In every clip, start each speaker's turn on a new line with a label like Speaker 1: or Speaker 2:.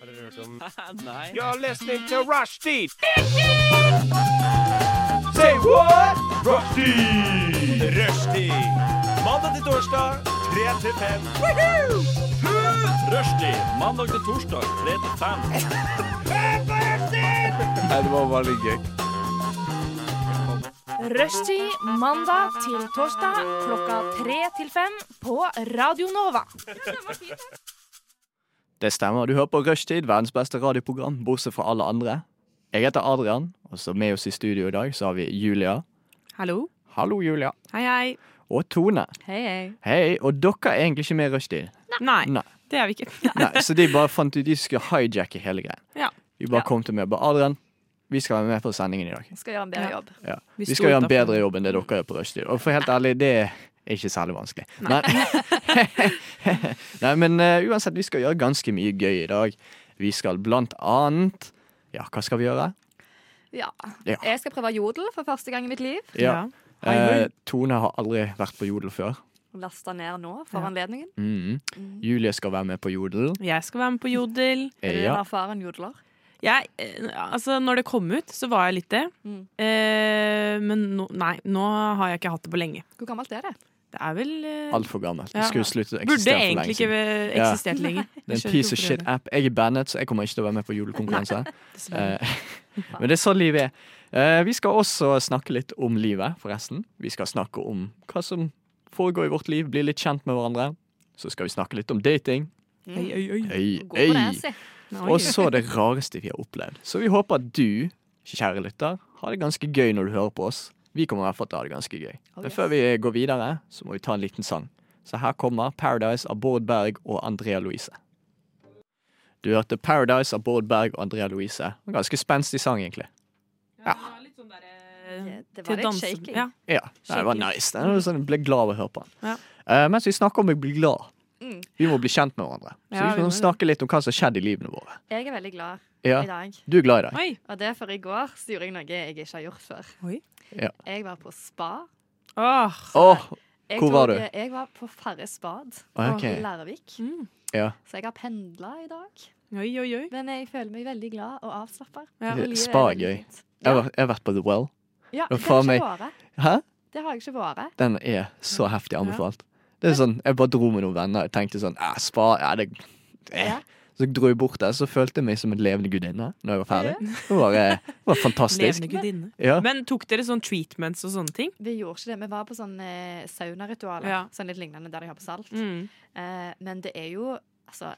Speaker 1: Har dere hørt om
Speaker 2: Nei.
Speaker 1: You're listening to Rushdie! Say what? Rushdie! Rushdie! Mandag til torsdag, 3 til 5. Rushdie! Mandag til torsdag, 3 til 5.
Speaker 3: Rushtid mandag til torsdag klokka tre til fem på Radio Nova.
Speaker 4: Det stemmer. Du hører på Rushtid, verdens beste radioprogram, bortsett fra alle andre. Jeg heter Adrian, og så med oss i studio i dag så har vi Julia.
Speaker 5: Hallo.
Speaker 4: Hallo, Julia.
Speaker 5: Hei, hei.
Speaker 4: Og Tone.
Speaker 5: Hei, hei.
Speaker 4: Hei, og dere er egentlig ikke med i Rushtid.
Speaker 5: Nei,
Speaker 4: Nei.
Speaker 5: det er vi ikke.
Speaker 4: Nei, så de bare fant ut de skulle hijacke hele greia.
Speaker 5: Ja.
Speaker 4: Vi bare
Speaker 5: Ja.
Speaker 4: kom til meg og bare Adrian, vi skal være med på sendingen i dag.
Speaker 6: Skal gjøre en bedre jobb.
Speaker 4: Ja.
Speaker 5: Vi
Speaker 4: Vi,
Speaker 5: sto
Speaker 4: skal gjøre en
Speaker 5: utenfor.
Speaker 4: bedre jobb enn det dere gjør på rushtid. Og for helt ærlig, det er ikke særlig vanskelig. Men, Nei, men eh, uansett, vi skal gjøre ganske mye gøy i dag. Vi skal blant annet Ja, hva skal vi gjøre?
Speaker 6: Ja.
Speaker 4: Ja.
Speaker 6: Jeg skal prøve jodel for første gang i mitt liv.
Speaker 4: Ja.
Speaker 5: Ja. Hei,
Speaker 4: Eh, Tone har aldri vært på Jodel før.
Speaker 6: Lasta ned nå for
Speaker 5: Ja.
Speaker 6: anledningen.
Speaker 4: Mhm. Julie skal være med på Jodel.
Speaker 5: Jeg skal være med på Jodel.
Speaker 6: Er du
Speaker 4: Eh, ja.
Speaker 6: en erfaren jodler?
Speaker 5: Jeg, eh, altså, når det kom ut, så var jeg litt det.
Speaker 6: Mm.
Speaker 5: Eh, men nå, nei, nå har jeg ikke hatt det på lenge.
Speaker 6: Hvor gammelt er det?
Speaker 5: Det er vel eh,
Speaker 4: Altfor gammelt. Det
Speaker 5: Ja.
Speaker 4: skulle sluttet å
Speaker 5: Burde
Speaker 4: eksistere for
Speaker 5: egentlig
Speaker 4: lenge
Speaker 5: ikke
Speaker 4: siden.
Speaker 5: eh,
Speaker 4: Ja.
Speaker 5: eksistert lenger. Jeg
Speaker 4: Det er en
Speaker 5: skjønner
Speaker 4: piece
Speaker 5: ikke
Speaker 4: of
Speaker 5: hvorfor det
Speaker 4: shit-app. Jeg er bandet, så jeg kommer ikke til å være med på julekonkurranse.
Speaker 5: dessverre.
Speaker 4: Eh, Men det er sånn livet er. Eh, Vi skal også snakke litt om livet, forresten. Vi skal snakke om hva som foregår i vårt liv, bli litt kjent med hverandre. Så skal vi snakke litt om dating.
Speaker 5: Oi, oi, oi.
Speaker 4: Øy,
Speaker 6: Gå på det,
Speaker 4: øy.
Speaker 6: si.
Speaker 5: Nei, oi.
Speaker 4: Og så det rareste vi har opplevd. Så vi håper at du, kjære lytter, har det ganske gøy når du hører på oss. Vi kommer i hvert fall til å ha det ganske gøy. Men før vi går videre, så må vi ta en liten sang. Så her kommer 'Paradise' av Bård Berg og Andrea Louise. Du hørte 'Paradise' av Bård Berg og Andrea Louise. En ganske spenstig sang, egentlig.
Speaker 5: Ja, det var litt sånn der, eh,
Speaker 6: Det- Det var
Speaker 5: til
Speaker 6: litt
Speaker 5: danse-
Speaker 6: shaking.
Speaker 5: Ja.
Speaker 4: Ja, nei, det var
Speaker 5: Skikkelig.
Speaker 4: nice. Det var sånn, jeg ble glad av å høre på den.
Speaker 5: Ja.
Speaker 4: Eh, mens vi snakker om å bli glad,
Speaker 6: Mm.
Speaker 4: vi må bli kjent med hverandre. Så
Speaker 5: Ja,
Speaker 4: vi
Speaker 5: vi
Speaker 4: må
Speaker 5: må
Speaker 4: snakke litt om hva som har skjedd i livene våre.
Speaker 6: Jeg er veldig glad
Speaker 4: Ja,
Speaker 6: i dag.
Speaker 4: du er glad i dag.
Speaker 5: Oi.
Speaker 6: Og det er for i går så gjorde jeg noe jeg ikke har gjort før.
Speaker 5: Oi.
Speaker 4: Ja.
Speaker 6: Jeg var på spa.
Speaker 5: Åh.
Speaker 4: Åh,
Speaker 6: Jeg
Speaker 4: Hvor var
Speaker 6: tok-
Speaker 4: du?
Speaker 6: Jeg var på Farres bad
Speaker 4: ok.
Speaker 6: i Lærvik.
Speaker 5: Mm.
Speaker 4: Ja.
Speaker 6: Så jeg har pendla i dag.
Speaker 5: Oi, oi, oi.
Speaker 6: Men jeg føler meg veldig glad og avslappa.
Speaker 5: Ja.
Speaker 4: Det-
Speaker 6: Livet
Speaker 4: spa er
Speaker 6: veldig
Speaker 4: gøy.
Speaker 6: fint.
Speaker 4: Jeg har,
Speaker 6: Ja.
Speaker 4: jeg har vært på The Well.
Speaker 6: Ja,
Speaker 4: Men
Speaker 6: det har
Speaker 4: faen
Speaker 6: jeg
Speaker 4: meg-
Speaker 6: ikke vært.
Speaker 4: Hæ?
Speaker 6: Det har jeg ikke vært.
Speaker 4: Den er så heftig anbefalt. Det er sånn, Jeg bare dro med noen venner og tenkte sånn eh, Spa, ja, det eh.
Speaker 6: Ja.
Speaker 4: Så dro jeg bort der, så følte jeg meg som en levende gudinne når jeg var ferdig. Det var, eh, det var fantastisk.
Speaker 5: Levende gudinne.
Speaker 4: Ja.
Speaker 5: Men tok dere sånn treatments og sånne ting?
Speaker 6: Vi gjorde ikke det. Vi var på sånn eh, saunaritualer.
Speaker 5: Ja.
Speaker 6: Sånn litt lignende der de har på salt.
Speaker 5: Mm.
Speaker 6: Eh, men det er jo Altså,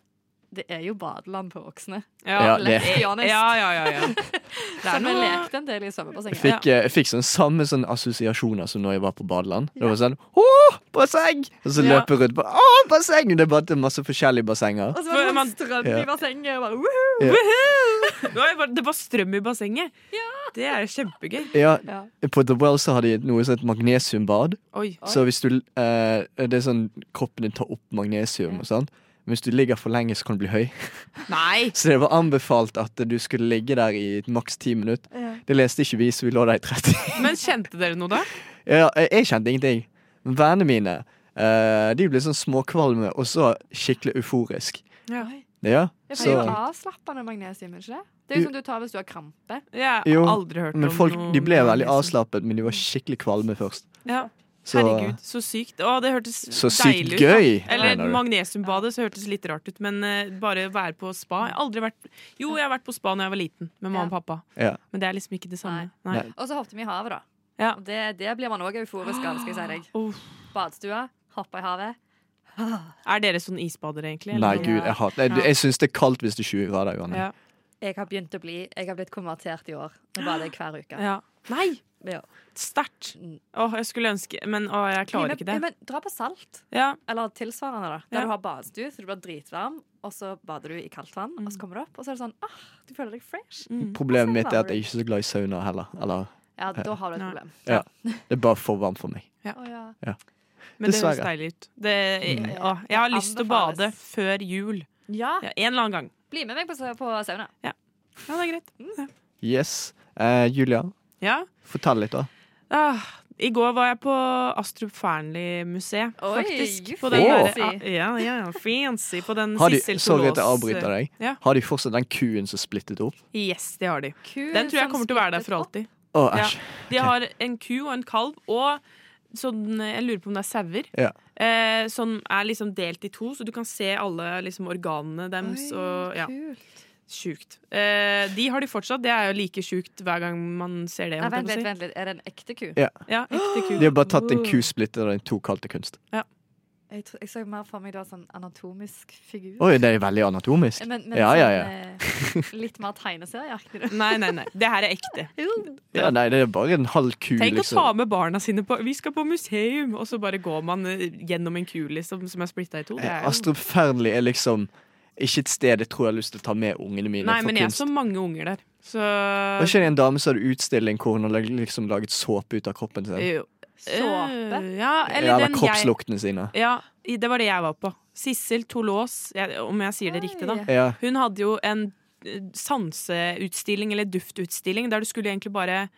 Speaker 6: det er jo badeland på voksne.
Speaker 4: Ja, det-
Speaker 6: Let's be honest.
Speaker 5: Ja, ja, ja. ja. Det
Speaker 6: Så vi
Speaker 5: er noe
Speaker 6: lekte en del i
Speaker 4: Jeg
Speaker 6: svømmebassenget.
Speaker 4: fikk, eh, jeg fikk sånn samme sånn assosiasjoner som når jeg var på badeland. Det var sånn Åh, basseng! Og så
Speaker 5: Ja.
Speaker 4: løper jeg rundt på Åh, basseng! Det er bare til masse forskjellige bassenger.
Speaker 6: Og så var det
Speaker 5: Man-
Speaker 6: sånn strøm
Speaker 4: Ja.
Speaker 6: i bassenget. Og bare, woohoo!
Speaker 5: Det var, bare- det var strøm i bassenget. Det er jo kjempegøy.
Speaker 4: Ja,
Speaker 6: Ja.
Speaker 4: På The Well så har de noe som heter magnesiumbad.
Speaker 5: Oi.
Speaker 4: Så hvis du eh, Det er sånn kroppen din tar opp magnesium og sånn. Men Hvis du ligger for lenge, så kan du bli høy.
Speaker 5: Nei!
Speaker 4: Så det var anbefalt at du skulle ligge der i maks ti minutter. Det leste ikke vi, så vi lå der i 30.
Speaker 5: Men kjente dere noe da?
Speaker 4: Ja, jeg- jeg kjente ingenting. Men Vennene mine eh, de ble sånn småkvalme og så skikkelig euforisk.
Speaker 5: Ja.
Speaker 4: Ja,
Speaker 6: Det er jo
Speaker 4: så,
Speaker 6: avslappende magnesium, ikke det? Det er jo som du tar hvis du har krampe.
Speaker 5: Jeg har
Speaker 4: Jo,
Speaker 5: aldri hørt
Speaker 4: men
Speaker 5: om
Speaker 4: folk
Speaker 5: noe liksom.
Speaker 4: de ble veldig
Speaker 5: magnesium.
Speaker 4: avslappet, men de var skikkelig kvalme først.
Speaker 5: Ja.
Speaker 4: Så,
Speaker 5: Herregud, så sykt. Å, det hørtes
Speaker 4: så sykt
Speaker 5: deilig ut. da.
Speaker 4: gøy! mener
Speaker 5: Eller
Speaker 4: du.
Speaker 5: magnesiumbadet så hørtes litt rart ut, men eh, bare være på spa Jeg har aldri vært Jo, jeg har vært på spa når jeg var liten, med mamma og pappa.
Speaker 4: Ja.
Speaker 5: Men det er liksom ikke det samme. Nei.
Speaker 4: Nei.
Speaker 6: Og så hoppet vi i havet, da.
Speaker 5: Ja.
Speaker 6: Og Det, det blir man òg euforisk av, skal jeg si deg.
Speaker 5: Uff.
Speaker 6: Badestua, hoppa i havet.
Speaker 5: Er dere sånn isbadere, egentlig? eller
Speaker 4: Nei,
Speaker 5: sånn?
Speaker 4: gud, jeg hater Jeg, jeg syns det er kaldt hvis det er 20 grader. Johanne.
Speaker 5: Ja.
Speaker 6: Jeg har begynt å bli Jeg har blitt konvertert i år. Nå bader jeg hver uke.
Speaker 5: Ja. Nei!
Speaker 6: Ja.
Speaker 5: Sterkt.
Speaker 6: Mm.
Speaker 5: Åh, jeg skulle ønske Men åh, jeg klarer ikke
Speaker 6: Ja,
Speaker 5: det.
Speaker 6: Men dra på salt.
Speaker 5: Ja.
Speaker 6: Eller tilsvarende, da. Der
Speaker 5: Ja.
Speaker 6: du har badstue, så du blir dritvarm, og så bader du i kaldt vann, og
Speaker 5: Mm.
Speaker 6: så kommer du opp, og så er det sånn ah, du føler deg fresh.
Speaker 4: Problemet mitt er at jeg er ikke så glad i sauna heller. Eller,
Speaker 6: Ja, da har du et
Speaker 5: Nei.
Speaker 6: problem.
Speaker 4: ja. Det er bare for varmt for meg.
Speaker 6: Å, ja.
Speaker 5: Men det høres
Speaker 4: Dessverre. Mm.
Speaker 5: deilig ut. Det, åh, jeg har lyst til å
Speaker 6: Anbefales.
Speaker 5: bade før jul.
Speaker 6: ja,
Speaker 5: Ja, en eller annen gang.
Speaker 6: bli med meg på, s- på sauna.
Speaker 5: Ja, det er greit.
Speaker 4: Yes. Eh, Julia,
Speaker 5: Ja.
Speaker 4: fortell litt, da.
Speaker 5: Ah, I går var jeg på Astrup Fearnley-museet,
Speaker 6: Oi,
Speaker 5: faktisk.
Speaker 6: fancy.
Speaker 5: På den der- ah,
Speaker 6: Fancy.
Speaker 5: ja, ja, ja, fancy. På den
Speaker 4: Har de,
Speaker 5: Sissel
Speaker 4: sorry at jeg
Speaker 5: Tollås-
Speaker 4: avbryter deg.
Speaker 5: Ja.
Speaker 4: Har de fortsatt den kuen som splittet opp?
Speaker 5: Yes, det har de.
Speaker 6: Ku
Speaker 5: Den tror jeg
Speaker 6: som
Speaker 5: kommer til å være der
Speaker 6: splittet
Speaker 5: for
Speaker 6: opp.
Speaker 5: alltid.
Speaker 4: Å,
Speaker 5: Ja.
Speaker 4: æsj.
Speaker 5: De har en ku og en kalv og sånn, jeg lurer på om det er sauer.
Speaker 4: Ja.
Speaker 5: Eh, som er liksom delt i to, så du kan se alle liksom, organene deres.
Speaker 6: Oi,
Speaker 5: og, ja,
Speaker 6: kult.
Speaker 5: Sjukt. Eh, de har de fortsatt. Det er jo like sjukt hver gang man ser det.
Speaker 6: Nei,
Speaker 5: holdt
Speaker 6: vent
Speaker 5: jeg på å
Speaker 6: litt,
Speaker 5: si.
Speaker 6: vent litt. Er det en ekte ku?
Speaker 4: Ja.
Speaker 5: Ja, ekte ku.
Speaker 4: De har bare tatt en ku splittet og den to kalte kunst.
Speaker 6: Jeg, tror, jeg så mer for meg det var sånn anatomisk figur.
Speaker 4: Oi, det er veldig anatomisk.
Speaker 6: Men, men
Speaker 4: Ja, ja, ja.
Speaker 6: sånn, eh, litt mer tegneserieaktig.
Speaker 5: Nei, nei, nei. Det her er ekte.
Speaker 4: Ja, nei, det er bare en halv ku,
Speaker 5: Tenk å ta
Speaker 4: liksom.
Speaker 5: med barna sine på Vi skal på museum! Og så bare går man eh, gjennom en ku liksom, som er splitta i to. Det er jo-
Speaker 4: Astrup Eh, Fearnley er liksom ikke et sted jeg tror jeg har lyst til å ta med ungene mine
Speaker 5: Nei,
Speaker 4: for
Speaker 5: men jeg
Speaker 4: kunst.
Speaker 5: så mange unger der. Så
Speaker 4: Var ikke det en dame som hadde utstilling hvor hun hadde liksom laget såpe ut av kroppen sin?
Speaker 5: Jo.
Speaker 6: Såpe.
Speaker 5: Eh, Ja,
Speaker 4: ja,
Speaker 5: eller,
Speaker 4: eller
Speaker 5: den jeg
Speaker 4: kroppsluktene sine.
Speaker 5: Ja, i- det var det jeg var på. Sissel Tollås, jeg- om jeg sier det riktig, da.
Speaker 4: Ja.
Speaker 5: Hun hadde jo en eh, sanseutstilling, eller duftutstilling, der du skulle egentlig bare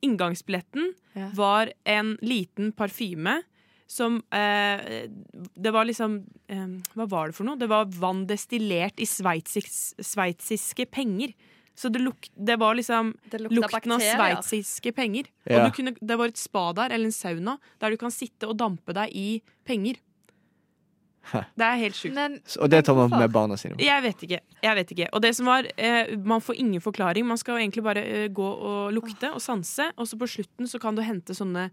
Speaker 5: Inngangsbilletten
Speaker 6: Ja.
Speaker 5: var en liten parfyme som eh, Det var liksom eh, Hva var det for noe? Det var vann destillert i sveitsisk- sveitsiske penger. Så det, luk, det var liksom
Speaker 6: Det
Speaker 5: Lukten av sveitsiske penger.
Speaker 4: Ja.
Speaker 5: Og du kunne, det var et spa der, eller en sauna, der du kan sitte og dampe deg i penger.
Speaker 4: Hæ.
Speaker 5: Det er helt sjukt.
Speaker 6: Men
Speaker 4: Så- Og det tar man
Speaker 6: Hvorfor?
Speaker 4: med barna sine.
Speaker 5: Jeg vet ikke. jeg vet ikke Og det som var, eh, Man får ingen forklaring. Man skal jo egentlig bare eh, gå og lukte og sanse, og så på slutten så kan du hente sånne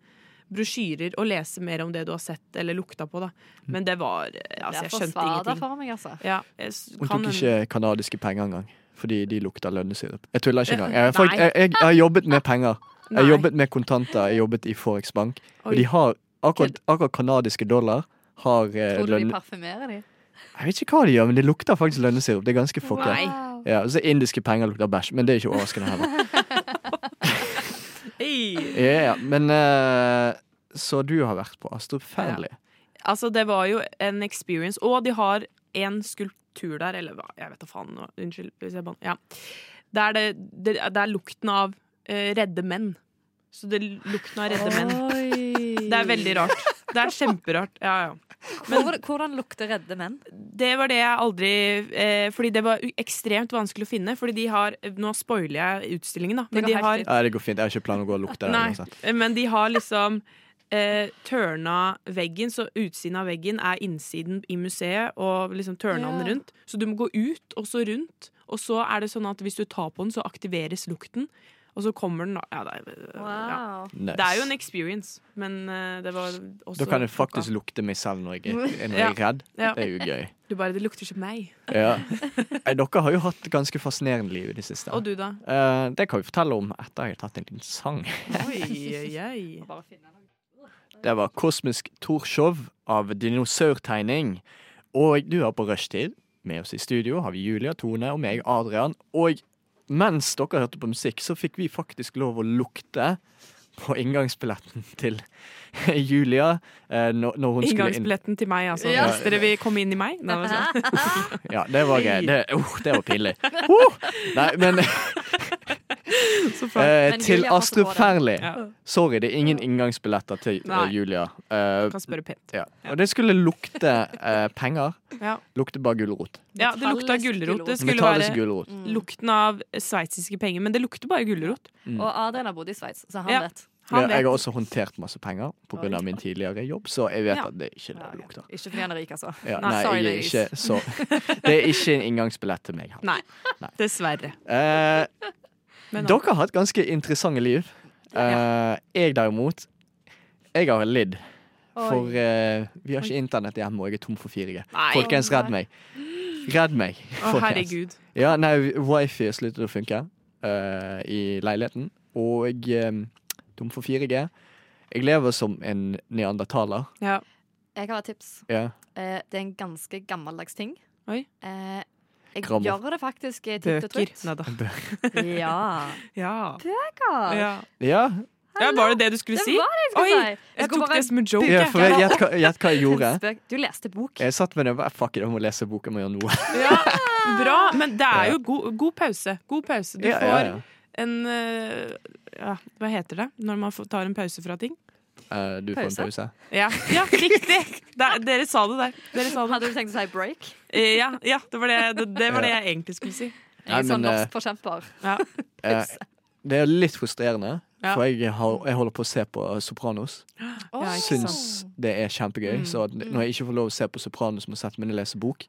Speaker 5: brosjyrer og lese mer om det du har sett eller lukta på. da Men det var eh,
Speaker 6: det
Speaker 5: altså,
Speaker 6: er
Speaker 5: Jeg skjønte
Speaker 6: forsvada
Speaker 5: ingenting.
Speaker 6: for meg, altså.
Speaker 5: Ja, jeg s-
Speaker 4: Hun
Speaker 5: kan
Speaker 4: tok
Speaker 5: hende-
Speaker 4: ikke kanadiske penger engang, fordi de lukta lønnesyrup. Jeg tuller ikke engang. Jeg,
Speaker 5: Nei.
Speaker 4: folk, jeg, jeg, jeg har jobbet med penger. Jeg har
Speaker 5: Nei.
Speaker 4: jobbet med kontanter, jeg har jobbet i Forex Bank, og de har akkurat, akkurat kanadiske dollar. Har eh,
Speaker 6: Tror du de
Speaker 4: lønn...
Speaker 6: parfymerer de?
Speaker 4: Jeg vet ikke hva de gjør, men det lukter faktisk lønnesyrup. Det er ganske fucka.
Speaker 5: Nei.
Speaker 6: Wow.
Speaker 4: Ja, og så indiske penger lukter bæsj, men det er ikke overraskende heller.
Speaker 5: Hei!
Speaker 4: Ja, ja, men eh, Så du har vært på Astrup Fearnley?
Speaker 5: Altså, det var jo en experience. Og de har en skulptur der, eller hva, jeg vet da faen. nå. Unnskyld. hvis jeg ban- Ja. Det er, det, det, det er lukten av eh, redde menn. Så det er lukten av redde menn.
Speaker 6: Oi.
Speaker 5: Det er veldig rart. Det er kjemperart. Ja, ja.
Speaker 6: Hvordan, hvordan lukter redde menn?
Speaker 5: Det var det jeg aldri eh, Fordi det var u- ekstremt vanskelig å finne. Fordi de har Nå spoiler jeg utstillingen, da.
Speaker 6: Det går
Speaker 5: Men de
Speaker 6: helt
Speaker 5: har
Speaker 6: fint.
Speaker 4: Nei, det går fint. Jeg har ikke planer om å gå og lukte det.
Speaker 5: Nei,
Speaker 4: uansett.
Speaker 5: men de har liksom eh, tørna veggen, så utsiden av veggen er innsiden i museet, og liksom tørna
Speaker 6: Ja.
Speaker 5: den rundt. Så du må gå ut, og så rundt. Og så er det sånn at hvis du tar på den, så aktiveres lukten. Og så kommer den da ja, det, er- ja.
Speaker 6: Wow.
Speaker 4: Nice.
Speaker 5: det er jo en experience, men eh, det var også
Speaker 4: Da kan jeg faktisk lukte meg selv når jeg, er- når jeg er redd.
Speaker 5: Ja.
Speaker 4: Det er jo gøy.
Speaker 5: Du bare Det lukter som meg.
Speaker 4: Ja. Nei, Dere har jo hatt ganske fascinerende liv i det siste.
Speaker 5: Og du, da?
Speaker 4: Eh, det kan vi fortelle om etter jeg har tatt en liten sang.
Speaker 5: Oi, oi, oi.
Speaker 6: Bare finne noe.
Speaker 4: Det var Kosmisk Torshov av Dinosaurtegning. Og du er på rushtid. Med oss i studio har vi Julia, Tone og meg, Adrian. Og mens dere hørte på musikk, så fikk vi faktisk lov å lukte på inngangsbilletten til Julia eh, når, når hun skulle inn.
Speaker 5: Inngangsbilletten til meg, altså.
Speaker 6: Ja.
Speaker 5: Hvis dere vil komme inn i meg. Nei, altså.
Speaker 4: Ja, det var gøy. Det, uh, det var pinlig. Uh! Nei, men
Speaker 5: Så
Speaker 4: Eh,
Speaker 5: flott.
Speaker 6: Men
Speaker 4: til
Speaker 6: Julia passer
Speaker 4: Astrup
Speaker 6: på det.
Speaker 4: Fearnley.
Speaker 5: Ja.
Speaker 4: Sorry, det er ingen inngangsbilletter til eh,
Speaker 5: Nei.
Speaker 4: Julia. Eh,
Speaker 5: Kan spørre pent.
Speaker 4: ja. Og det skulle lukte eh, penger.
Speaker 5: Ja.
Speaker 4: Lukte bare gulrot.
Speaker 5: Ja, det lukta
Speaker 6: Metallisk
Speaker 5: gulrot. Det
Speaker 6: gulrot.
Speaker 5: skulle
Speaker 4: Metallisk
Speaker 5: være Mm.
Speaker 4: gulrot.
Speaker 5: lukten av sveitsiske penger, men det lukter bare gulrot.
Speaker 6: Og Adrian har bodd i Sveits, så han
Speaker 5: Ja.
Speaker 6: vet.
Speaker 4: Ja,
Speaker 5: Han
Speaker 4: jeg har
Speaker 5: vet.
Speaker 4: også håndtert masse penger pga. min tidligere jobb, så jeg vet
Speaker 5: Ja.
Speaker 4: at det er ikke det det lukter.
Speaker 6: Ikke fordi han er rik, altså.
Speaker 4: Ja,
Speaker 5: Nei,
Speaker 4: nei,
Speaker 6: sorry,
Speaker 4: jeg er
Speaker 6: ladies.
Speaker 4: ikke, så, det er ikke en inngangsbillett til meg. her.
Speaker 5: Nei, dessverre.
Speaker 4: Eh,
Speaker 5: Men da-
Speaker 4: dere har hatt ganske interessante liv. Eh, jeg derimot, jeg har lidd. For eh, vi har ikke internett hjemme, og jeg er tom for 4G.
Speaker 5: Nei.
Speaker 4: Folkens, redd meg. Redd meg.
Speaker 5: Å,
Speaker 4: folkens.
Speaker 5: herregud.
Speaker 4: Ja, nei, wifi sluttet å funke eh, i leiligheten, og jeg eh, tom for 4G. Jeg lever som en neandertaler.
Speaker 5: Ja.
Speaker 6: Jeg har et tips.
Speaker 4: Ja.
Speaker 6: Eh, det er en ganske gammeldags ting.
Speaker 5: Oi.
Speaker 6: Eh, jeg
Speaker 4: Grammofon.
Speaker 6: gjør det faktisk eh, titt og
Speaker 5: Bøker.
Speaker 6: trutt.
Speaker 5: Nei da.
Speaker 6: Ja.
Speaker 5: Ja.
Speaker 6: ja.
Speaker 5: Ja.
Speaker 4: ja.
Speaker 5: ja, var det det du skulle
Speaker 6: Det
Speaker 5: si?
Speaker 6: var det jeg skulle
Speaker 5: Oi,
Speaker 6: si.
Speaker 5: Jeg
Speaker 6: skulle
Speaker 5: tok
Speaker 6: bare
Speaker 5: det som en joke.
Speaker 4: ja
Speaker 5: jeg.
Speaker 4: for jeg- gjett hva, gjett hva jeg gjorde.
Speaker 6: Spøk. Du leste bok.
Speaker 4: Jeg satt med det og bare, fuck it, jeg må lese boka mi og noe.
Speaker 5: Ja, bra, men det er jo god, god pause. God pause. Du
Speaker 4: Ja, ja, ja.
Speaker 5: får en eh, ja, Hva heter det når man får- tar en pause fra ting?
Speaker 4: Eh, du får en
Speaker 6: Pause.
Speaker 4: pause.
Speaker 5: Ja, ja riktig! Der, dere sa det der. Dere sa det.
Speaker 6: Hadde du tenkt å si break?
Speaker 5: Eh, Ja, ja det, var det, det, det var det jeg egentlig skulle si.
Speaker 4: Nei,
Speaker 6: sånn
Speaker 4: men eh,
Speaker 6: norsk forkjemper.
Speaker 5: Ja.
Speaker 4: eh, det er litt frustrerende,
Speaker 5: Ja.
Speaker 4: for jeg, har, jeg holder på å se på Sopranos.
Speaker 5: Ja, ikke sant.
Speaker 4: Syns det er kjempegøy. Så at når jeg ikke får lov å se på Sopranos, må sette meg ned og lese bok,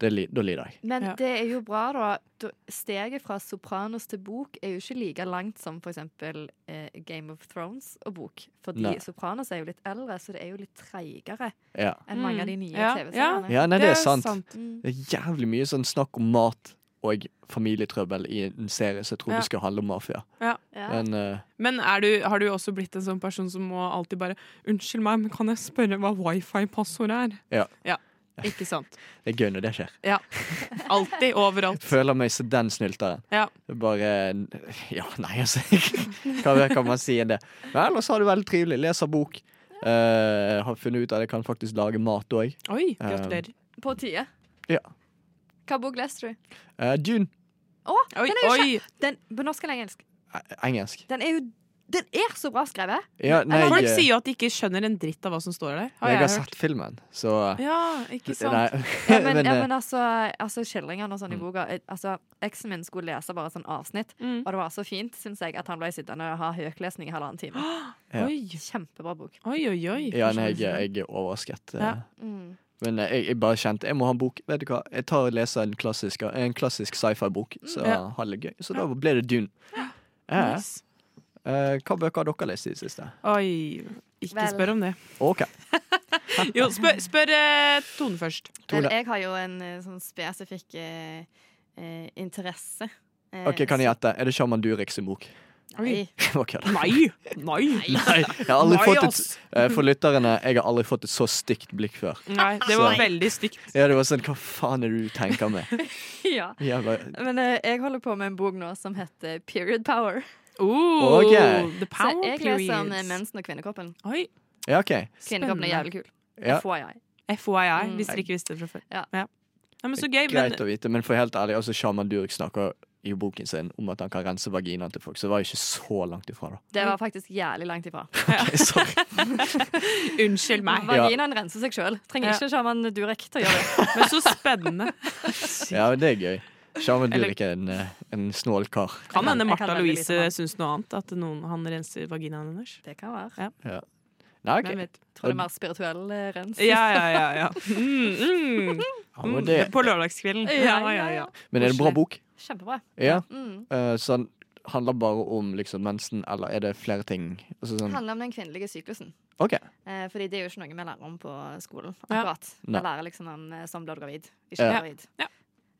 Speaker 4: det, li- da lider jeg.
Speaker 6: Men
Speaker 5: Ja.
Speaker 6: det er jo bra, da. Da- Steget fra Sopranos til bok er jo ikke like langt som for eksempel eh, Game of Thrones og bok. Fordi
Speaker 4: Nei.
Speaker 6: Sopranos er jo litt eldre, så det er jo litt treigere
Speaker 4: Ja.
Speaker 6: enn mange
Speaker 5: Mm.
Speaker 6: av de nye
Speaker 5: Ja,
Speaker 6: TV-seriene.
Speaker 4: ja, nei, det er sant.
Speaker 6: Mm.
Speaker 4: Det er jævlig mye sånn snakk om mat og familietrøbbel i en serie som jeg trodde
Speaker 5: Ja.
Speaker 4: skulle handle om mafia.
Speaker 6: Ja.
Speaker 4: Men eh,
Speaker 5: Men er du, har du også blitt en sånn person som må alltid bare Unnskyld meg, men kan jeg spørre hva wifi-passordet er?
Speaker 4: Ja.
Speaker 5: Ikke sant.
Speaker 4: det er gøy når det skjer.
Speaker 5: Alltid, overalt.
Speaker 4: Føler meg som den snylteren.
Speaker 5: Ja.
Speaker 4: Det er Bare Ja, nei, altså. Hva mer kan man si enn det? Men ellers har du det veldig trivelig. Leser bok. Eh, har funnet ut at jeg kan faktisk lage mat òg.
Speaker 5: Oi,
Speaker 4: Eh,
Speaker 5: gratulerer.
Speaker 6: På tide.
Speaker 4: Ja.
Speaker 6: Hva bok leser du?
Speaker 4: Eh, Dune.
Speaker 5: Oi,
Speaker 6: den er jo
Speaker 5: oi!
Speaker 6: Den, på norsk eller engelsk?
Speaker 4: Eh, Engelsk.
Speaker 6: Den er jo den er så bra skrevet!
Speaker 4: Ja, nei,
Speaker 5: Folk
Speaker 4: eh,
Speaker 5: sier jo at de ikke skjønner en dritt av hva som står der. Har
Speaker 4: jeg
Speaker 5: jeg,
Speaker 4: har
Speaker 5: hørt.
Speaker 4: sett filmen, så
Speaker 5: Ja, ikke sant.
Speaker 4: Nei.
Speaker 6: Ja, men,
Speaker 4: men,
Speaker 6: ja,
Speaker 4: eh, Mm.
Speaker 6: men altså, altså skildringene og sånn i boka eh, altså, Eksen min skulle lese bare sånn avsnitt,
Speaker 5: Mm.
Speaker 6: og det var så fint, syns jeg, at han ble sittende og ha høylesning i halvannen time.
Speaker 4: Ja.
Speaker 5: Oi,
Speaker 6: Kjempebra bok.
Speaker 5: oi, oi. oi.
Speaker 4: ja, nei, jeg, jeg er overrasket. eh.
Speaker 5: Ja.
Speaker 6: Mm.
Speaker 4: Men eh, jeg, jeg bare kjente Jeg må ha en bok. Vet du hva? Jeg tar og leser en klassisk, en klassisk sci-fi-bok, så
Speaker 5: Mm, Ja.
Speaker 4: har det litt gøy. Så da ble det Dune. Ja.
Speaker 5: Nice.
Speaker 4: Eh, hva bøker har dere lest i det siste?
Speaker 5: Oi. Ikke
Speaker 6: Vel.
Speaker 5: spør om det.
Speaker 4: OK.
Speaker 5: Eh, Jo, spør, spør eh, Tone først.
Speaker 6: Men
Speaker 4: Tone.
Speaker 6: jeg har jo en eh, sånn spesifikk eh, eh, interesse. Eh,
Speaker 4: Ok, Kan jeg gjette? Er det Sjaman Durek sin bok?
Speaker 6: så- Nei.
Speaker 4: Ok, da.
Speaker 5: Nei! Nei!
Speaker 4: Nei, jeg har aldri
Speaker 5: Nei,
Speaker 4: fått et,
Speaker 5: ass.
Speaker 4: eh, for lytterne, jeg har aldri fått et så stygt blikk før.
Speaker 5: Nei, det var
Speaker 4: Nei.
Speaker 5: veldig stygt.
Speaker 4: Ja, det var sånn, Hva faen er det du tenker med?
Speaker 6: ja.
Speaker 4: Jævla
Speaker 6: Men eh, jeg holder på med en bok nå som heter Period Power.
Speaker 5: Oh,
Speaker 4: Ok.
Speaker 6: Så
Speaker 5: The power
Speaker 6: jeg leser om eh,
Speaker 5: periods.
Speaker 6: mensen og kvinnekroppen.
Speaker 5: Oi,
Speaker 4: Ja, OK.
Speaker 6: Kvinnekroppen er jævlig kul.
Speaker 4: Ja,
Speaker 6: FYI.
Speaker 5: FYI,
Speaker 6: Mm.
Speaker 5: hvis dere ikke visste det fra før.
Speaker 6: Ja.
Speaker 5: Nei, men så gøy, men
Speaker 4: Greit å vite, men for helt ærlig, altså Sjaman Durek snakker i boken sin om at han kan rense vaginaen til folk, så det var jo ikke så langt ifra, da.
Speaker 6: Det var faktisk jævlig langt ifra.
Speaker 4: Ok, sorry.
Speaker 5: unnskyld meg.
Speaker 6: Vaginaen renser seg sjøl. Trenger
Speaker 5: Ja.
Speaker 6: ikke sjaman Durek til å gjøre det.
Speaker 5: Men så spennende.
Speaker 4: Ja, men det er gøy. Sjaman
Speaker 5: Eller-
Speaker 4: Durek er en, eh, en snål kar.
Speaker 5: Kan hende
Speaker 6: Jeg kan
Speaker 5: Martha
Speaker 6: veldig lite om
Speaker 5: Louise
Speaker 6: han.
Speaker 5: syns noe annet. At noen, han renser vaginaen hennes.
Speaker 6: Det kan være.
Speaker 4: Nei,
Speaker 5: Hvem
Speaker 4: ok.
Speaker 5: vet.
Speaker 6: Tror det er mer spirituell eh, rens.
Speaker 5: Ja, ja, ja. ja. Mm, mm.
Speaker 4: Ja, men,
Speaker 5: Mm.
Speaker 4: det,
Speaker 5: På lørdagskvelden. Ja, ja, ja.
Speaker 4: men er det en bra bok?
Speaker 6: Kjempebra.
Speaker 4: Ja.
Speaker 6: Mm.
Speaker 4: eh, så han handler bare om liksom mensen, eller er det flere ting? Altså,
Speaker 6: Det
Speaker 4: sånn,
Speaker 6: handler om den kvinnelige syklusen.
Speaker 4: OK.
Speaker 6: Eh, fordi det er jo ikke noe vi lærer om på skolen.
Speaker 5: Ja.
Speaker 6: akkurat. Vi
Speaker 4: Nei.
Speaker 6: lærer liksom om eh, sånn blir du gravid, ikke
Speaker 4: Ja.
Speaker 6: gravid.
Speaker 5: Ja.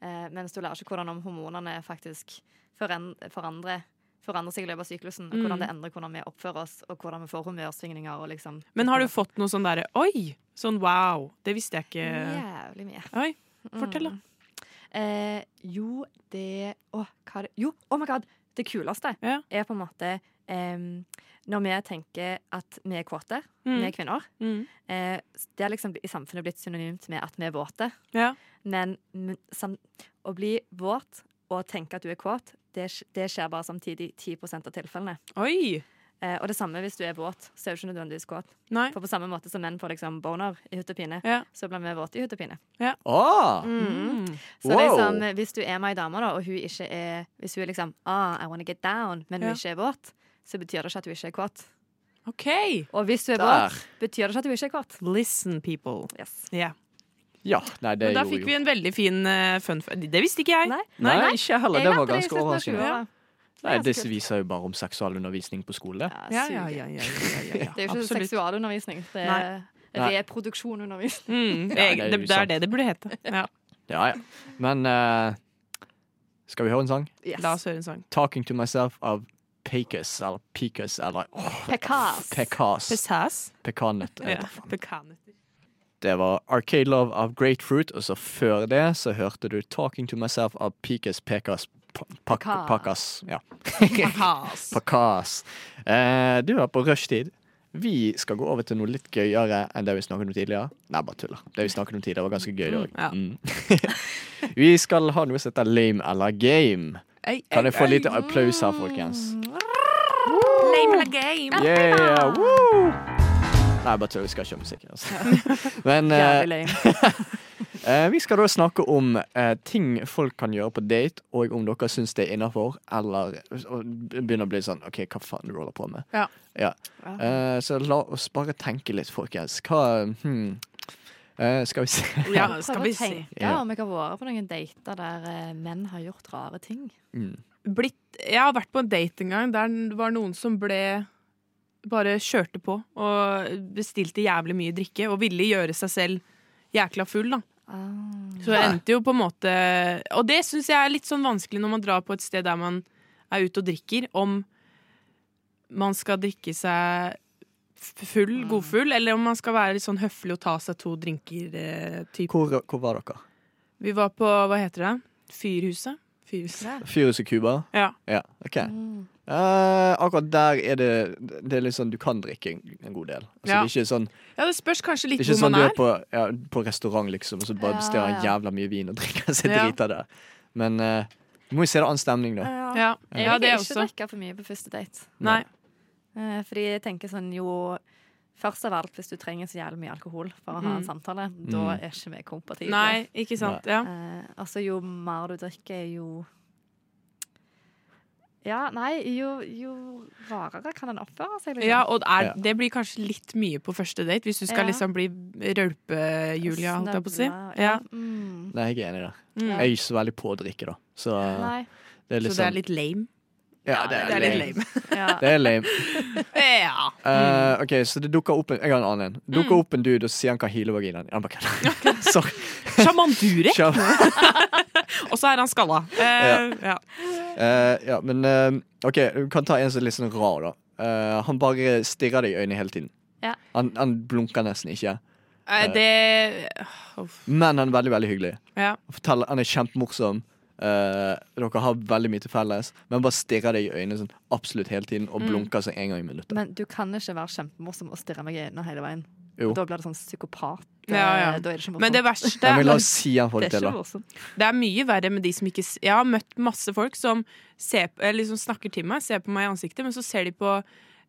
Speaker 6: Eh, mens du lærer ikke hvordan om hormonene faktisk foran- forandrer, forandrer seg i løpet av syklusen. Og
Speaker 5: Mm.
Speaker 6: hvordan det endrer hvordan vi oppfører oss, og hvordan vi får humørsvingninger. Og liksom,
Speaker 5: Men har du fått noe sånn derre oi? Sånn wow. Det visste jeg ikke.
Speaker 6: Jævlig mye. Mm.
Speaker 5: Oi, fortell, da.
Speaker 6: Eh, jo, det Å, hva er det Jo, oh my god! Det kuleste
Speaker 5: Ja.
Speaker 6: er på en måte em, når vi tenker at vi er kåte, vi
Speaker 5: Mm.
Speaker 6: er kvinner.
Speaker 5: Mm.
Speaker 6: Eh, det er liksom i samfunnet blitt synonymt med at vi er våte.
Speaker 5: Ja.
Speaker 6: Men m- sam å bli våt og tenke at du er kåt, det, sk- det skjer bare samtidig i 10 av tilfellene.
Speaker 5: Oi!
Speaker 6: Eh, og det samme hvis du er våt, så er du ikke nødvendigvis kåt.
Speaker 5: Nei.
Speaker 6: For på samme måte som menn får liksom boner i hutt og pine,
Speaker 5: Ja.
Speaker 6: så blir vi våte i hutt og pine.
Speaker 4: Ah,
Speaker 6: mm-hmm.
Speaker 5: Mm.
Speaker 6: Så
Speaker 4: Wow.
Speaker 6: liksom, hvis du er med ei dame, da, og hun ikke er Hvis hun er liksom ah, I wanna get down, men hun
Speaker 5: Ja.
Speaker 6: ikke er våt, så betyr det ikke at hun ikke er kåt.
Speaker 5: OK.
Speaker 6: Og hvis hun er
Speaker 4: der.
Speaker 6: våt, betyr det ikke at hun ikke er kåt.
Speaker 5: Listen, people.
Speaker 6: Yes.
Speaker 5: Ja.
Speaker 4: Ja, nei, det
Speaker 5: Men da
Speaker 4: gjorde
Speaker 5: fikk
Speaker 4: jo
Speaker 5: vi en veldig fin eh, fun fact. Det visste ikke jeg.
Speaker 6: Nei.
Speaker 4: Nei, ikke heller. Det
Speaker 6: Jeg
Speaker 4: var
Speaker 6: lærte i
Speaker 4: ganske
Speaker 6: slutten av
Speaker 4: overraskende.
Speaker 6: 20-åra.
Speaker 4: Nei,
Speaker 6: Det er
Speaker 4: Disse
Speaker 6: kult.
Speaker 4: viser jo bare om seksualundervisning på skole.
Speaker 5: Ja,
Speaker 6: suger.
Speaker 5: ja, ja, ja, ja, ja, ja.
Speaker 6: Det er jo ikke
Speaker 5: Absolutt.
Speaker 6: seksualundervisning. Det er
Speaker 4: Nei.
Speaker 6: reproduksjonundervisning.
Speaker 5: Mm,
Speaker 4: Ja, det er
Speaker 5: det, det, er
Speaker 4: usant.
Speaker 5: det det burde hete. Ja.
Speaker 4: Ja, ja. Men eh, skal vi høre en sang?
Speaker 6: Yes.
Speaker 5: La oss høre en sang.
Speaker 4: 'Talking to Myself' av Pecus, eller Pecus, eller åh,
Speaker 6: Pekas.
Speaker 4: Pekas.
Speaker 5: Pessas.
Speaker 4: Pekanøtt. jeg vet
Speaker 5: Ja.
Speaker 4: da faen.
Speaker 5: Pekanøtter.
Speaker 4: Det var Arcade Love av Grapefruit, og så før det så hørte du 'Talking to Myself' av Pecus Pekas
Speaker 6: Pekas.
Speaker 4: Pakas. Ja.
Speaker 5: Pekas.
Speaker 4: Pakas. Eh, du er på rushtid. Vi skal gå over til noe litt gøyere enn det vi snakket om tidligere. Nei, bare tuller. Det vi snakket om tidligere, var ganske gøy. det
Speaker 5: Mm,
Speaker 4: også.
Speaker 5: ja.
Speaker 4: Mm. vi skal ha noe som heter Lame eller Game.
Speaker 5: Ei,
Speaker 4: Kan
Speaker 5: ei,
Speaker 4: jeg få
Speaker 5: ei.
Speaker 4: litt applaus her, folkens?
Speaker 5: game eller game.
Speaker 4: Yeah, woo! Nei, bare tull. Vi skal ikke ha musikk. Altså. Men eh,
Speaker 6: Jævlig lame.
Speaker 4: Eh, vi skal da snakke om eh, ting folk kan gjøre på date, og om dere syns det er innafor, eller og begynner å bli sånn OK, hva faen du holder på med?
Speaker 5: Ja.
Speaker 6: Mhm.
Speaker 4: Eh, så la oss bare tenke litt, folkens. Hva hmm. eh, Skal vi se
Speaker 5: Ja,
Speaker 6: Prøv
Speaker 5: skal
Speaker 6: å
Speaker 5: vi se.
Speaker 6: tenke
Speaker 4: Ja.
Speaker 6: om jeg har vært på noen dater der eh, menn har gjort rare ting.
Speaker 4: mm.
Speaker 5: Blitt, jeg har vært på en date en gang der det var noen som ble bare kjørte på og bestilte jævlig mye drikke og ville gjøre seg selv jækla full, da. Så jeg
Speaker 4: Ja.
Speaker 5: endte jo på en måte Og det syns jeg er litt sånn vanskelig når man drar på et sted der man er ute og drikker, om man skal drikke seg f- full, godfull, eller om man skal være litt sånn høflig og ta seg to drinker-type.
Speaker 4: hvor, hvor var dere?
Speaker 5: Vi var på, hva heter det? Fyrhuset? Fyrhuset.
Speaker 4: Fyrhuset Cuba?
Speaker 5: Ja.
Speaker 4: Ja, OK.
Speaker 6: Mhm.
Speaker 4: Eh, akkurat der er det Det er litt sånn du kan drikke en, en god del. Altså, Det
Speaker 5: Ja.
Speaker 4: er ikke sånn,
Speaker 5: Ja, det spørs kanskje
Speaker 4: det
Speaker 5: litt
Speaker 4: er, ikke
Speaker 5: hvor
Speaker 4: sånn du
Speaker 5: man
Speaker 4: er
Speaker 5: er.
Speaker 4: på, ja, på restaurant, liksom, og så bare
Speaker 6: Ja,
Speaker 4: bestiller
Speaker 6: ja.
Speaker 4: jævla mye vin og drikker seg
Speaker 5: Ja.
Speaker 4: drita der. Men eh, du må jo se det annen stemning, da.
Speaker 5: Ja, ja
Speaker 6: Jeg
Speaker 5: det
Speaker 6: vil ikke
Speaker 5: også.
Speaker 6: drikke for mye på første date.
Speaker 5: Nei.
Speaker 6: Eh, Fordi jeg tenker sånn jo Først av alt, hvis du trenger så jævlig mye alkohol for å ha en
Speaker 5: Mm.
Speaker 6: samtale, da
Speaker 4: Mm.
Speaker 6: er ikke vi kompatible.
Speaker 5: Nei, ikke sant. Ja.
Speaker 6: Eh, altså, jo mer du drikker, jo Ja, nei, jo, jo rarere kan en oppføre seg. liksom.
Speaker 5: Ja, og er,
Speaker 4: Ja.
Speaker 5: det blir kanskje litt mye på første date, hvis du skal
Speaker 6: Ja.
Speaker 5: liksom bli rølpe-Julia, holdt jeg på å si.
Speaker 6: Snøvla,
Speaker 5: Ja.
Speaker 6: Mm.
Speaker 4: Nei, jeg er enig der.
Speaker 5: Mm.
Speaker 4: Jeg er ikke så veldig på å drikke, da. Så
Speaker 6: Nei.
Speaker 4: det er litt
Speaker 5: Så det
Speaker 4: sånn
Speaker 5: er litt lame.
Speaker 4: Ja, det er, litt lame.
Speaker 6: Ja.
Speaker 4: Det er lame.
Speaker 5: ja.
Speaker 4: Eh, OK, så det dukker opp en Jeg har en annen en. Det Dukker opp en dude, og så sier han hva hilevaginaen er. Han bare Mm. kødder. Sorry.
Speaker 5: Sjaman Durek,
Speaker 4: Kjør.
Speaker 5: og så er han skalla. Eh, ja.
Speaker 4: Eh, ja, men eh, OK, du kan ta en som er litt sånn rar, da. Eh, han bare stirrer deg i øynene hele tiden.
Speaker 6: Ja.
Speaker 4: Han, han blunker nesten ikke,
Speaker 5: Eh, Det Uff,
Speaker 4: men han er veldig, veldig hyggelig.
Speaker 5: Ja.
Speaker 4: Han forteller- han er kjempemorsom. Eh, dere har veldig mye til felles, men han bare stirrer deg i øynene sånn absolutt hele tiden og
Speaker 5: Mm.
Speaker 4: blunker sånn en gang i minuttet.
Speaker 6: Men du kan ikke være kjempemorsom og stirre meg i øynene hele veien.
Speaker 4: Jo.
Speaker 6: For Da blir det sånn psykopat. eh,
Speaker 5: Ja, ja.
Speaker 6: Da er det ikke morsomt.
Speaker 5: Men det verste
Speaker 4: Ja, men la
Speaker 5: er,
Speaker 4: oss si han får
Speaker 6: Det
Speaker 4: det
Speaker 6: er
Speaker 4: til,
Speaker 6: ikke
Speaker 4: da.
Speaker 6: morsomt.
Speaker 5: Det er mye verre med de som ikke s- Jeg har møtt masse folk som ser, på- eller liksom snakker til meg, ser på meg i ansiktet, men så ser de på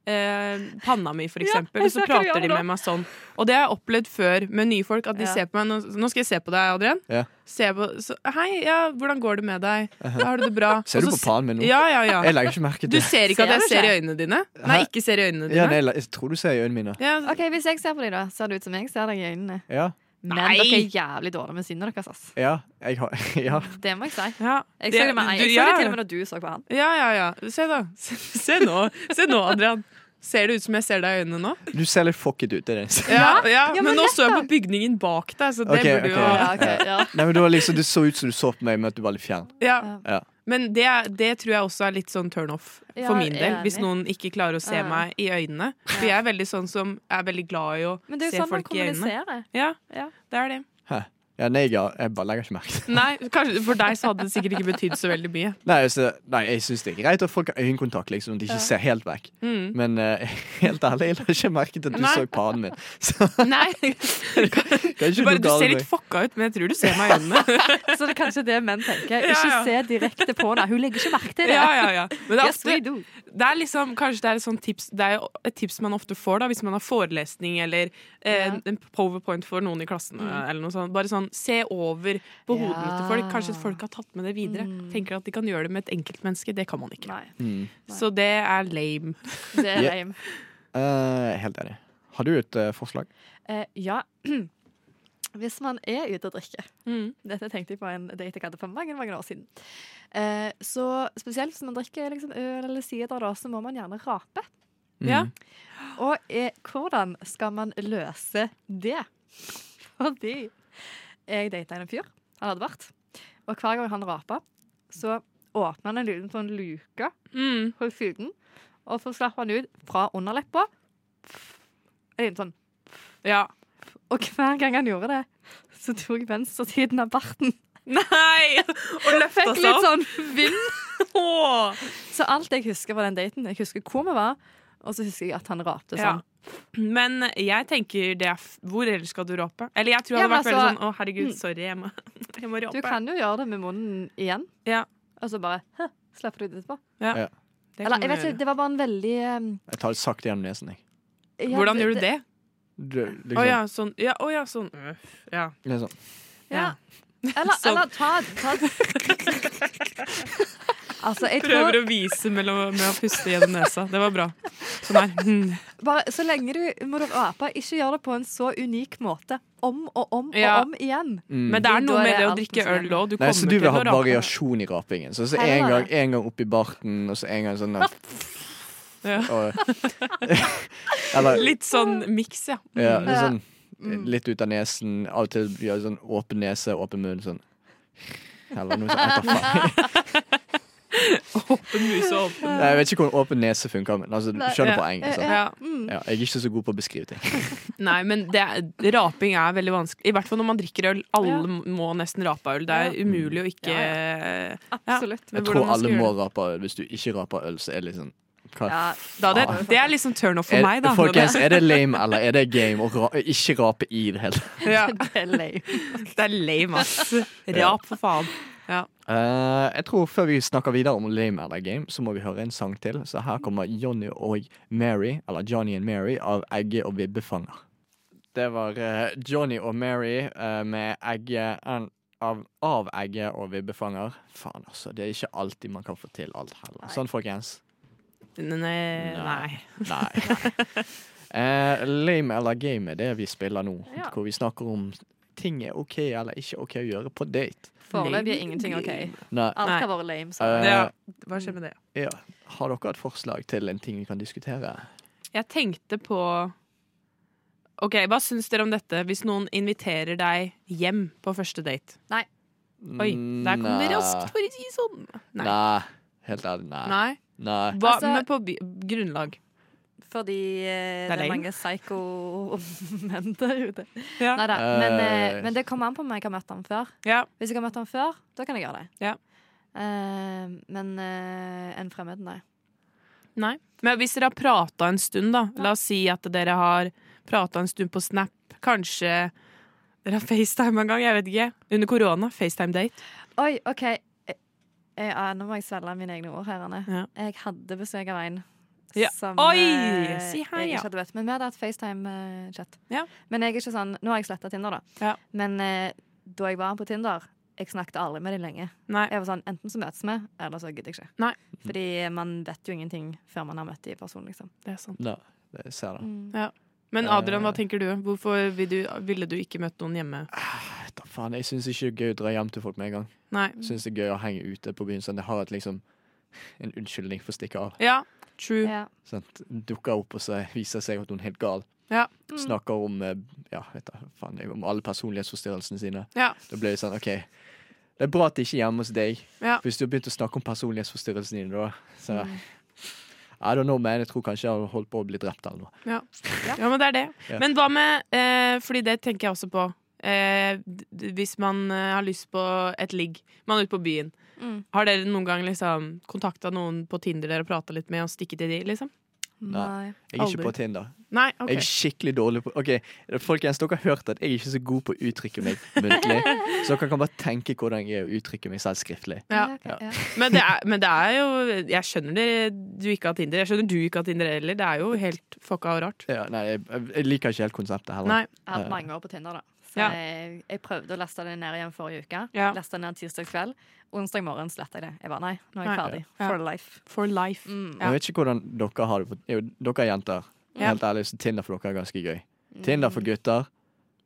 Speaker 5: eh, panna mi, for eksempel,
Speaker 6: jeg
Speaker 5: og så
Speaker 6: ser hva du
Speaker 5: prater
Speaker 6: gjør
Speaker 5: de
Speaker 6: nå.
Speaker 5: med meg sånn. Og det har jeg opplevd før med nye folk, at de
Speaker 6: Ja.
Speaker 5: ser på meg Nå nå skal jeg se på deg, Adrian.
Speaker 4: Ja. Uh-huh.
Speaker 5: Ser på, så, Hei, ja, hvordan går det med deg? Har du det bra?
Speaker 4: Ser du
Speaker 5: Og
Speaker 4: på
Speaker 5: så
Speaker 4: panen min
Speaker 5: se-
Speaker 4: nå?
Speaker 5: Ja, ja, ja.
Speaker 4: Jeg legger ikke merke til
Speaker 5: Du
Speaker 4: det.
Speaker 5: ser ikke
Speaker 6: Ser
Speaker 5: at jeg
Speaker 6: du
Speaker 5: ser i
Speaker 6: ikke?
Speaker 5: øynene dine? Nei,
Speaker 4: Hæ?
Speaker 5: ikke ser i øynene
Speaker 4: Ja,
Speaker 5: dine.
Speaker 4: nei, jeg la- jeg tror du ser i øynene mine.
Speaker 5: Ja,
Speaker 6: OK, hvis jeg ser på deg, da, ser det ut som jeg ser deg i øynene.
Speaker 4: Ja.
Speaker 6: Men
Speaker 5: Nei!
Speaker 6: dere er jævlig dårlige med sinnet deres, ass.
Speaker 4: Ja. Jeg har, ja.
Speaker 6: Det må jeg si.
Speaker 5: ja.
Speaker 6: Jeg så det, med, jeg
Speaker 5: du-
Speaker 6: så det
Speaker 5: ja.
Speaker 6: til og med da du så på han.
Speaker 5: Ja, ja, ja. Se da. Se, se nå, se nå Adrian. Ser det ut som jeg ser deg i øynene nå?
Speaker 4: Du ser litt fucket ut. Det er det eneste.
Speaker 5: Ja, ja.
Speaker 6: Ja,
Speaker 5: men
Speaker 6: men
Speaker 5: nå
Speaker 6: lett
Speaker 5: så jeg
Speaker 6: da.
Speaker 5: på bygningen bak deg, så det
Speaker 4: Ok,
Speaker 5: burde jo
Speaker 4: ok.
Speaker 6: Ja, ok, ja.
Speaker 4: Nei, men det, var liksom, det så ut som du så på meg, men at du var litt fjern.
Speaker 5: ja.
Speaker 4: Ja.
Speaker 5: Men det, det tror jeg også er litt sånn turn-off
Speaker 6: Ja,
Speaker 5: for min del,
Speaker 6: enig.
Speaker 5: hvis noen ikke klarer å se
Speaker 6: Ja.
Speaker 5: meg i øynene. For jeg er veldig sånn som er veldig glad i å
Speaker 6: Men det er
Speaker 5: se
Speaker 6: jo sånn man
Speaker 5: folk i øynene.
Speaker 6: kommuniserer.
Speaker 5: Ja,
Speaker 6: Ja.
Speaker 5: det er det.
Speaker 4: Hæ. Ja, nei, jeg, jeg bare legger ikke merke til det.
Speaker 5: Nei, kanskje For deg så hadde det sikkert ikke betydd så veldig mye.
Speaker 4: Nei, altså, nei, jeg syns det er greit at folk har øyekontakt, liksom, at de ikke ser helt vekk.
Speaker 5: Mm.
Speaker 4: Men eh, helt ærlig, jeg la ikke merke til at du
Speaker 5: Nei.
Speaker 4: så panen min. Så
Speaker 5: Nei, du,
Speaker 4: kanskje
Speaker 5: bare,
Speaker 4: du
Speaker 5: du
Speaker 4: ga
Speaker 5: ser
Speaker 4: meg
Speaker 5: litt fucka ut, men jeg tror du ser meg i øynene.
Speaker 6: Så det er kanskje det menn tenker.
Speaker 5: Ja,
Speaker 6: Ikke
Speaker 5: ja.
Speaker 6: se direkte på henne. Hun legger ikke merke til det.
Speaker 5: Ja, ja, ja. Men det er
Speaker 6: Yes,
Speaker 5: ofte,
Speaker 6: we do.
Speaker 5: det er liksom, kanskje det er et sånt tips Det er jo et tips man ofte får da hvis man har forelesning eller eh,
Speaker 6: Ja.
Speaker 5: en powerpoint for noen i klassen. Eller noe sånt. Bare sånn se over på
Speaker 6: Ja.
Speaker 5: hodene til folk. Kanskje folk har tatt med det videre. Tenker at de kan gjøre det med et enkeltmenneske. Det kan man ikke.
Speaker 6: Nei,
Speaker 5: Så det er lame.
Speaker 6: det er
Speaker 4: Ja.
Speaker 6: lame.
Speaker 4: Eh, jeg er helt enig. Har du et eh, forslag?
Speaker 6: Eh, ja. Hvis man er ute og drikker
Speaker 5: Mm.
Speaker 6: Dette tenkte jeg på en date jeg hadde for mange mange år siden. Eh, så spesielt hvis man drikker liksom, øl eller sider, da, så må man gjerne rape.
Speaker 5: Ja.
Speaker 4: Mm.
Speaker 6: Og eh, hvordan skal man løse det? Fordi jeg data en fyr. Han hadde vært. Og hver gang han rapa, så åpna han en liten sånn luke
Speaker 5: Mm.
Speaker 6: på siden. Og så slapp han ut fra underleppa. En liten sånn.
Speaker 5: ja.
Speaker 6: Og hver gang han gjorde det, så tok venstresiden av barten.
Speaker 5: Nei! Og løfta
Speaker 6: Fikk
Speaker 5: seg
Speaker 6: litt
Speaker 5: opp.
Speaker 6: sånn vind.
Speaker 5: Åh.
Speaker 6: Så alt jeg husker fra den daten, jeg husker hvor vi var, og så husker jeg at han rapte
Speaker 5: Ja.
Speaker 6: sånn.
Speaker 5: Men jeg tenker det er f Hvor ellers skal du rape? Eller jeg tror jeg
Speaker 6: Ja,
Speaker 5: hadde
Speaker 6: men
Speaker 5: vært veldig
Speaker 6: altså-
Speaker 5: sånn Å, herregud, sorry, jeg må, jeg må
Speaker 6: Du
Speaker 5: rape.
Speaker 6: kan jo gjøre det med munnen igjen,
Speaker 5: Ja.
Speaker 6: og så bare «Hæ», slipper du det etterpå.
Speaker 5: Ja.
Speaker 4: Ja.
Speaker 5: Det kan
Speaker 6: Eller, jeg
Speaker 5: man
Speaker 6: vet ikke,
Speaker 5: gjøre.
Speaker 6: det var bare en veldig eh,
Speaker 4: Jeg tar det sakte gjennom nesen, jeg.
Speaker 6: ja,
Speaker 5: Hvordan gjør du det?
Speaker 4: Du, liksom,
Speaker 5: Å ja, sånn. Ja, å ja, sånn. Øh, Ja.
Speaker 4: liksom.
Speaker 6: Ja. Eller,
Speaker 5: Sånn.
Speaker 6: eller ta, ta Altså, jeg tror
Speaker 5: Prøver å vise mellom, med å puste gjennom nesa. Det var bra. Sånn her. Mm.
Speaker 6: bare, Så lenge du må du ape, ikke gjør det på en så unik måte. Om og om og
Speaker 5: Ja.
Speaker 6: om igjen.
Speaker 4: Mm.
Speaker 5: Men det er noe
Speaker 6: Da er
Speaker 5: med det å
Speaker 6: alt
Speaker 5: drikke
Speaker 6: som
Speaker 5: øl
Speaker 6: gjelder.
Speaker 5: òg. Du
Speaker 4: Nei,
Speaker 5: kommer
Speaker 4: så du vil
Speaker 5: til
Speaker 4: ha
Speaker 5: å rape.
Speaker 4: variasjon i rapingen. Så, så
Speaker 6: Heller
Speaker 4: en, gang,
Speaker 6: det.
Speaker 4: en gang oppi barten, og så en gang sånn
Speaker 5: Ja.
Speaker 4: og, Eller
Speaker 5: Litt sånn miks, ja.
Speaker 4: ja, det er sånn,
Speaker 6: Mm.
Speaker 4: litt ut av nesen, av og til gjør sånn åpen nese, åpen munn, sånn. Eller noe sånt. Jeg tar faen.
Speaker 5: Åpen muse og åpen
Speaker 4: Nei, Jeg vet ikke hvordan åpen nese funker, men altså, du
Speaker 6: Nei,
Speaker 4: skjønner
Speaker 5: ja.
Speaker 4: poenget. sant?
Speaker 5: ja.
Speaker 6: Mm.
Speaker 4: Ja, jeg er ikke så god på å beskrive ting.
Speaker 5: Nei, men det, er- raping er veldig vanskelig. I hvert fall når man drikker øl. Alle
Speaker 6: Ja.
Speaker 5: må nesten rape øl. Det er
Speaker 6: Ja.
Speaker 5: umulig å ikke
Speaker 6: Absolutt.
Speaker 5: Men
Speaker 4: Jeg
Speaker 5: hvordan
Speaker 4: tror
Speaker 5: man skal
Speaker 4: alle må
Speaker 5: gjøre
Speaker 4: rape øl. Hvis du ikke raper øl, så er det litt sånn hva?
Speaker 6: Ja.
Speaker 5: Da, det, det er liksom turn off for
Speaker 4: Er-
Speaker 5: meg, da. når
Speaker 4: Eh, Folkens, er det lame eller er det game å ra ikke rape i det hele?
Speaker 5: det, ja.
Speaker 6: Det er lame.
Speaker 5: det er lame, ass. Rap, for faen. Ja.
Speaker 4: Eh, jeg tror Før vi snakker videre om lame eller game, så må vi høre en sang til. Så her kommer Johnny og Mary, eller Johnny and Mary, av Egge og Vibbefanger. Det var eh, Johnny og Mary eh, med Egge and, av, av Egge og Vibbefanger. Faen, altså. Det er ikke alltid man kan få til alt heller. Sånn, folkens.
Speaker 5: Nei. Nei.
Speaker 4: Nei. Eh, lame eller game er det vi spiller nå,
Speaker 6: Ja.
Speaker 4: hvor vi snakker om ting er OK eller ikke OK å gjøre på date.
Speaker 6: Foreløpig er ingenting OK.
Speaker 4: Nei.
Speaker 6: Alt
Speaker 5: Nei.
Speaker 6: har vært lame. Så.
Speaker 4: Eh,
Speaker 5: Ja. Hva skjer med det?
Speaker 4: ja. Har dere et forslag til en ting vi kan diskutere?
Speaker 5: Jeg tenkte på Ok, Hva syns dere om dette hvis noen inviterer deg hjem på første date? Oi, der kom det
Speaker 4: Nei.
Speaker 5: raskt, for å si det sånn. Nei.
Speaker 4: Nei. Helt ærlig, nei. nei.
Speaker 5: Nei. Hva
Speaker 6: Altså-
Speaker 5: men på by- grunnlag?
Speaker 6: Fordi eh,
Speaker 5: Det er
Speaker 6: det er
Speaker 5: lame.
Speaker 6: mange psycho-menn der ute.
Speaker 5: Ja.
Speaker 6: Neida, men, eh,
Speaker 4: Eh.
Speaker 6: men det kommer an på om jeg har møtt ham før.
Speaker 5: Ja.
Speaker 6: Hvis jeg har møtt ham før, da kan jeg gjøre det.
Speaker 5: Ja.
Speaker 6: Eh, men eh, en fremmed, nei.
Speaker 5: Nei. Men hvis dere har prata en stund, da. La oss si at dere har prata en stund på Snap. Kanskje dere har FaceTime en gang. Jeg vet ikke. Under korona. FaceTime-date.
Speaker 6: Oi, OK. Eh, eh, ah, nå må jeg svelge mine egne ord her, Anne.
Speaker 5: Ja.
Speaker 6: Jeg hadde besøk av en
Speaker 5: Ja.
Speaker 6: som
Speaker 5: Oi!
Speaker 6: eh,
Speaker 5: Si hei,
Speaker 6: jeg
Speaker 5: ja.
Speaker 6: ikke hadde møtt. Men vi hadde hatt FaceTime-chat.
Speaker 5: Ja.
Speaker 6: Men jeg er ikke sånn Nå har jeg sletta Tinder, da.
Speaker 5: Ja.
Speaker 6: Men eh, da jeg var på Tinder jeg snakket aldri med dem lenge.
Speaker 5: Nei.
Speaker 6: Jeg var sånn, Enten så møtes vi, eller så gidder jeg ikke.
Speaker 5: Nei.
Speaker 6: Fordi man vet jo ingenting før man har møtt dem i person. liksom.
Speaker 5: Det er sant.
Speaker 4: Det ser jeg.
Speaker 6: Mm.
Speaker 5: Men Adrian,
Speaker 4: Eh.
Speaker 5: hva tenker du? Hvorfor vil du, ville du ikke møtt noen hjemme?
Speaker 4: Vet da faen, jeg syns ikke det er gøy å dra hjem til folk med en gang.
Speaker 5: Nei.
Speaker 4: Jeg Syns det er gøy å henge ute på byen. Sånn, jeg har et, liksom, en unnskyldning for å stikke av.
Speaker 5: Ja. True.
Speaker 6: Ja.
Speaker 4: Sånn, dukker opp og så viser seg at hun er helt gal.
Speaker 5: Ja.
Speaker 4: Snakker om eh, ja, vet da, faen, om alle personlighetsforstyrrelsene sine.
Speaker 5: Ja.
Speaker 4: Da blir det sånn, OK. Det er bra at det ikke er hjemme hos deg.
Speaker 5: Ja.
Speaker 4: For Hvis du har begynt å snakke om personlighetsforstyrrelsene dine, da så, I don't know, man. Jeg tror kanskje jeg har holdt på å bli drept eller noe.
Speaker 5: Ja, men det er det.
Speaker 4: Ja.
Speaker 5: Men hva med eh, Fordi det tenker jeg også på. Eh, d- hvis man eh, har lyst på et ligg, man er ute på byen.
Speaker 6: Mm.
Speaker 5: Har dere noen gang liksom kontakta noen på Tinder dere har prata litt med, og stikket til de, liksom?
Speaker 6: Nei.
Speaker 4: Jeg er ikke
Speaker 5: Aldri.
Speaker 4: på Tinder.
Speaker 5: Nei? OK.
Speaker 4: Jeg er skikkelig dårlig på Ok, folkens, dere har hørt at jeg er ikke så god på å uttrykke meg muntlig. så dere kan bare tenke hvordan jeg er å uttrykke meg selv skriftlig.
Speaker 5: Ja.
Speaker 6: ok,
Speaker 4: Ja.
Speaker 6: ja.
Speaker 5: Men, det er, men det er jo Jeg skjønner det, du ikke har Tinder. Jeg skjønner du ikke har Tinder heller. Det er jo helt fucka og rart.
Speaker 4: Ja, nei, jeg, jeg liker ikke helt konseptet heller.
Speaker 5: Nei.
Speaker 6: Jeg har
Speaker 4: Ja.
Speaker 6: hatt mange år på Tinder, da. Så
Speaker 5: Ja.
Speaker 6: jeg, jeg prøvde å laste det ned igjen forrige uke.
Speaker 5: Ja.
Speaker 6: Lasta det ned tirsdag kveld. Onsdag morgen sletta jeg det. Jeg bare nei, nå er
Speaker 5: Nei.
Speaker 6: jeg ferdig.
Speaker 5: Ja.
Speaker 6: For life.
Speaker 5: For life.
Speaker 6: Mm.
Speaker 5: Ja.
Speaker 4: Jeg vet ikke hvordan dere har det. på- Jo, dere er jenter.
Speaker 5: Ja.
Speaker 4: Helt ærlig, så Tinder for dere er ganske gøy. Tinder for gutter.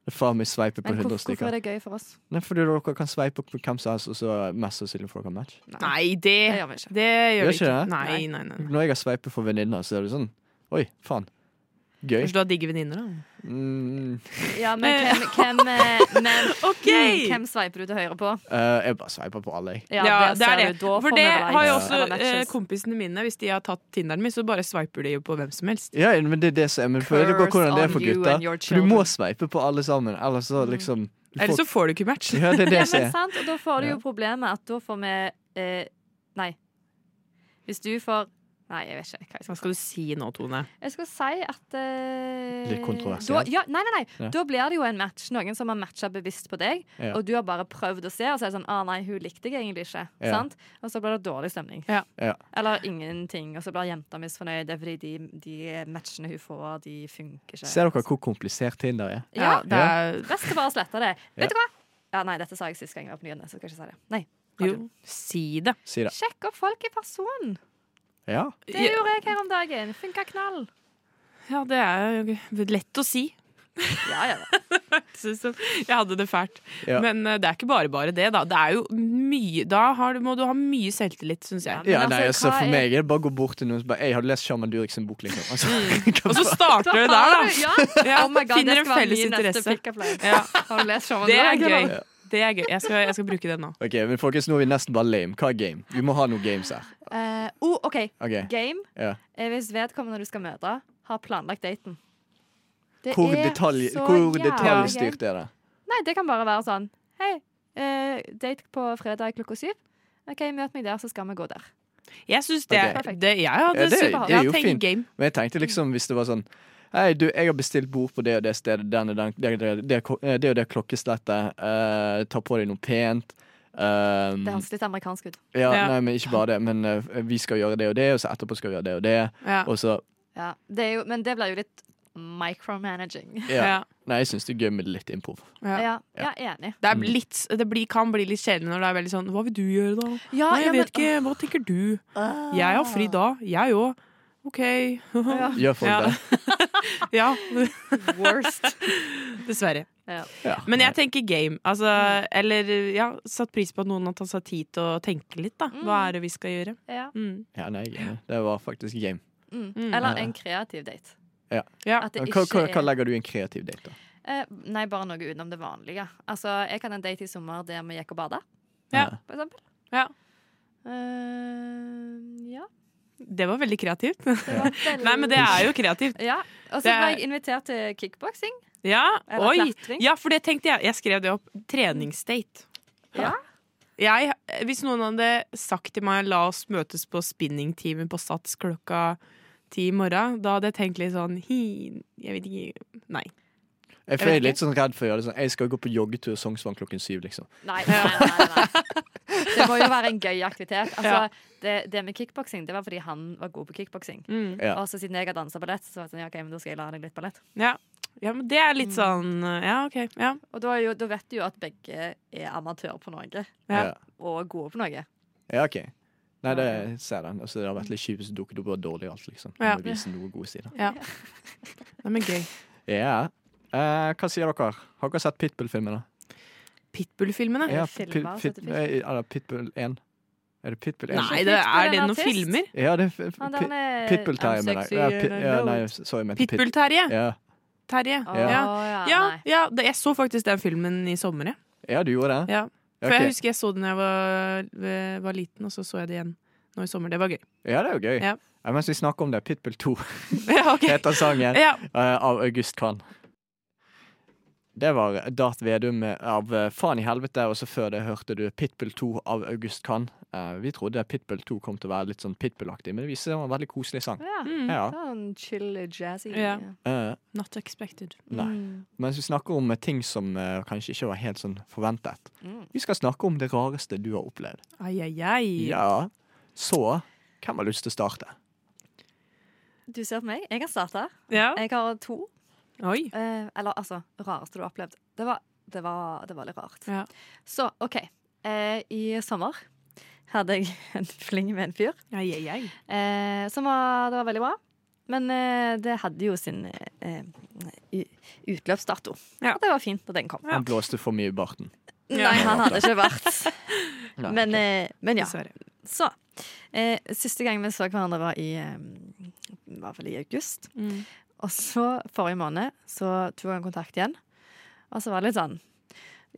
Speaker 4: Det er faen meg sveipe på
Speaker 6: Men
Speaker 4: 100
Speaker 6: hvorfor, hvorfor
Speaker 4: stykker.
Speaker 6: er det gøy for oss?
Speaker 4: Nei, fordi dere kan sveipe på hvem som helst, og så mest sannsynlig får dere match.
Speaker 5: Nei,
Speaker 6: Det
Speaker 5: det
Speaker 6: gjør vi ikke.
Speaker 5: Det gjør
Speaker 4: Gjør
Speaker 5: vi ikke.
Speaker 4: ikke det?
Speaker 5: Nei, nei, nei. nei.
Speaker 4: Når jeg har sveipet for venninner, så er det sånn Oi, faen. Gøy.
Speaker 5: Kanskje du har digge venninner, da.
Speaker 4: Mm,
Speaker 6: Ja, men
Speaker 5: Eh.
Speaker 6: hvem, hvem, eh, men,
Speaker 5: OK!
Speaker 6: mm, hvem sveiper du til høyre på?
Speaker 4: eh, jeg bare sveiper på alle, jeg.
Speaker 5: Ja, det er
Speaker 6: ser
Speaker 5: det.
Speaker 6: du. Da
Speaker 5: For
Speaker 6: får
Speaker 5: det
Speaker 6: vi likes
Speaker 5: har jo
Speaker 4: Ja.
Speaker 5: også
Speaker 6: eller matches.
Speaker 5: eh, kompisene mine. Hvis de har tatt Tinderen min, så bare sveiper de jo på hvem som helst.
Speaker 4: Ja, men det er det som er Men for det går
Speaker 6: Curse
Speaker 4: hvordan det er
Speaker 6: on
Speaker 4: for
Speaker 6: you
Speaker 4: gutter.
Speaker 6: and your
Speaker 4: For du må
Speaker 6: children. Mm.
Speaker 4: sveipe på alle sammen, ellers så liksom du
Speaker 5: Ellers
Speaker 4: får-
Speaker 5: så får du ikke match.
Speaker 4: Ja, det er
Speaker 6: Ja,
Speaker 4: det som
Speaker 6: men
Speaker 4: er.
Speaker 6: sant, og da får du
Speaker 4: Ja.
Speaker 6: jo problemet at da får vi eh, Nei. Hvis du får Nei, jeg vet ikke hva jeg
Speaker 5: Hva
Speaker 6: skal si.
Speaker 5: skal du si nå, Tone?
Speaker 6: Jeg skal si at eh,
Speaker 4: Litt kontroversielt.
Speaker 6: Da, ja, nei, nei, nei.
Speaker 4: Ja.
Speaker 6: Da blir det jo en match. Noen som har matcha bevisst på deg,
Speaker 4: Ja.
Speaker 6: og du har bare prøvd å se, og så er det sånn ah, nei, hun likte jeg egentlig ikke.
Speaker 4: Ja.
Speaker 6: Sant? Og så blir det dårlig stemning.
Speaker 5: Ja.
Speaker 4: Ja.
Speaker 6: Eller ingenting. Og så blir jenta misfornøyd. Det er fordi de, de matchene hun får, de funker ikke.
Speaker 4: Ser dere hvor komplisert Tinder er?
Speaker 6: Ja,
Speaker 5: det er,
Speaker 6: Best å bare slette det.
Speaker 4: Ja.
Speaker 6: Vet du hva? Ja, nei, dette sa jeg sist gang jeg var på nyhetene, så jeg skal ikke si det. Nei.
Speaker 5: jo, si det.
Speaker 4: Si det.
Speaker 6: Sjekk opp folk i person.
Speaker 4: Ja.
Speaker 6: Det gjorde jeg her om dagen. Funka knall.
Speaker 5: Ja, det er jo lett å si.
Speaker 6: Ja, ja, ja.
Speaker 5: Synes det- Jeg hadde det fælt.
Speaker 4: Ja.
Speaker 5: Men eh, det er ikke bare bare det, da. Det er jo mye Da har du, må du ha mye selvtillit, syns jeg.
Speaker 4: ja
Speaker 6: Men
Speaker 4: nei, altså,
Speaker 6: altså, hva
Speaker 4: for
Speaker 6: er-
Speaker 4: meg er det bare å gå bort til noen som bare Jeg hadde lest Shaman Durek sin bok, liksom. Altså,
Speaker 6: Mm.
Speaker 5: Og så starter det der, da.
Speaker 6: Ja.
Speaker 5: Ja,
Speaker 6: Oh my God,
Speaker 5: finner
Speaker 6: det
Speaker 5: en
Speaker 6: skal være
Speaker 5: felles
Speaker 6: min neste
Speaker 5: interesse.
Speaker 6: pick-up line.
Speaker 5: Ja,
Speaker 6: Har du lest Shaman
Speaker 5: det er
Speaker 6: Durek, eller?
Speaker 5: gøy. Det er gøy. Jeg skal, jeg skal bruke den nå.
Speaker 4: Ok, men folkens, nå er vi nesten bare lame. Hva er game? Vi må ha noen games her.
Speaker 6: Eh, oh, OK.
Speaker 4: Ok,
Speaker 6: Game
Speaker 4: ja.
Speaker 6: er hvis vedkommende du skal møte, har planlagt daten. Det
Speaker 4: Hvor,
Speaker 6: er
Speaker 4: detalj,
Speaker 6: så
Speaker 4: hvor
Speaker 6: jævlig
Speaker 4: detaljstyrt
Speaker 6: gøy.
Speaker 4: er det?
Speaker 6: Nei, det kan bare være sånn Hei, eh, date på fredag klokka syv. OK, møt meg der, så skal vi gå der.
Speaker 5: Jeg syns det, er-
Speaker 6: Ok.
Speaker 5: det Jeg hadde
Speaker 4: Ja, det-
Speaker 5: super-
Speaker 4: det er jo
Speaker 5: jeg tenker
Speaker 4: fint.
Speaker 5: game.
Speaker 4: Men jeg tenkte liksom, hvis det var sånn Hei, du, jeg har bestilt bord på det og det stedet, den og den, det, og det, det, og det, og det klokkeslettet. eh, ta på deg noe pent. Um,
Speaker 6: Det
Speaker 5: Mm.
Speaker 6: høres litt amerikansk ut.
Speaker 4: ja,
Speaker 5: Ja.
Speaker 4: Nei, men ikke bare det, men eh, vi skal gjøre det og det, og så etterpå skal vi gjøre det og det.
Speaker 5: Ja.
Speaker 4: Og så,
Speaker 6: Ja, det er jo, men det blir jo litt micromanaging.
Speaker 4: ja.
Speaker 5: Ja.
Speaker 4: Nei, jeg syns det er gøy med litt improv.
Speaker 5: Ja.
Speaker 6: Ja, ja enig.
Speaker 4: Mm.
Speaker 5: Det, er litt, det blir, kan bli litt kjedelig når det er veldig sånn Hva vil du gjøre, da?
Speaker 6: Ja,
Speaker 4: Ah,
Speaker 5: Nei, jeg
Speaker 6: ja, men-
Speaker 5: vet ikke. Hva tenker du? Jeg har fri da. Jeg òg. OK.
Speaker 4: Gjør folk
Speaker 5: Ja.
Speaker 4: det?
Speaker 5: ja,
Speaker 6: Worst.
Speaker 5: dessverre.
Speaker 6: Ja.
Speaker 4: Ja.
Speaker 5: Men jeg tenker game. Altså, eller ja, satt pris på at noen har tatt seg tid til å tenke litt, da. Hva er det vi skal gjøre?
Speaker 6: Ja.
Speaker 5: Mm.
Speaker 4: ja, nei, jeg er enig. det var faktisk game.
Speaker 6: Mm. Eller en kreativ date.
Speaker 5: Ja.
Speaker 6: At det
Speaker 4: Men Hva, hva,
Speaker 6: ikke
Speaker 4: hva
Speaker 6: er
Speaker 4: legger du i en kreativ date, da?
Speaker 6: eh, Nei, bare noe utenom det vanlige. Altså, jeg kan ha en date i sommer der vi gikk og bada,
Speaker 5: Ja.
Speaker 6: for eksempel.
Speaker 5: Ja.
Speaker 6: Eh, ja.
Speaker 5: Det var veldig kreativt.
Speaker 6: Det var veldig
Speaker 5: Nei, men det er jo kreativt.
Speaker 6: Ja. Og så
Speaker 5: Det er-
Speaker 6: ble jeg invitert til kickboksing.
Speaker 5: Ja,
Speaker 6: Eller
Speaker 5: oi.
Speaker 6: klatring.
Speaker 5: Ja, for det tenkte jeg. Jeg skrev det opp. Treningsdate.
Speaker 6: Ja.
Speaker 5: Jeg, hvis noen hadde sagt til meg la oss møtes på spinningtimen på Sats klokka ti i morgen, da hadde jeg tenkt litt sånn hi, Jeg vet ikke Nei.
Speaker 4: Jeg,
Speaker 5: vet
Speaker 4: jeg er
Speaker 5: ikke.
Speaker 4: litt sånn redd for å gjøre det sånn. Jeg skal gå på joggetur Sognsvann klokken syv, liksom.
Speaker 6: Nei, nei, nei, nei. Det må jo være en gøy aktivitet.
Speaker 5: Ja.
Speaker 6: Altså, det, det med kickboksing, det var fordi han var god på kickboksing.
Speaker 5: Mm.
Speaker 4: Ja.
Speaker 6: Og så siden jeg har dansa ballett, så var det sånn, ja, ok, men da skal jeg lære deg litt ballett.
Speaker 5: Ja. ja, men det er
Speaker 4: Mm.
Speaker 5: litt sånn Ja, OK. Ja.
Speaker 6: Og da, er jo, da vet du jo at begge er amatør på noe,
Speaker 5: Ja.
Speaker 4: Ja.
Speaker 6: og gode på noe.
Speaker 4: Ja, OK. Nei, det ser den. Altså, det har vært litt kjipt hvis det dukket opp og var dårlig i alt, liksom. Du
Speaker 5: Ja.
Speaker 4: må vise noen gode sider.
Speaker 5: ja. Nei, men gøy.
Speaker 4: Ja. Eh, hva sier dere? Har dere sett Pitbull-filmen, da?
Speaker 5: Pitbull-filmene?
Speaker 6: Ja.
Speaker 4: Pit-
Speaker 6: filmer,
Speaker 4: Pit-
Speaker 6: så det
Speaker 4: Pit- eh, er det Pitbull 1? Er det Pitbull 1?
Speaker 5: Nei,
Speaker 6: Pitbull
Speaker 5: det
Speaker 6: er
Speaker 5: er det
Speaker 6: en
Speaker 5: noen
Speaker 6: artist.
Speaker 5: filmer.
Speaker 4: Ja, det er f-
Speaker 6: Han
Speaker 4: Pit-
Speaker 6: der, eh,
Speaker 4: Pitbull-Terje,
Speaker 6: I'm
Speaker 4: mener
Speaker 6: sexy
Speaker 4: jeg. Ja,
Speaker 6: and
Speaker 4: Pit-
Speaker 6: I
Speaker 4: ja,
Speaker 6: know
Speaker 4: nei,
Speaker 6: it.
Speaker 4: sorry, jeg mente Pitbull.
Speaker 5: Pitbull-Terje.
Speaker 4: Ja.
Speaker 5: Terje.
Speaker 6: Å,
Speaker 5: Ja.
Speaker 6: ja.
Speaker 5: Ja,
Speaker 6: nei.
Speaker 5: ja det, jeg så faktisk den filmen i sommer, jeg.
Speaker 4: ja, du gjorde det?
Speaker 5: Ja.
Speaker 4: Ja,
Speaker 5: For jeg
Speaker 4: ok.
Speaker 5: husker jeg så den da jeg var, eh, var liten, og så så jeg det igjen nå i sommer. Det var gøy.
Speaker 4: Ja, det er jo gøy.
Speaker 5: Ja.
Speaker 4: Ja, mens vi snakker om det, Pitbull 2
Speaker 5: Ja, ok.
Speaker 4: heter sangen.
Speaker 5: Ja.
Speaker 4: eh, av August Kvann. Det var Dart Vedum med- av eh, Faen i helvete, og så før det hørte du Pitbull 2 av August Kvann. Eh, vi trodde Pitbull 2 kom til å være litt sånn Pitbull-aktig, men det viste seg å være en veldig koselig sang.
Speaker 6: Ja.
Speaker 5: Mm.
Speaker 4: Ja.
Speaker 6: Sånn chill, jazzy.
Speaker 5: Ja.
Speaker 4: Eh,
Speaker 5: Not expected.
Speaker 4: nei.
Speaker 6: Mm.
Speaker 4: Mens vi snakker om eh, ting som eh, kanskje ikke var helt sånn forventet,
Speaker 6: Mm.
Speaker 4: vi skal snakke om det rareste du har opplevd.
Speaker 5: Ai, ai, ai.
Speaker 4: Ja. Så hvem har lyst til å starte?
Speaker 6: Du ser på meg. Jeg kan starte.
Speaker 5: Ja.
Speaker 6: Jeg har to.
Speaker 5: Oi.
Speaker 6: Eh, eller altså, rareste du har opplevd. Det var, det var, det var litt rart.
Speaker 5: Ja.
Speaker 6: Så OK. Eh, I sommer hadde jeg en fling med en fyr,
Speaker 5: Ai, ai, ai.
Speaker 6: eh, som var, det var veldig bra. Men eh, det hadde jo sin eh, u- utløpsdato.
Speaker 5: Ja.
Speaker 6: Og det var fint da den kom.
Speaker 5: Ja.
Speaker 4: Han blåste for mye i barten.
Speaker 5: Ja.
Speaker 6: Nei, han hadde ikke vært.
Speaker 4: Nei,
Speaker 6: Men,
Speaker 4: ok.
Speaker 6: eh, men ja.
Speaker 5: Dessverre.
Speaker 6: Så. Eh, siste gang vi så hverandre var i eh, var vel i august.
Speaker 5: Mm.
Speaker 6: Og så forrige måned så tok han kontakt igjen. Og så var det litt sånn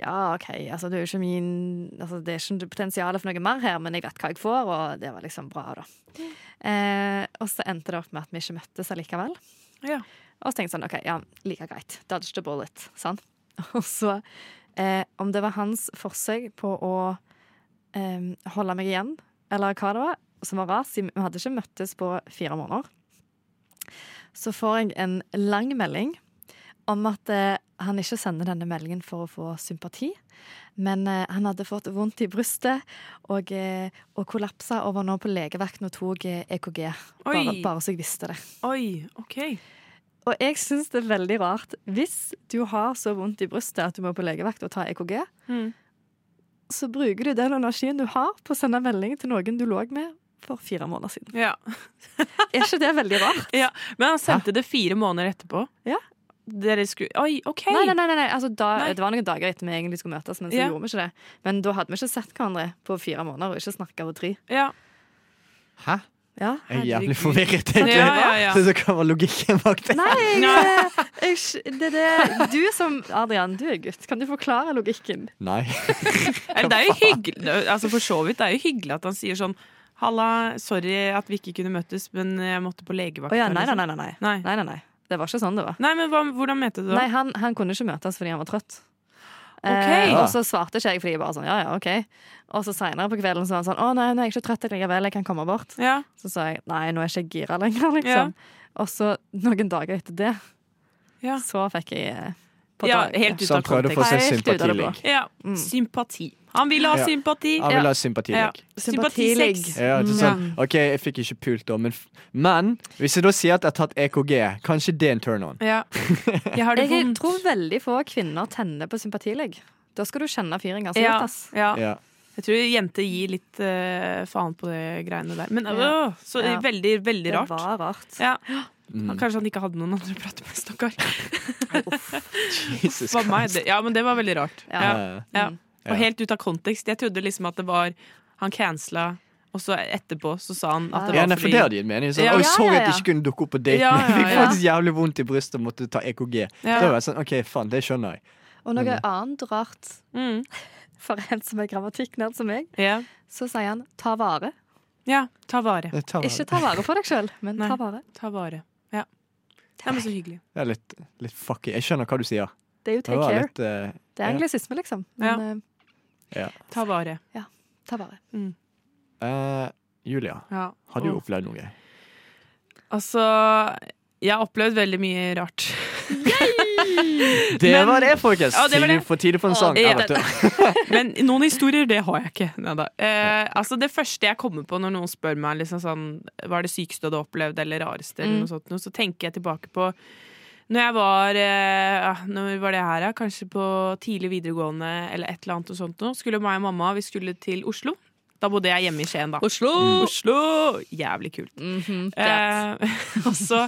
Speaker 6: Ja, OK, altså det er jo ikke min altså, Det er ikke potensial for noe mer her, men jeg vet hva jeg får, og det var liksom bra, da. Eh, og så endte det opp med at vi ikke møttes allikevel.
Speaker 5: Ja.
Speaker 6: Og så tenkte jeg sånn, ok, ja, like greit. Dodge the bullet, sant? Og så, eh, om det var hans forsøk på å eh, holde meg igjen, eller hva det var, som var rart, siden vi hadde ikke møttes på fire måneder. Så får jeg en lang melding om at eh, han ikke sender denne meldingen for å få sympati, men eh, han hadde fått vondt i brystet og, eh, og kollapsa og var nå på legevakten og tok eh, EKG. Bare,
Speaker 5: Oi.
Speaker 6: bare så jeg visste det.
Speaker 5: Oi, OK.
Speaker 6: Og jeg syns det er veldig rart. Hvis du har så vondt i brystet at du må på legevakt og ta EKG,
Speaker 5: Mm.
Speaker 6: så bruker du den energien du har på å sende melding til noen du lå med for fire måneder siden.
Speaker 5: Ja.
Speaker 6: Er ikke det veldig rart?
Speaker 5: Men han sendte det fire måneder etterpå.
Speaker 6: Ja.
Speaker 5: Dere skulle Oi, OK!
Speaker 6: Nei, nei, nei, nei, nei. Altså, da,
Speaker 5: Nei.
Speaker 6: Det var noen dager etter vi egentlig skulle møtes, men så
Speaker 5: Ja.
Speaker 6: gjorde vi ikke det. Men da hadde vi ikke sett hverandre på fire måneder og ikke snakka på tre.
Speaker 5: Ja.
Speaker 4: Hæ?
Speaker 6: Ja.
Speaker 4: Jeg er
Speaker 5: Herregud.
Speaker 4: jævlig forvirret,
Speaker 5: Ja,
Speaker 4: egentlig.
Speaker 5: ja, ja.
Speaker 4: Så, så hva var logikken bak det?
Speaker 6: Nei, jeg,
Speaker 5: Nei.
Speaker 6: jeg, det, er det, du som Adrian, du er gutt. Kan du forklare logikken?
Speaker 4: Nei.
Speaker 5: Eller, det er jo hyggelig altså, For så vidt, det er jo hyggelig at han sier sånn Halla, sorry at vi ikke kunne møttes, men jeg måtte på legevakt.
Speaker 6: Å ja, nei,
Speaker 5: eller
Speaker 6: nei, nei, nei,
Speaker 5: sånn.»
Speaker 6: nei.
Speaker 5: Nei.
Speaker 6: Nei, nei, nei. Det var ikke sånn det var.
Speaker 5: Nei, men hva, hvordan mente du det?
Speaker 6: Nei, han, han kunne ikke møtes fordi han var trøtt. Eh,
Speaker 5: Ok. Ah.
Speaker 6: og så svarte ikke jeg fordi jeg bare sånn, ja, ja, ok. Og så senere på kvelden så var han sånn, å nei, nå er jeg ikke trøtt likevel, jeg kan komme bort.
Speaker 5: Ja.
Speaker 6: Så sa jeg, nei, nå er jeg ikke gira lenger, liksom. Og så noen dager etter det,
Speaker 5: Ja.
Speaker 6: så fikk jeg eh, på
Speaker 5: ja,
Speaker 6: dag-
Speaker 5: helt
Speaker 4: Så
Speaker 5: ut av
Speaker 4: han prøvde å få
Speaker 5: kontekst.
Speaker 4: seg
Speaker 6: Helt ut av det blå.
Speaker 4: sympatiligg.
Speaker 5: Ja,
Speaker 6: Mm.
Speaker 5: Sympati. Han vil ha
Speaker 4: Ja.
Speaker 5: sympati.
Speaker 4: Han vil ha sympatiligg.
Speaker 5: Sympatisex.
Speaker 6: Sympatiligg.
Speaker 4: Ja, det er sånn, OK, jeg fikk ikke pult, da, men, f- men hvis jeg da sier at jeg har tatt EKG, kanskje det er en turn on?
Speaker 5: Ja. Jeg har det
Speaker 6: Jeg
Speaker 5: vondt.
Speaker 6: tror veldig få kvinner tenner på sympatilegg. Da skal du kjenne fyren ganske
Speaker 5: Ja,
Speaker 6: godt, ass.
Speaker 5: ja.
Speaker 4: Ja.
Speaker 5: Jeg tror jenter gir litt eh, faen på det greiene der. Men
Speaker 6: Ja.
Speaker 5: øh, så
Speaker 6: Ja.
Speaker 5: veldig, veldig
Speaker 6: Det
Speaker 5: rart.
Speaker 6: var rart.
Speaker 5: Ja.
Speaker 4: Mm.
Speaker 5: Kanskje han ikke hadde noen andre å prate med, stakkar.
Speaker 4: Jesus
Speaker 5: Var meg
Speaker 4: Christ.
Speaker 5: det- Ja, men det var veldig rart.
Speaker 6: Ja.
Speaker 5: Ja.
Speaker 4: Ja.
Speaker 5: Ja.
Speaker 6: Mm.
Speaker 4: Ja.
Speaker 5: Og helt ut av kontekst. Jeg trodde liksom at det var Han cancela, og så etterpå så sa han at det
Speaker 4: Ja,
Speaker 5: var
Speaker 4: nei, for
Speaker 5: fordi
Speaker 4: det hadde gitt mening. Sånn,
Speaker 5: Ja.
Speaker 4: «Oi,
Speaker 6: Ja,
Speaker 4: sorry
Speaker 6: ja,
Speaker 4: at
Speaker 6: ja.
Speaker 4: jeg ikke kunne dukke opp på daten.
Speaker 5: Ja, ja,
Speaker 4: Jeg fikk
Speaker 5: ja.
Speaker 4: faktisk jævlig vondt i brystet og måtte ta EKG.
Speaker 5: Ja.
Speaker 4: Da var jeg sånn, ok, faen, det skjønner jeg.
Speaker 6: Og noe annet rart
Speaker 5: Mm.
Speaker 6: for en som er grammatikknerd som meg,
Speaker 5: Ja.
Speaker 6: så sier han ta vare.
Speaker 5: ja. Ta vare.
Speaker 4: Jeg tar-
Speaker 6: Ikke ta vare på deg sjøl, men
Speaker 5: Nei.
Speaker 6: ta vare.
Speaker 5: Ta vare. Ja. Nei, men så hyggelig.
Speaker 4: Det er litt, litt fucky. Jeg skjønner hva du sier.
Speaker 6: Det er jo
Speaker 4: Det
Speaker 6: take
Speaker 4: var
Speaker 6: care.
Speaker 4: litt eh,
Speaker 6: Det er
Speaker 4: ja.
Speaker 6: anglisisme, liksom. Men
Speaker 5: Ja.
Speaker 6: eh,
Speaker 5: Ta vare.
Speaker 6: ta vare.
Speaker 4: eh, Julia,
Speaker 5: Ja.
Speaker 4: har du
Speaker 5: Åh.
Speaker 4: opplevd noe?
Speaker 5: Altså Jeg har opplevd veldig mye rart.
Speaker 4: Det
Speaker 5: Men-
Speaker 4: var det, folkens!
Speaker 5: Ja, det
Speaker 4: Tidlig-
Speaker 5: var det.
Speaker 4: For tidlig for en sang.
Speaker 5: Ja.
Speaker 4: Ja, vet du.
Speaker 5: Men noen historier, det har jeg ikke. Neida. Eh, altså det første jeg kommer på når noen spør meg liksom sånn, hva er det sykeste du har opplevd, eller rareste, eller
Speaker 6: Mm.
Speaker 5: noe sånt, noe, så tenker jeg tilbake på når jeg var eh, ja, Når var det her, da? Kanskje på tidlig videregående eller et eller annet og sånt noe. Skulle meg og mamma vi skulle til Oslo. Da bodde jeg hjemme i Skien, da. Oslo!
Speaker 6: Mm.
Speaker 5: Oslo! Jævlig kult.
Speaker 6: Mhm,
Speaker 5: Eh, og så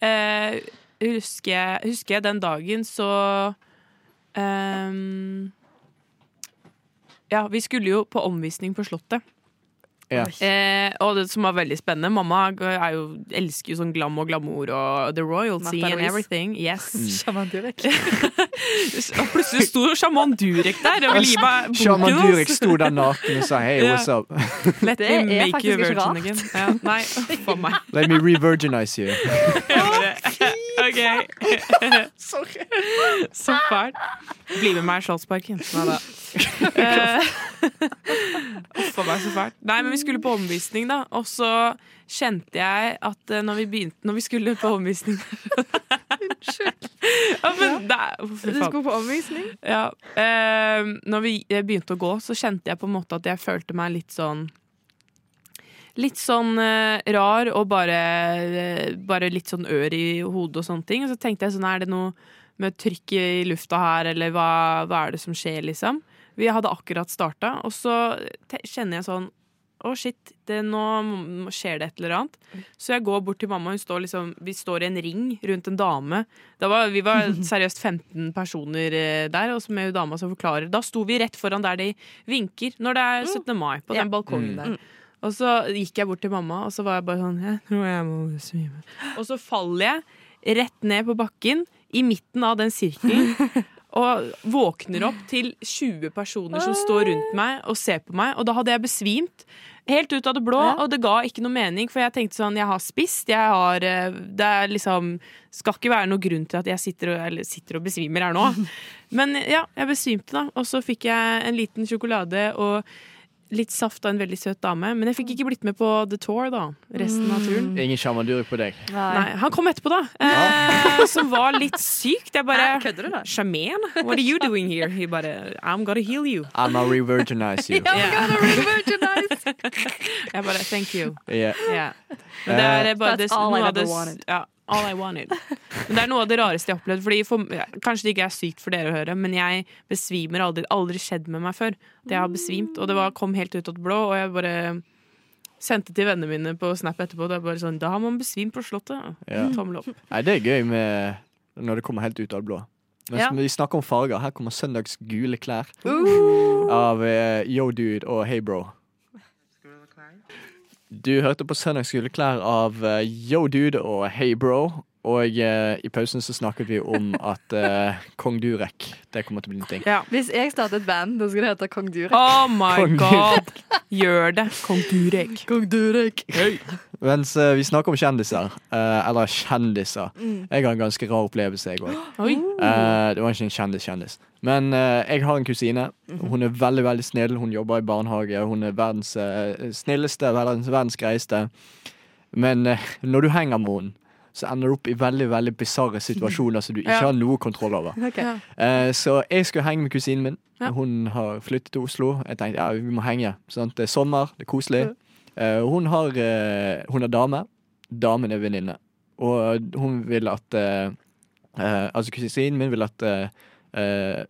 Speaker 5: eh, husker, jeg, husker jeg den dagen så ehm, Ja, vi skulle jo på omvisning på Slottet.
Speaker 4: Ja.
Speaker 5: Eh, og det som var veldig spennende Mamma er jo, elsker jo sånn glam og glamour og the
Speaker 6: Martha
Speaker 5: royalty
Speaker 6: Mm.
Speaker 5: and
Speaker 6: Louise.
Speaker 5: everything. Yes.
Speaker 6: Sjaman Durek.
Speaker 5: Og plutselig sto sjaman Durek der og ville gi meg
Speaker 4: Shaman
Speaker 5: boken
Speaker 4: Durek
Speaker 5: hans.
Speaker 4: sto der naken og sa hey,
Speaker 5: Ja.
Speaker 4: what's up?
Speaker 5: Let
Speaker 6: Det
Speaker 5: me
Speaker 6: er
Speaker 5: make
Speaker 6: faktisk
Speaker 5: you
Speaker 6: ikke
Speaker 5: virgin
Speaker 6: rart.
Speaker 5: again. Ja, nei, for meg.
Speaker 4: Let me re-virginize you.
Speaker 5: OK. Sorry. Så fælt. Bli med meg i Slottspark, jentene. da. Eh, Uff a meg, så fælt. Nei, men vi skulle på omvisning, da. Og så kjente jeg at eh, når vi begynte Når vi skulle på omvisning ja, men det er- Hvorfor
Speaker 6: Du
Speaker 5: faen?
Speaker 6: skulle på omvisning.
Speaker 5: Ja. Eh, når vi eh, begynte å gå, så kjente jeg på en måte at jeg følte meg litt sånn Litt sånn eh, rar og bare, eh, bare litt sånn ør i hodet og sånne ting. Og så tenkte jeg sånn, er det noe med trykk i lufta her, eller hva, hva er det som skjer, liksom? Vi hadde akkurat starta, og så te- kjenner jeg sånn å, shit, det, nå m- skjer det et eller annet. Så jeg går bort til mamma. Hun står liksom, vi står i en ring rundt en dame. Da var, vi var seriøst 15 personer eh, der, og så med hun dama som forklarer. Da sto vi rett foran der de vinker når det er 17. mai, på
Speaker 6: Ja.
Speaker 5: den balkongen
Speaker 4: Mm.
Speaker 5: der. Og så gikk jeg bort til mamma, og så var jeg bare sånn Jeg tror jeg må svime. Og så faller jeg rett ned på bakken, i midten av den sirkelen. Og våkner opp til 20 personer som står rundt meg og ser på meg. Og da hadde jeg besvimt. Helt ut av det blå,
Speaker 6: Ja.
Speaker 5: og det ga ikke noe mening. For jeg tenkte sånn, jeg har spist, jeg har eh, Det er liksom Skal ikke være noe grunn til at jeg sitter og, eller, sitter og besvimer her nå. Men ja, jeg besvimte, da. Og så fikk jeg en liten sjokolade og litt saft av en veldig søt dame, men jeg fikk ikke blitt med på The Tour, da. Resten av turen.
Speaker 4: Ingen sjamandurik på deg.
Speaker 5: Nei, Han kom etterpå, da. Eh, som var litt sykt. Jeg
Speaker 6: Hæ,
Speaker 5: bare
Speaker 6: Kødder du, da?
Speaker 5: Sjaman? What are you doing here? He bare I'm gonna heal you.
Speaker 4: I'ma re-virginize you.
Speaker 6: Ja,
Speaker 5: Ja.
Speaker 6: gotta re-virginize!
Speaker 5: Jeg bare Thank you.
Speaker 4: Yeah.
Speaker 5: Ja. Men det er eh, bare det,
Speaker 6: That's all I
Speaker 5: noe av
Speaker 6: ever
Speaker 5: det,
Speaker 6: wanted.
Speaker 5: ja, all I wanted. Men det er noe av det rareste jeg har opplevd. Fordi for, ja, kanskje det ikke er sykt for dere å høre, men jeg besvimer aldri. Aldri skjedd med meg før. Det jeg har besvimt, og det var, kom helt ut av det blå, og jeg bare sendte til vennene mine på Snap etterpå. Det er bare sånn Da har man besvimt på Slottet.
Speaker 4: Ja.
Speaker 5: Tommel opp.
Speaker 4: Nei, det er gøy med når det kommer helt ut av det blå. Men
Speaker 5: Ja.
Speaker 4: som vi snakker om farger, her kommer søndags gule klær
Speaker 6: Uh.
Speaker 5: Uh.
Speaker 4: av eh, Yo Dude og Hey Bro. Du hørte på søndags gule klær av eh, Yo Dude og Hey Bro. Og eh, i pausen så snakket vi om at eh, Kong Durek, det kommer til å bli en ting.
Speaker 5: Ja.
Speaker 6: Hvis jeg startet et band, da skulle det hete Kong Durek.
Speaker 5: Oh my
Speaker 4: Kong
Speaker 5: god! Gjør det, kong Durek.
Speaker 6: Kong Durek.
Speaker 4: Mens eh, vi snakker om kjendiser, eh, eller kjendiser
Speaker 6: Mm.
Speaker 4: Jeg har en ganske rar opplevelse, jeg òg.
Speaker 5: Oi.
Speaker 4: Eh, det var ikke en kjendis-kjendis. Men eh, jeg har en kusine. Hun er veldig veldig snill. Hun jobber i barnehage. Hun er verdens eh, snilleste, verdens, verdens greieste. Men eh, når du henger med henne, så ender du opp i veldig veldig bisarre situasjoner som du ikke
Speaker 5: Ja.
Speaker 4: har noe kontroll over.
Speaker 5: Ja.
Speaker 4: Eh, så jeg skulle henge med kusinen min.
Speaker 5: Ja.
Speaker 4: Hun har flyttet til Oslo. Jeg tenkte ja, vi må henge. Sant? Det er sommer, det er koselig. Eh, hun, har, eh, hun er dame. Damen er venninne. Og hun vil at eh, eh, Altså kusinen min vil at uh,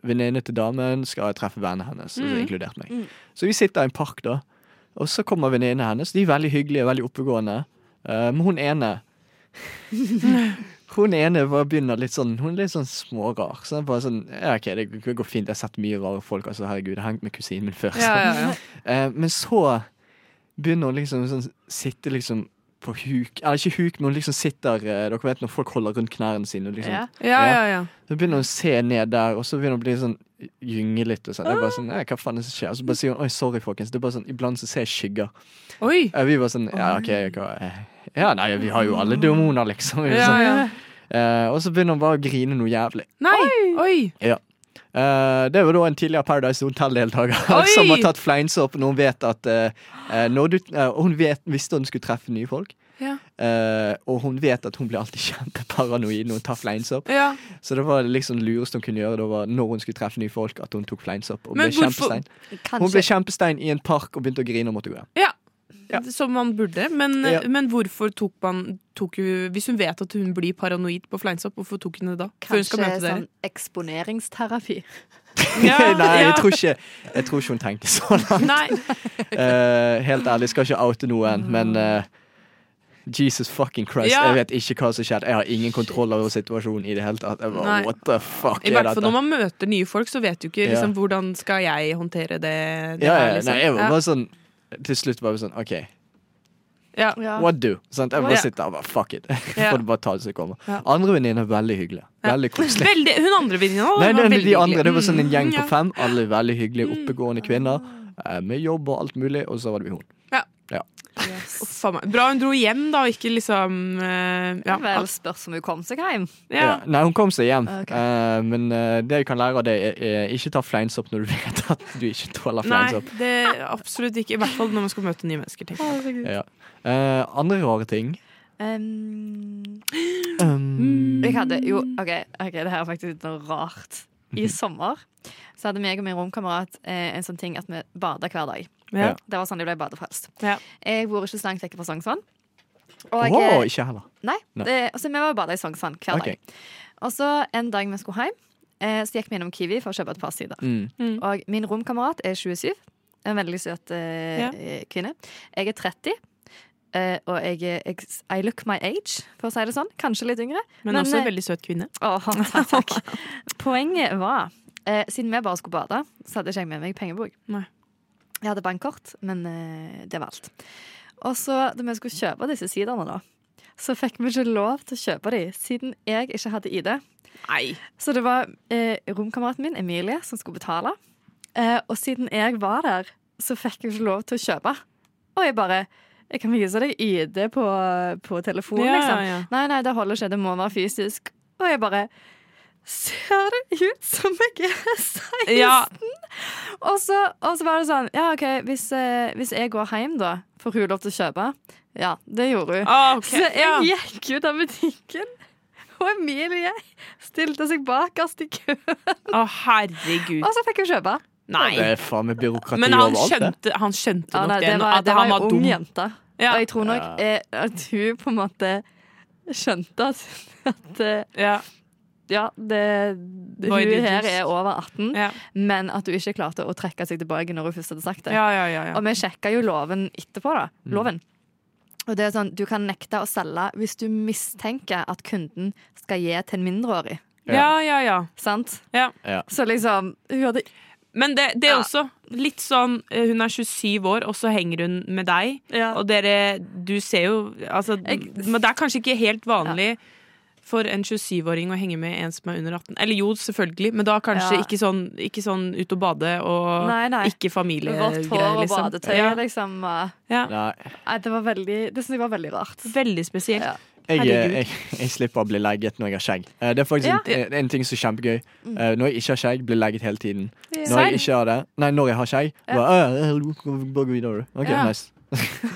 Speaker 4: venninne til damen skal treffe vennene hennes, altså
Speaker 5: Mm.
Speaker 4: inkludert meg. Så vi sitter i en park, da. Og så kommer venninnene hennes. De er veldig hyggelige, veldig oppegående. Eh, men hun ene Hun ene bare begynner litt sånn Hun er litt sånn smårar. Så jeg bare sånn, ja, ok, det g- går fint. Jeg har sett mye rare folk. Altså, herregud, jeg har hengt med kusinen min før. så.
Speaker 5: Ja, ja, ja.
Speaker 4: Eh, men så begynner hun liksom sånn, sitte liksom på huk Eller ikke huk, men hun liksom sitter eh, Dere vet når folk holder rundt knærne sine. og Liksom.
Speaker 6: Ja.
Speaker 5: Ja, ja, ja.
Speaker 4: Så begynner hun å se ned der, og så begynner hun å bli sånn gynge litt. Og sånn. Jeg bare sånn, «Nei, hva faen er det som skjer? Og så bare sier hun oi, sorry, folkens. Det er bare sånn, Iblant så ser jeg skygger.
Speaker 5: Oi.
Speaker 4: Eh, vi bare sånn ja, OK, hva eh, Ja, nei, vi har jo alle demoner, liksom. Vi
Speaker 5: Ja,
Speaker 4: sånn.
Speaker 5: ja.
Speaker 4: Eh, og så begynner hun bare å grine noe jævlig.
Speaker 5: Nei! Oi!
Speaker 4: Eh, det var da en tidligere Paradise Hotel-deltaker
Speaker 5: Oi!
Speaker 4: som har tatt fleinsopp når hun vet at eh, eh, når du, eh, Hun vet, visste hun skulle treffe nye folk,
Speaker 5: Ja.
Speaker 4: Eh, og hun vet at hun blir alltid kjempeparanoid når hun tar fleinsopp.
Speaker 5: ja.
Speaker 4: Så det var liksom det lureste hun kunne gjøre, det var når hun skulle treffe nye folk, at hun tok fleinsopp. Og
Speaker 5: Men
Speaker 4: ble
Speaker 5: hvorfor-
Speaker 4: kjempestein. Hun ble
Speaker 6: Kanskje.
Speaker 4: kjempestein i en park og begynte å grine og måtte gå hjem.
Speaker 5: Ja.
Speaker 4: Ja.
Speaker 5: Som man burde. Men,
Speaker 4: Ja.
Speaker 5: men hvorfor tok man tok, hun- Hvis hun vet at hun blir paranoid på fleinsopp, hvorfor tok hun det da? Før hun skal
Speaker 6: Kanskje
Speaker 5: møte dere?
Speaker 6: sånn eksponeringsterapi.
Speaker 4: Nei,
Speaker 5: ja.
Speaker 4: jeg tror, ikke, jeg tror ikke hun tenkte sånn.
Speaker 5: Nei.
Speaker 4: Eh, helt ærlig, skal ikke oute noen, men eh, Jesus fucking Christ, jeg
Speaker 5: Ja.
Speaker 4: vet ikke hva som skjedde. Jeg har ingen kontroll over situasjonen i det hele tatt. Jeg bare,
Speaker 5: Nei.
Speaker 4: what the fuck
Speaker 5: I
Speaker 4: er
Speaker 5: hvert fall
Speaker 4: dette?
Speaker 5: når man møter nye folk, så vet du ikke
Speaker 4: Ja.
Speaker 5: liksom, hvordan skal jeg håndtere det.
Speaker 4: Ja,
Speaker 5: det
Speaker 4: ja,
Speaker 5: her, liksom.
Speaker 4: nei, jeg var
Speaker 5: ja.
Speaker 4: bare sånn Til slutt var jeg sånn OK,
Speaker 5: Ja.
Speaker 6: Ja.
Speaker 4: what do? Sant? jeg bare
Speaker 5: Ja.
Speaker 4: sitter der og bare fuck it.
Speaker 5: Ja.
Speaker 4: Får det bare ta det som kommer.
Speaker 5: Ja.
Speaker 4: Andre venninner er veldig hyggelige. Veldig koselige.
Speaker 5: Veldig, hun andre venninna
Speaker 4: Nei,
Speaker 5: var
Speaker 4: det,
Speaker 5: veldig
Speaker 4: de andre, det var
Speaker 5: hyggelig.
Speaker 4: sånn en gjeng
Speaker 5: Mm,
Speaker 4: på
Speaker 5: ja. Mm.
Speaker 4: fem. Alle veldig hyggelige, oppegående kvinner. eh, Med jobb og alt mulig, og så var det hun.
Speaker 5: Å, faen meg. Bra hun dro hjem, da, og ikke liksom eh, Ja.
Speaker 6: Vel, spørs om hun kom seg hjem.
Speaker 5: ja. Ah,
Speaker 4: Ja. Nei, hun kom seg hjem.
Speaker 6: Ok.
Speaker 4: Eh, men eh, det jeg kan lære av det, er, er ikke ta fleinsopp når du vet at du ikke tåler
Speaker 5: Nei,
Speaker 4: fleinsopp.
Speaker 5: det absolutt ikke. I hvert fall når man skal møte nye mennesker. tenker jeg.
Speaker 4: Ja. Eh, andre rare ting
Speaker 6: Um,
Speaker 5: Mm,
Speaker 4: um,
Speaker 6: Jeg hadde jo OK, ok, det her er faktisk litt rart.
Speaker 5: Mhm.
Speaker 6: I sommer så hadde meg og min romkamerat eh, en sånn ting at vi bada hver dag.
Speaker 5: Ja.
Speaker 6: Det var sånn jeg ble badefrelst.
Speaker 5: Ja.
Speaker 6: Jeg bor ikke så langt vekk fra Sognsvann.
Speaker 4: Å,
Speaker 6: Og, eh,
Speaker 4: ikke heller.
Speaker 6: nei,
Speaker 4: Nei.
Speaker 6: det, så vi var og bada i Sognsvann hver
Speaker 4: Ok.
Speaker 6: dag. Og så en dag vi skulle hjem, eh, så gikk vi innom Kiwi for å kjøpe et par sider.
Speaker 4: Mm.
Speaker 6: Og min romkamerat er 27. En veldig søt eh,
Speaker 5: Ja.
Speaker 6: eh, kvinne. Jeg er 30. eh, og jeg, er- jeg, I look my age, for å si det sånn. Kanskje litt yngre.
Speaker 5: Men,
Speaker 6: Men,
Speaker 5: også
Speaker 6: eh,
Speaker 5: en veldig søt kvinne.
Speaker 6: Åh, takk, takk. Poenget var, eh, siden vi bare skulle bade, så hadde ikke jeg med meg pengebok.
Speaker 5: Nei.
Speaker 6: Jeg hadde bankkort, men eh, det var alt. Og så da vi skulle kjøpe disse siderne, da, så fikk vi ikke lov til å kjøpe de, siden jeg ikke hadde ID.
Speaker 5: Nei.
Speaker 6: Så det var eh, romkameraten min, Emilie, som skulle betale. Eh, og siden jeg var der, så fikk jeg ikke lov til å kjøpe. Og jeg bare Jeg kan vise deg ID på, på telefonen,
Speaker 5: Ja,
Speaker 6: liksom.
Speaker 5: ja, ja.
Speaker 6: Nei, nei, det holder ikke. Det må være fysisk. Og jeg bare ser det ut som jeg er 16?
Speaker 5: Ja,
Speaker 6: Og, så, og så var det sånn Ja, OK, hvis, eh, hvis jeg går hjem, da, får hun lov til å kjøpe? Ja, det gjorde hun.
Speaker 5: ah, ok.
Speaker 6: Så jeg
Speaker 5: ja.
Speaker 6: gikk ut av butikken, og Emilie stilte seg bakerst i køen.
Speaker 5: Å, herregud.
Speaker 6: Og så fikk hun kjøpe.
Speaker 4: Det
Speaker 5: Nei.
Speaker 4: er faen meg byråkrati
Speaker 5: Men han
Speaker 4: overalt, det.
Speaker 5: skjønte, han skjønte
Speaker 6: Ja,
Speaker 5: nok
Speaker 6: nei,
Speaker 5: det,
Speaker 6: det var,
Speaker 5: at
Speaker 6: det var
Speaker 5: han
Speaker 6: en
Speaker 5: var
Speaker 6: ung
Speaker 5: dum.
Speaker 6: jente.
Speaker 5: Ja,
Speaker 6: Og jeg tror nok eh, at hun på en måte skjønte at, at eh,
Speaker 5: ja,
Speaker 6: ja, det, det,
Speaker 5: Var
Speaker 6: hun her
Speaker 5: idiotist.
Speaker 6: er over 18,
Speaker 5: ja,
Speaker 6: men at hun ikke klarte å trekke seg tilbake når hun først hadde sagt det.
Speaker 5: ja, ja, ja, ja.
Speaker 6: Og vi sjekka jo loven etterpå, da. Loven. Og det er sånn, Du kan nekte å selge hvis du mistenker at kunden skal gi til en mindreårig.
Speaker 5: ja, ja, ja.
Speaker 6: Sant?
Speaker 5: Ja.
Speaker 4: Ja.
Speaker 6: Så liksom Hun hadde
Speaker 5: Men det, det
Speaker 6: Ja.
Speaker 5: er også litt sånn eh, Hun er 27 år, og så henger hun med deg.
Speaker 6: Ja.
Speaker 5: Og dere Du ser jo Altså,
Speaker 6: Jeg-
Speaker 5: men det er kanskje ikke helt vanlig for en 27-åring å henge med en som er under 18. Eller jo, selvfølgelig, men da kanskje
Speaker 6: Ja.
Speaker 5: ikke, sånn, ikke sånn ut og bade og
Speaker 6: Nei, nei.
Speaker 5: ikke familiegreier,
Speaker 6: vårt hår og
Speaker 5: liksom.
Speaker 6: badetøy,
Speaker 5: Ja,
Speaker 6: liksom. eh,
Speaker 5: ja.
Speaker 4: Nei,
Speaker 6: Nei, det var veldig Det syns jeg var veldig rart.
Speaker 5: Veldig spesielt.
Speaker 6: Ja.
Speaker 4: jeg, eh,
Speaker 5: Herregud.
Speaker 4: jeg, jeg slipper å bli legget når jeg har skjegg. Eh, Det er faktisk
Speaker 6: Ja.
Speaker 4: en, en ting som er kjempegøy.
Speaker 5: Mm.
Speaker 4: Eh, Når jeg ikke har skjegg, blir jeg legget hele tiden. Når
Speaker 5: Serr?
Speaker 4: jeg ikke har det Nei, når jeg har skjegg, bare, «Åh, eh, bare gå videre. OK,
Speaker 5: Ja.
Speaker 4: nice.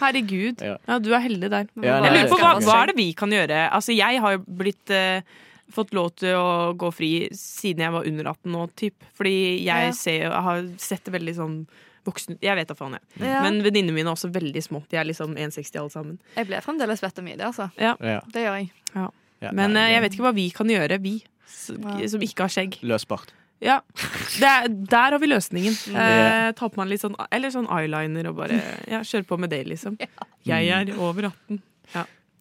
Speaker 5: Herregud.
Speaker 4: Ja.
Speaker 5: Ja, du er heldig der.
Speaker 4: Ja,
Speaker 6: Hva-
Speaker 4: nei,
Speaker 5: Jeg lurer på hva,
Speaker 4: det-
Speaker 5: hva er det vi kan gjøre? Altså, jeg har jo blitt eh, fått lov til å gå fri siden jeg var under 18 nå, typ. Fordi jeg
Speaker 6: Ja.
Speaker 5: ser, jeg har sett det veldig sånn voksen Jeg vet da faen, jeg.
Speaker 6: Ja.
Speaker 5: Men venninnene mine er også veldig små. De er liksom 1,60 alle sammen.
Speaker 6: Jeg ble fremdeles bedt om ID, altså.
Speaker 4: Ja,
Speaker 6: Det gjør jeg.
Speaker 4: ja,
Speaker 5: Men
Speaker 4: nei,
Speaker 5: eh, jeg vet ikke hva vi kan gjøre, vi s-
Speaker 6: Ja.
Speaker 5: som ikke har skjegg.
Speaker 4: Løsbart.
Speaker 5: Ja, det er, Der har vi løsningen. Eh,
Speaker 4: Ja.
Speaker 5: ta på meg litt sånn Eller sånn eyeliner og bare ja, kjøre på med det, liksom. Jeg er over 18.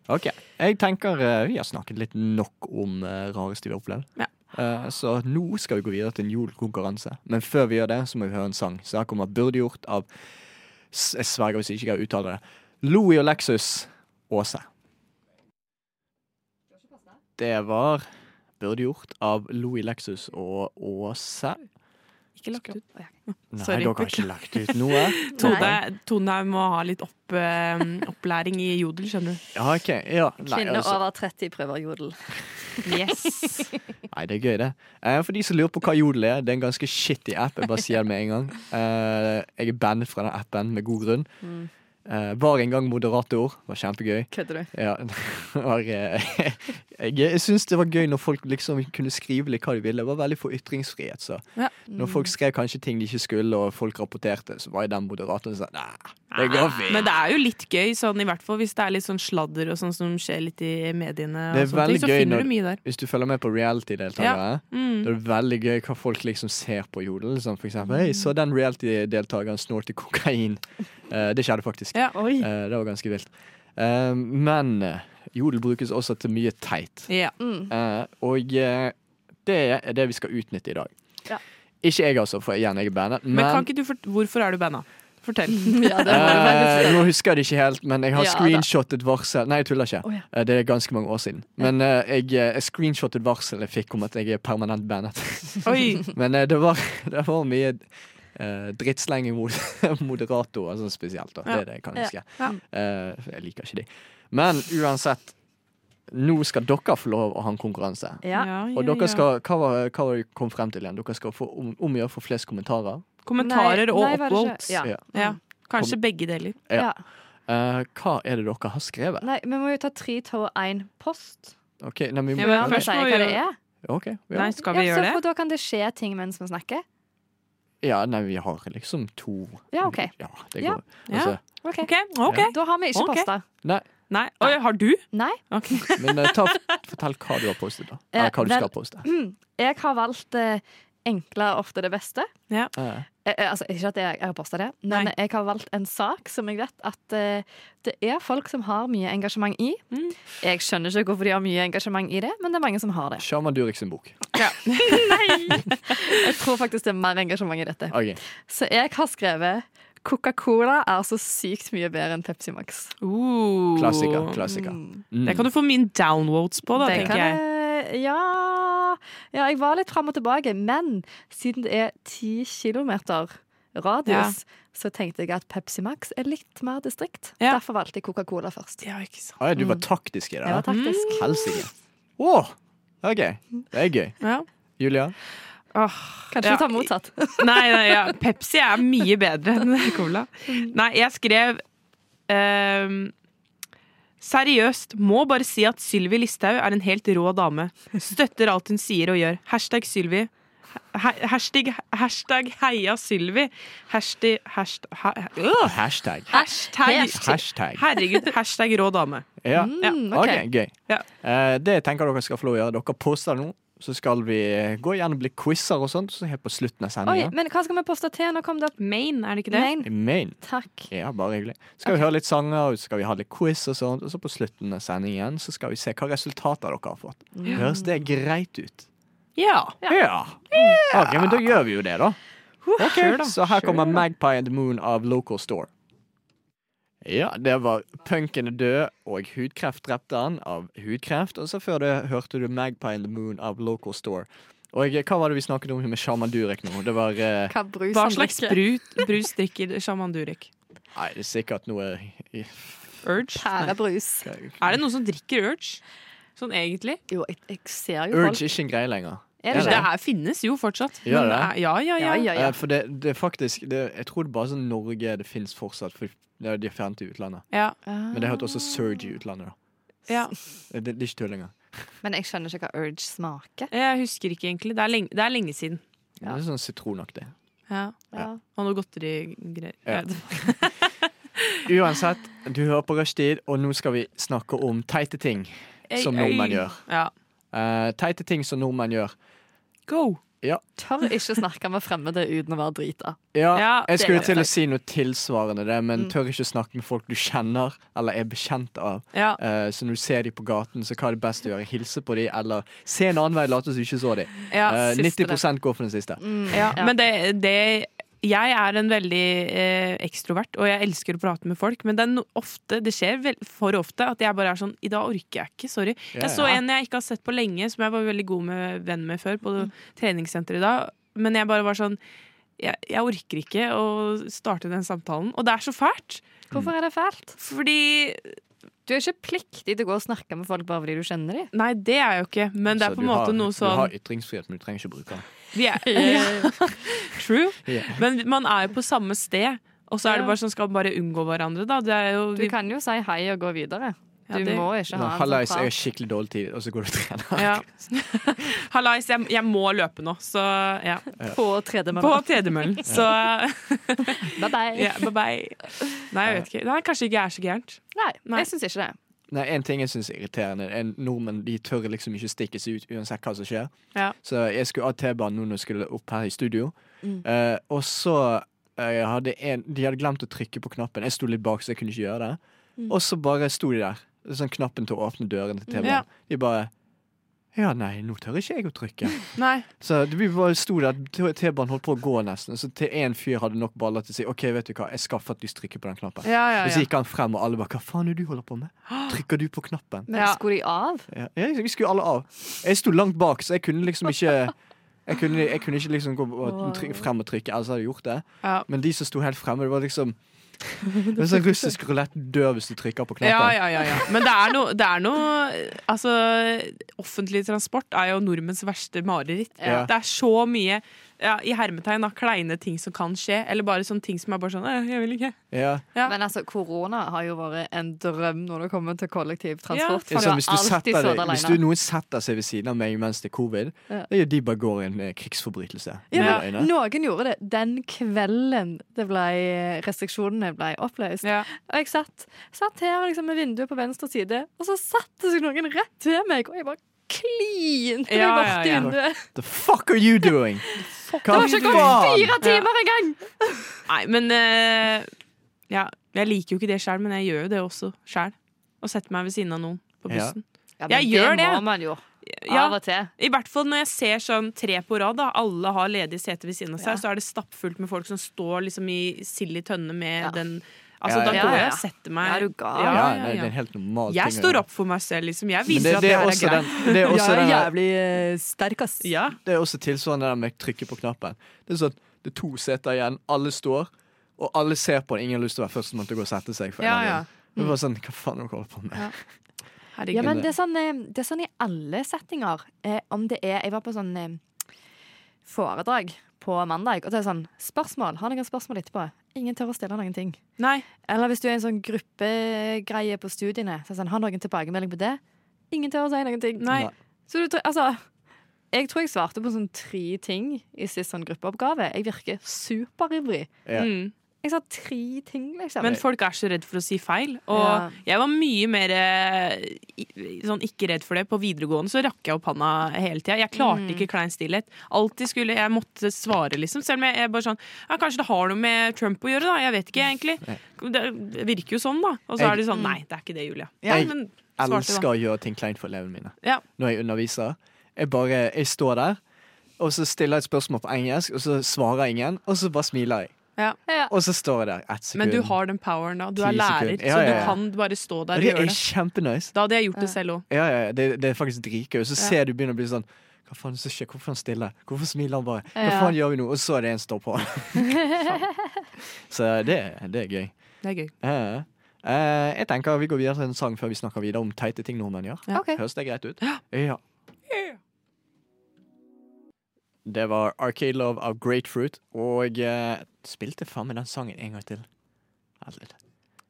Speaker 4: Ok, jeg tenker eh, vi har snakket litt nok om eh, rareste vi har opplevd.
Speaker 5: Ja.
Speaker 4: Eh, så nå skal vi gå videre til en julekonkurranse. Men før vi gjør det, så må vi høre en sang. Så her kommer 'Burde gjort' av s- Jeg sverger hvis jeg ikke kan uttale det. Louis og Lexus Åse. Det var 'Burde gjort' av Louis Lexus og Åse.
Speaker 5: Ikke lagt ut.
Speaker 4: Nei,
Speaker 5: Sorry.
Speaker 4: dere har ikke lagt ut noe?
Speaker 5: Tone, Tone må ha litt opp, eh, opplæring i jodel, skjønner du.
Speaker 4: Ja, ok. Ja, nei,
Speaker 6: Kvinner
Speaker 4: altså,
Speaker 6: over 30 prøver jodel.
Speaker 5: Yes.
Speaker 4: Nei, det er gøy, det. Eh, for de som lurer på hva Jodel er, det er en ganske shitty app. Jeg bare sier det med en gang. Eh, jeg er bandet fra den appen med god grunn.
Speaker 5: Mm.
Speaker 4: Eh, var en gang moderator. Var kjempegøy.
Speaker 6: Kødder du?
Speaker 4: Ja, var, eh, jeg jeg syns det var gøy når folk liksom kunne skrive litt hva de ville. Det var veldig for ytringsfrihet. Så.
Speaker 5: Ja.
Speaker 4: Når folk skrev kanskje ting de ikke skulle, og folk rapporterte, så var jeg den moderatoren som sa nei, det går fint.
Speaker 5: Ah, Men det er jo litt gøy, sånn, i hvert fall hvis det er litt sånn sladder og sånn som skjer litt i mediene.
Speaker 4: Det er
Speaker 5: Og sånne ting,
Speaker 4: veldig
Speaker 5: så
Speaker 4: gøy
Speaker 5: finner
Speaker 4: når-
Speaker 5: du mye der. Mm.
Speaker 4: Hvis du følger med på reality-deltakere, da er det veldig gøy hva folk liksom ser på Jodel. Liksom for eksempel, hei, så den reality-deltakeren snorte kokain. Eh, det skjedde faktisk.
Speaker 5: Ja.
Speaker 6: Oi.
Speaker 4: Eh, det var ganske vilt. Eh, men eh, Jodel brukes også til mye teit.
Speaker 5: Ja.
Speaker 6: Mm.
Speaker 4: Eh, og eh, det er det vi skal utnytte i dag.
Speaker 6: Ja.
Speaker 4: Ikke jeg, altså, for igjen, jeg er bandet. Men,
Speaker 5: Men kan ikke du fort Hvorfor er du banna? Fortell.
Speaker 6: Ja, det var det faktisk.
Speaker 4: Eh, nå husker jeg det ikke helt, men jeg har
Speaker 6: Ja, da.
Speaker 4: screenshottet varsel. Nei, jeg tuller ikke.
Speaker 6: Å, ja.
Speaker 4: Eh, Det er ganske mange år siden. Men eh, jeg, eh, screenshottet varsel jeg fikk om at jeg er permanent bandet.
Speaker 5: Oi.
Speaker 4: men eh, det, var, det var mye eh, drittslenging mot moderatorer sånn spesielt. Da. Det
Speaker 5: Ja.
Speaker 4: er det jeg kan
Speaker 6: Ja.
Speaker 4: huske. Eh, jeg liker ikke de. Men uansett, nå skal dere få lov å ha en konkurranse.
Speaker 6: Ja.
Speaker 4: Og dere skal, hva var hva var det vi kom frem til igjen? Dere skal få om- omgjøre for flest kommentarer.
Speaker 5: Kommentarer og
Speaker 6: Nei, nei, var det ikke-
Speaker 5: upvotes.
Speaker 6: Ja.
Speaker 4: Ja.
Speaker 5: Ja. Kanskje begge deler.
Speaker 4: Ja.
Speaker 6: mm. ja.
Speaker 4: Eh, hva er det dere har skrevet?
Speaker 6: Nei, vi må jo ta tre tå én post.
Speaker 4: Ok, nei, vi må,
Speaker 5: Ja, men
Speaker 6: Kan vi
Speaker 5: først
Speaker 6: si
Speaker 5: må vi
Speaker 6: hva
Speaker 5: jo-
Speaker 6: det er?
Speaker 4: ok, ja.
Speaker 5: Nei, skal vi
Speaker 6: ja, så
Speaker 5: gjøre
Speaker 6: For
Speaker 5: det?
Speaker 6: da kan det skje ting mens vi snakker.
Speaker 4: ja, nei, vi har liksom to
Speaker 6: Ja, OK.
Speaker 4: Ja, det
Speaker 6: Ja.
Speaker 4: går.
Speaker 5: Ja.
Speaker 4: Altså,
Speaker 6: ok.
Speaker 5: OK. ok
Speaker 6: Da har vi ikke
Speaker 5: Ok.
Speaker 6: posta.
Speaker 4: nei,
Speaker 5: Nei. Oi, har du?
Speaker 6: Nei.
Speaker 5: Ok.
Speaker 4: men eh, ta, fortell hva du har postet, da.
Speaker 6: Eh,
Speaker 4: Eller hva du
Speaker 6: vel-
Speaker 4: skal poste.
Speaker 6: Hmm. Jeg har valgt eh, enkle og ofte det beste.
Speaker 4: Eh,
Speaker 6: Eh, eh, altså, ikke at jeg, jeg har posta det, men
Speaker 5: Nei.
Speaker 6: jeg har valgt en sak som jeg vet at eh, det er folk som har mye engasjement i.
Speaker 5: Mm.
Speaker 6: Jeg skjønner ikke hvorfor de har mye engasjement i det, men det er mange som har det.
Speaker 4: Sjarman Durek sin bok.
Speaker 6: Jeg tror faktisk det er mer engasjement i dette.
Speaker 4: Ok.
Speaker 6: Så jeg har skrevet Coca-Cola er så sykt mye bedre enn Pepsi Max.
Speaker 5: Uh.
Speaker 4: Klassiker. klassiker.
Speaker 6: Mm.
Speaker 4: Mm.
Speaker 5: Det kan du få mine downvotes på, da,
Speaker 6: Det
Speaker 5: tenker
Speaker 6: kan
Speaker 5: jeg.
Speaker 6: jeg- Ja, ja, jeg var litt fram og tilbake, men siden det er ti kilometer radius, så tenkte jeg at Pepsi Max er litt mer distrikt.
Speaker 5: Ja.
Speaker 6: Derfor valgte jeg Coca-Cola først.
Speaker 5: Ja, ikke sant.
Speaker 4: Ah,
Speaker 5: Mm.
Speaker 4: ja, du var taktisk i det?
Speaker 6: Det var taktisk.
Speaker 4: Helsike. Åh, OK. Det er gøy.
Speaker 5: Ja.
Speaker 4: Julia?
Speaker 5: Åh,
Speaker 6: Kanskje
Speaker 5: ja.
Speaker 6: vi tar motsatt.
Speaker 5: Nei, nei ja. Pepsi er mye bedre enn cola. Nei, jeg skrev ehm, Seriøst, må bare si at Sylvi Listhaug er en helt rå dame. Støtter alt hun sier og gjør. Hashtag Sylvi. Ha- Hashtag, hashtag heia Sylvi. Hashtag, hashtag, Ah,
Speaker 4: Hashtag.
Speaker 5: hashtag, hashtag
Speaker 4: Hashtag.
Speaker 5: Herregud, hashtag rå dame.
Speaker 4: Ja.
Speaker 6: Mm,
Speaker 4: OK,
Speaker 6: ok.
Speaker 4: gøy.
Speaker 5: Ja.
Speaker 4: Eh, det tenker jeg dere skal få lov å gjøre. Dere poster nå, så skal vi eh, gå gjennom litt quizer og sånt, så helt på slutten av
Speaker 6: Oi,
Speaker 4: sendinga.
Speaker 6: men hva skal vi poste til? Nå kom det opp
Speaker 5: Maine, er det ikke det?
Speaker 6: Main.
Speaker 4: Main.
Speaker 6: Takk.
Speaker 4: Ja, bare hyggelig. Skal vi høre litt sanger, og så skal vi ha litt quiz og sånt, og så på slutten av sendingen så skal vi se hva resultater dere har fått. Høres det greit ut?
Speaker 5: Ja.
Speaker 4: Ja. Ok, men da gjør vi jo det, da. Ok, Så her kommer Magpie and the Moon av Local Store. Ja, det var Punken er død og Hudkreft drepte han av hudkreft. Og så før det hørte du Magpie and the Moon av Local Store. Og eh, hva var det vi snakket om med Shaman Durek nå? Det var eh,
Speaker 6: Hva brus
Speaker 5: Hva
Speaker 6: han
Speaker 5: slags
Speaker 6: drikker.
Speaker 5: brut, brus drikker sjaman Durek?
Speaker 4: Nei, det er sikkert noe eh,
Speaker 5: Urge? Nei.
Speaker 6: Pærebrus.
Speaker 5: Er det noen som drikker Urge? Sånn egentlig?
Speaker 6: Jo, jeg, jeg ser jo
Speaker 4: Urge
Speaker 6: folk.
Speaker 4: er ikke en greie lenger.
Speaker 6: Er
Speaker 4: Ja,
Speaker 6: det
Speaker 5: Det
Speaker 6: ikke?
Speaker 5: er, finnes jo fortsatt.
Speaker 4: Gjør
Speaker 5: men
Speaker 4: det?
Speaker 5: er- Ja, ja, ja.
Speaker 6: Ja, ja, ja.
Speaker 4: Eh, For det, det er faktisk det, Jeg tror det er bare sånn Norge det fins fortsatt, for det er- de er fjernet i utlandet.
Speaker 5: Ja,
Speaker 4: Men det heter også Surge i utlandet, da. Eh,
Speaker 5: ja.
Speaker 4: Det, det er ikke tull engang.
Speaker 6: Men jeg skjønner ikke hva urge smaker.
Speaker 5: Jeg husker ikke egentlig. Det er lenge, det er lenge siden.
Speaker 4: Det er sånn sitronaktig.
Speaker 5: Ja.
Speaker 6: Ja.
Speaker 5: Og noe godterigreier.
Speaker 4: Ja.
Speaker 5: Ja.
Speaker 4: Uansett, du hører på Rushtid, og nå skal vi snakke om teite ting som
Speaker 5: Ei, ei.
Speaker 4: nordmenn gjør.
Speaker 5: Ja.
Speaker 4: Eh, teite ting som nordmenn gjør.
Speaker 5: Go!
Speaker 6: Tør ikke snakke med fremmede uten å være drita.
Speaker 4: Ja,
Speaker 5: Ja,
Speaker 4: jeg
Speaker 5: det Mm.
Speaker 4: skulle
Speaker 5: er
Speaker 4: til å
Speaker 5: teit.
Speaker 4: si noe tilsvarende det, men tør ikke snakke med folk du kjenner eller er bekjent av.
Speaker 5: Ja.
Speaker 4: Eh, så når du ser dem på gaten, så hva er det best å gjøre? Hilse på dem, eller se en annen vei, late som du ikke så dem.
Speaker 5: Ja,
Speaker 4: Eh,
Speaker 5: siste Mm,
Speaker 4: 90 går for den siste.
Speaker 5: Ja,
Speaker 6: Ja.
Speaker 5: men det, det Jeg er en veldig eh, ekstrovert, og jeg elsker å prate med folk, men det, er no, ofte, det skjer vel, for ofte at jeg bare er sånn I dag orker jeg ikke, sorry.
Speaker 4: Ja,
Speaker 5: Jeg så
Speaker 4: ja.
Speaker 5: en jeg ikke har sett på lenge, som jeg var veldig god med venn med før, på treningssenteret i dag, men jeg bare var sånn jeg, jeg orker ikke å starte den samtalen. Og det er så fælt!
Speaker 6: Hvorfor er det fælt?
Speaker 5: Fordi
Speaker 6: Du er ikke pliktig til å gå og snakke med folk bare fordi du kjenner dem.
Speaker 5: Nei, det er jeg jo ikke, men det
Speaker 4: Så
Speaker 5: er
Speaker 4: Altså,
Speaker 5: på
Speaker 4: du
Speaker 5: en måte
Speaker 4: har,
Speaker 5: noe sånn
Speaker 4: Du har ytringsfrihet, men du trenger ikke å bruke den.
Speaker 5: Vi er, True.
Speaker 4: Ja.
Speaker 5: Men man er jo på samme sted, og så er det bare sånn skal man bare unngå hverandre, da. Det er jo,
Speaker 6: Du
Speaker 5: vi,
Speaker 6: kan jo si hei og gå videre.
Speaker 5: Ja,
Speaker 6: Du
Speaker 5: det-
Speaker 6: må ikke ha
Speaker 4: Nei,
Speaker 6: en
Speaker 4: Hallais, jeg
Speaker 6: sånn
Speaker 4: har skikkelig dårlig tid, og så går du og trener.
Speaker 5: ja. Hallais, jeg, jeg må løpe nå, så ja.
Speaker 6: prat på
Speaker 5: På
Speaker 6: tredemølla.
Speaker 5: tredemøllen. Så
Speaker 6: Bye bye.
Speaker 5: ja, bye bye. Nei, jeg vet ikke. Det er kanskje ikke er så gærent.
Speaker 6: Nei,
Speaker 5: Nei.
Speaker 6: jeg syns ikke det.
Speaker 4: Nei, En ting jeg syns er irriterende, er nordmenn de tør liksom ikke stikke seg ut uansett hva som skjer.
Speaker 5: Ja.
Speaker 4: Så jeg skulle av T-banen nå når jeg skulle opp her i studio,
Speaker 5: Mm.
Speaker 4: Eh, og så eh, hadde en, de hadde glemt å trykke på knappen. Jeg sto litt bak, så jeg kunne ikke gjøre det.
Speaker 5: Mm.
Speaker 4: Og så bare sto de der, sånn knappen til å åpne dørene til
Speaker 5: Ja.
Speaker 4: T-banen. De bare Ja, nei, nå tør ikke jeg å trykke.
Speaker 5: Nei.
Speaker 4: Så det- vi bare sto der, T- T-banen holdt på å gå nesten. Så til en fyr hadde nok baller til å si OK, vet du hva, jeg skal faktisk trykke på den knappen.
Speaker 5: Ja, ja,
Speaker 4: Og så
Speaker 5: ja.
Speaker 4: gikk han frem, og alle bare 'hva faen er det du holder på med?' Trykker du på knappen?
Speaker 6: Men
Speaker 5: Ja.
Speaker 6: skulle de av?
Speaker 4: Ja, ja, vi skulle alle av. Jeg sto langt bak, så jeg kunne liksom ikke Jeg kunne, jeg kunne ikke liksom gå og trykke, frem og trykke, ellers hadde jeg gjort det.
Speaker 5: Ja.
Speaker 4: Men de som sto helt fremme, det var liksom Det er sånn russisk rulett dør hvis du trykker på knappen.
Speaker 5: Ja, ja, ja, ja. Men det er noe, det er noe Altså, offentlig transport er jo nordmenns verste mareritt.
Speaker 4: Ja.
Speaker 5: Det er så mye ja, i hermetegn av kleine ting som kan skje, eller bare sånne ting som er bare sånn «Eh, Jeg vil ikke.
Speaker 4: Ja.
Speaker 5: Ja.
Speaker 6: Men altså, korona har jo vært en drøm når det kommer til
Speaker 5: Ja.
Speaker 6: kollektivtransport.
Speaker 4: Det er
Speaker 6: For
Speaker 4: sånn,
Speaker 6: du
Speaker 4: hvis, du
Speaker 6: har
Speaker 4: setter
Speaker 6: alltid sittet
Speaker 4: deg, hvis
Speaker 6: alene.
Speaker 4: du noen setter seg ved siden av meg mens det er covid,
Speaker 6: Ja.
Speaker 4: da gjør de bare går en eh, krigsforbrytelse.
Speaker 6: Ja,
Speaker 4: Med
Speaker 6: men
Speaker 4: øyne.
Speaker 6: Noen gjorde det den kvelden det ble, restriksjonene ble oppløst.
Speaker 5: Ja.
Speaker 6: Og jeg satt, satt her liksom, med vinduet på venstre side, og så satt det seg noen rett til meg, og jeg bare klinte meg
Speaker 5: Ja,
Speaker 6: bort
Speaker 5: ja,
Speaker 6: i
Speaker 5: ja.
Speaker 6: vinduet.
Speaker 4: The fuck are you doing?
Speaker 6: Det
Speaker 4: Hva
Speaker 6: var ikke gått
Speaker 4: faen?
Speaker 6: fire timer engang!
Speaker 5: Nei, men eh, Ja, jeg liker jo ikke det sjøl, men jeg gjør jo det også sjøl. Å sette meg ved siden av noen på
Speaker 4: Ja.
Speaker 5: bussen.
Speaker 6: Ja,
Speaker 5: men Jeg gjør det må det.
Speaker 6: må man jo.
Speaker 5: Ja,
Speaker 6: Av og til.
Speaker 5: I hvert fall når jeg ser sånn tre på rad, da, alle har ledige seter ved siden av seg, så er det stappfullt med folk som står liksom i sild i tønne med
Speaker 6: Ja.
Speaker 5: den Altså,
Speaker 4: Ja,
Speaker 5: da
Speaker 4: ja,
Speaker 5: går
Speaker 6: ja.
Speaker 5: jeg og setter meg
Speaker 6: Ja, er du gal?
Speaker 5: Ja,
Speaker 4: Ja,
Speaker 5: ja,
Speaker 4: nei, det er en
Speaker 5: ja.
Speaker 4: helt normal
Speaker 5: Jeg
Speaker 4: ting. å
Speaker 5: står
Speaker 4: gjøre.
Speaker 5: opp for meg selv, liksom. Jeg
Speaker 4: Men det,
Speaker 5: viser
Speaker 4: det er
Speaker 5: at
Speaker 4: også
Speaker 5: det her er greit.
Speaker 4: den, det er også den der,
Speaker 6: jævlig eh, sterk, ass.
Speaker 5: Ja.
Speaker 4: Det er også tilsvarende det der med å trykke på knappen. Det er sånn, det er to seter igjen, alle står, og alle ser på det. Ingen har lyst til å være førstemann til å gå og sette seg. For en
Speaker 5: Ja,
Speaker 4: eller
Speaker 5: ja.
Speaker 4: annen grunn. Det er bare sånn, hva faen har dere holdt på med?
Speaker 5: Herregud.
Speaker 6: Ja, men det er sånn, eh, det er sånn i alle settinger. Eh, om det er Jeg var på sånn eh, foredrag på mandag, og det er sånn Spørsmål! Har noen spørsmål etterpå? Ingen tør å stille noen ting.
Speaker 5: Nei.
Speaker 6: Eller hvis du er en sånn gruppegreie på studiene, så er det sånn Har noen tilbakemelding på det? Ingen tør å si noen ting.
Speaker 5: Nei.
Speaker 4: Nei.
Speaker 6: Så du, tror- altså Jeg tror jeg svarte på sånn tre ting i sist sånn gruppeoppgave. Jeg virker superivrig.
Speaker 4: Ja.
Speaker 5: Mm.
Speaker 6: Jeg sa tre ting, liksom.
Speaker 5: Men folk er så redd for å si feil. Og
Speaker 6: Ja.
Speaker 5: jeg var mye mer eh, i- sånn ikke redd for det. På videregående så rakk jeg opp handa hele tida. Jeg klarte
Speaker 4: Mm.
Speaker 5: ikke klein stillhet. Alltid skulle jeg måtte svare, liksom. Selv om jeg, jeg bare sånn ja, Kanskje det har noe med Trump å gjøre, da. Jeg vet ikke, egentlig. Det virker jo sånn, da. Og så
Speaker 4: Jeg-
Speaker 5: er det sånn Nei, det er ikke det, Julia.
Speaker 4: Jeg
Speaker 5: Nei, men svarte,
Speaker 4: elsker
Speaker 5: da.
Speaker 4: å gjøre ting kleint for elevene mine.
Speaker 5: Ja.
Speaker 4: Når jeg underviser. Jeg bare jeg står der, og så stiller jeg et spørsmål på engelsk, og så svarer ingen, og så bare smiler jeg.
Speaker 5: Ja.
Speaker 4: Og så står jeg der ett sekund.
Speaker 5: Men du har den poweren, da. Du er
Speaker 4: Ti
Speaker 5: lærer,
Speaker 4: sekunder. Ja,
Speaker 5: så
Speaker 4: ja,
Speaker 5: du
Speaker 4: ja.
Speaker 5: kan bare stå der
Speaker 4: Og
Speaker 5: og
Speaker 4: det er
Speaker 5: gjøre det.
Speaker 4: kjempenice.
Speaker 5: Da hadde jeg gjort det selv òg.
Speaker 4: Ja, ja, ja, det, det er faktisk dritgøy. Og så ser du begynner å bli sånn Hva faen er det som skjer? Hvorfor er han stille? Hvorfor smiler han bare? Hva
Speaker 6: Ja.
Speaker 4: faen gjør vi nå? Og så er det en står på. så det, det er gøy.
Speaker 5: Det er gøy.
Speaker 4: Ja, ja. Eh, jeg tenker vi går videre til en sang før vi snakker videre om teite ting nordmenn gjør.
Speaker 5: Ja.
Speaker 6: Ok.
Speaker 4: Høres det greit ut? Ja. Det var Arcade Love av Grapefruit, og eh, spilte faen meg den sangen en gang til. Vent litt.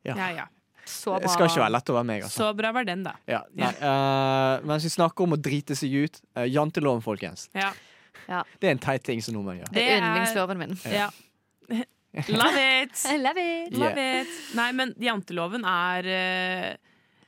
Speaker 4: Ja.
Speaker 5: Ja, ja.
Speaker 6: Så bra.
Speaker 4: Det skal ikke være lett å være meg, altså.
Speaker 5: Så bra var den, da.
Speaker 4: Ja, nei, eh, mens vi snakker om å drite seg ut, eh, janteloven, folkens.
Speaker 5: Ja.
Speaker 4: Det er en teit ting som nordmenn gjør.
Speaker 6: Det
Speaker 5: Det er-
Speaker 6: er yndlingsloven min.
Speaker 5: Ja. Love it!
Speaker 6: I love it!
Speaker 5: Love
Speaker 4: Yeah.
Speaker 5: it! Nei, men janteloven er eh,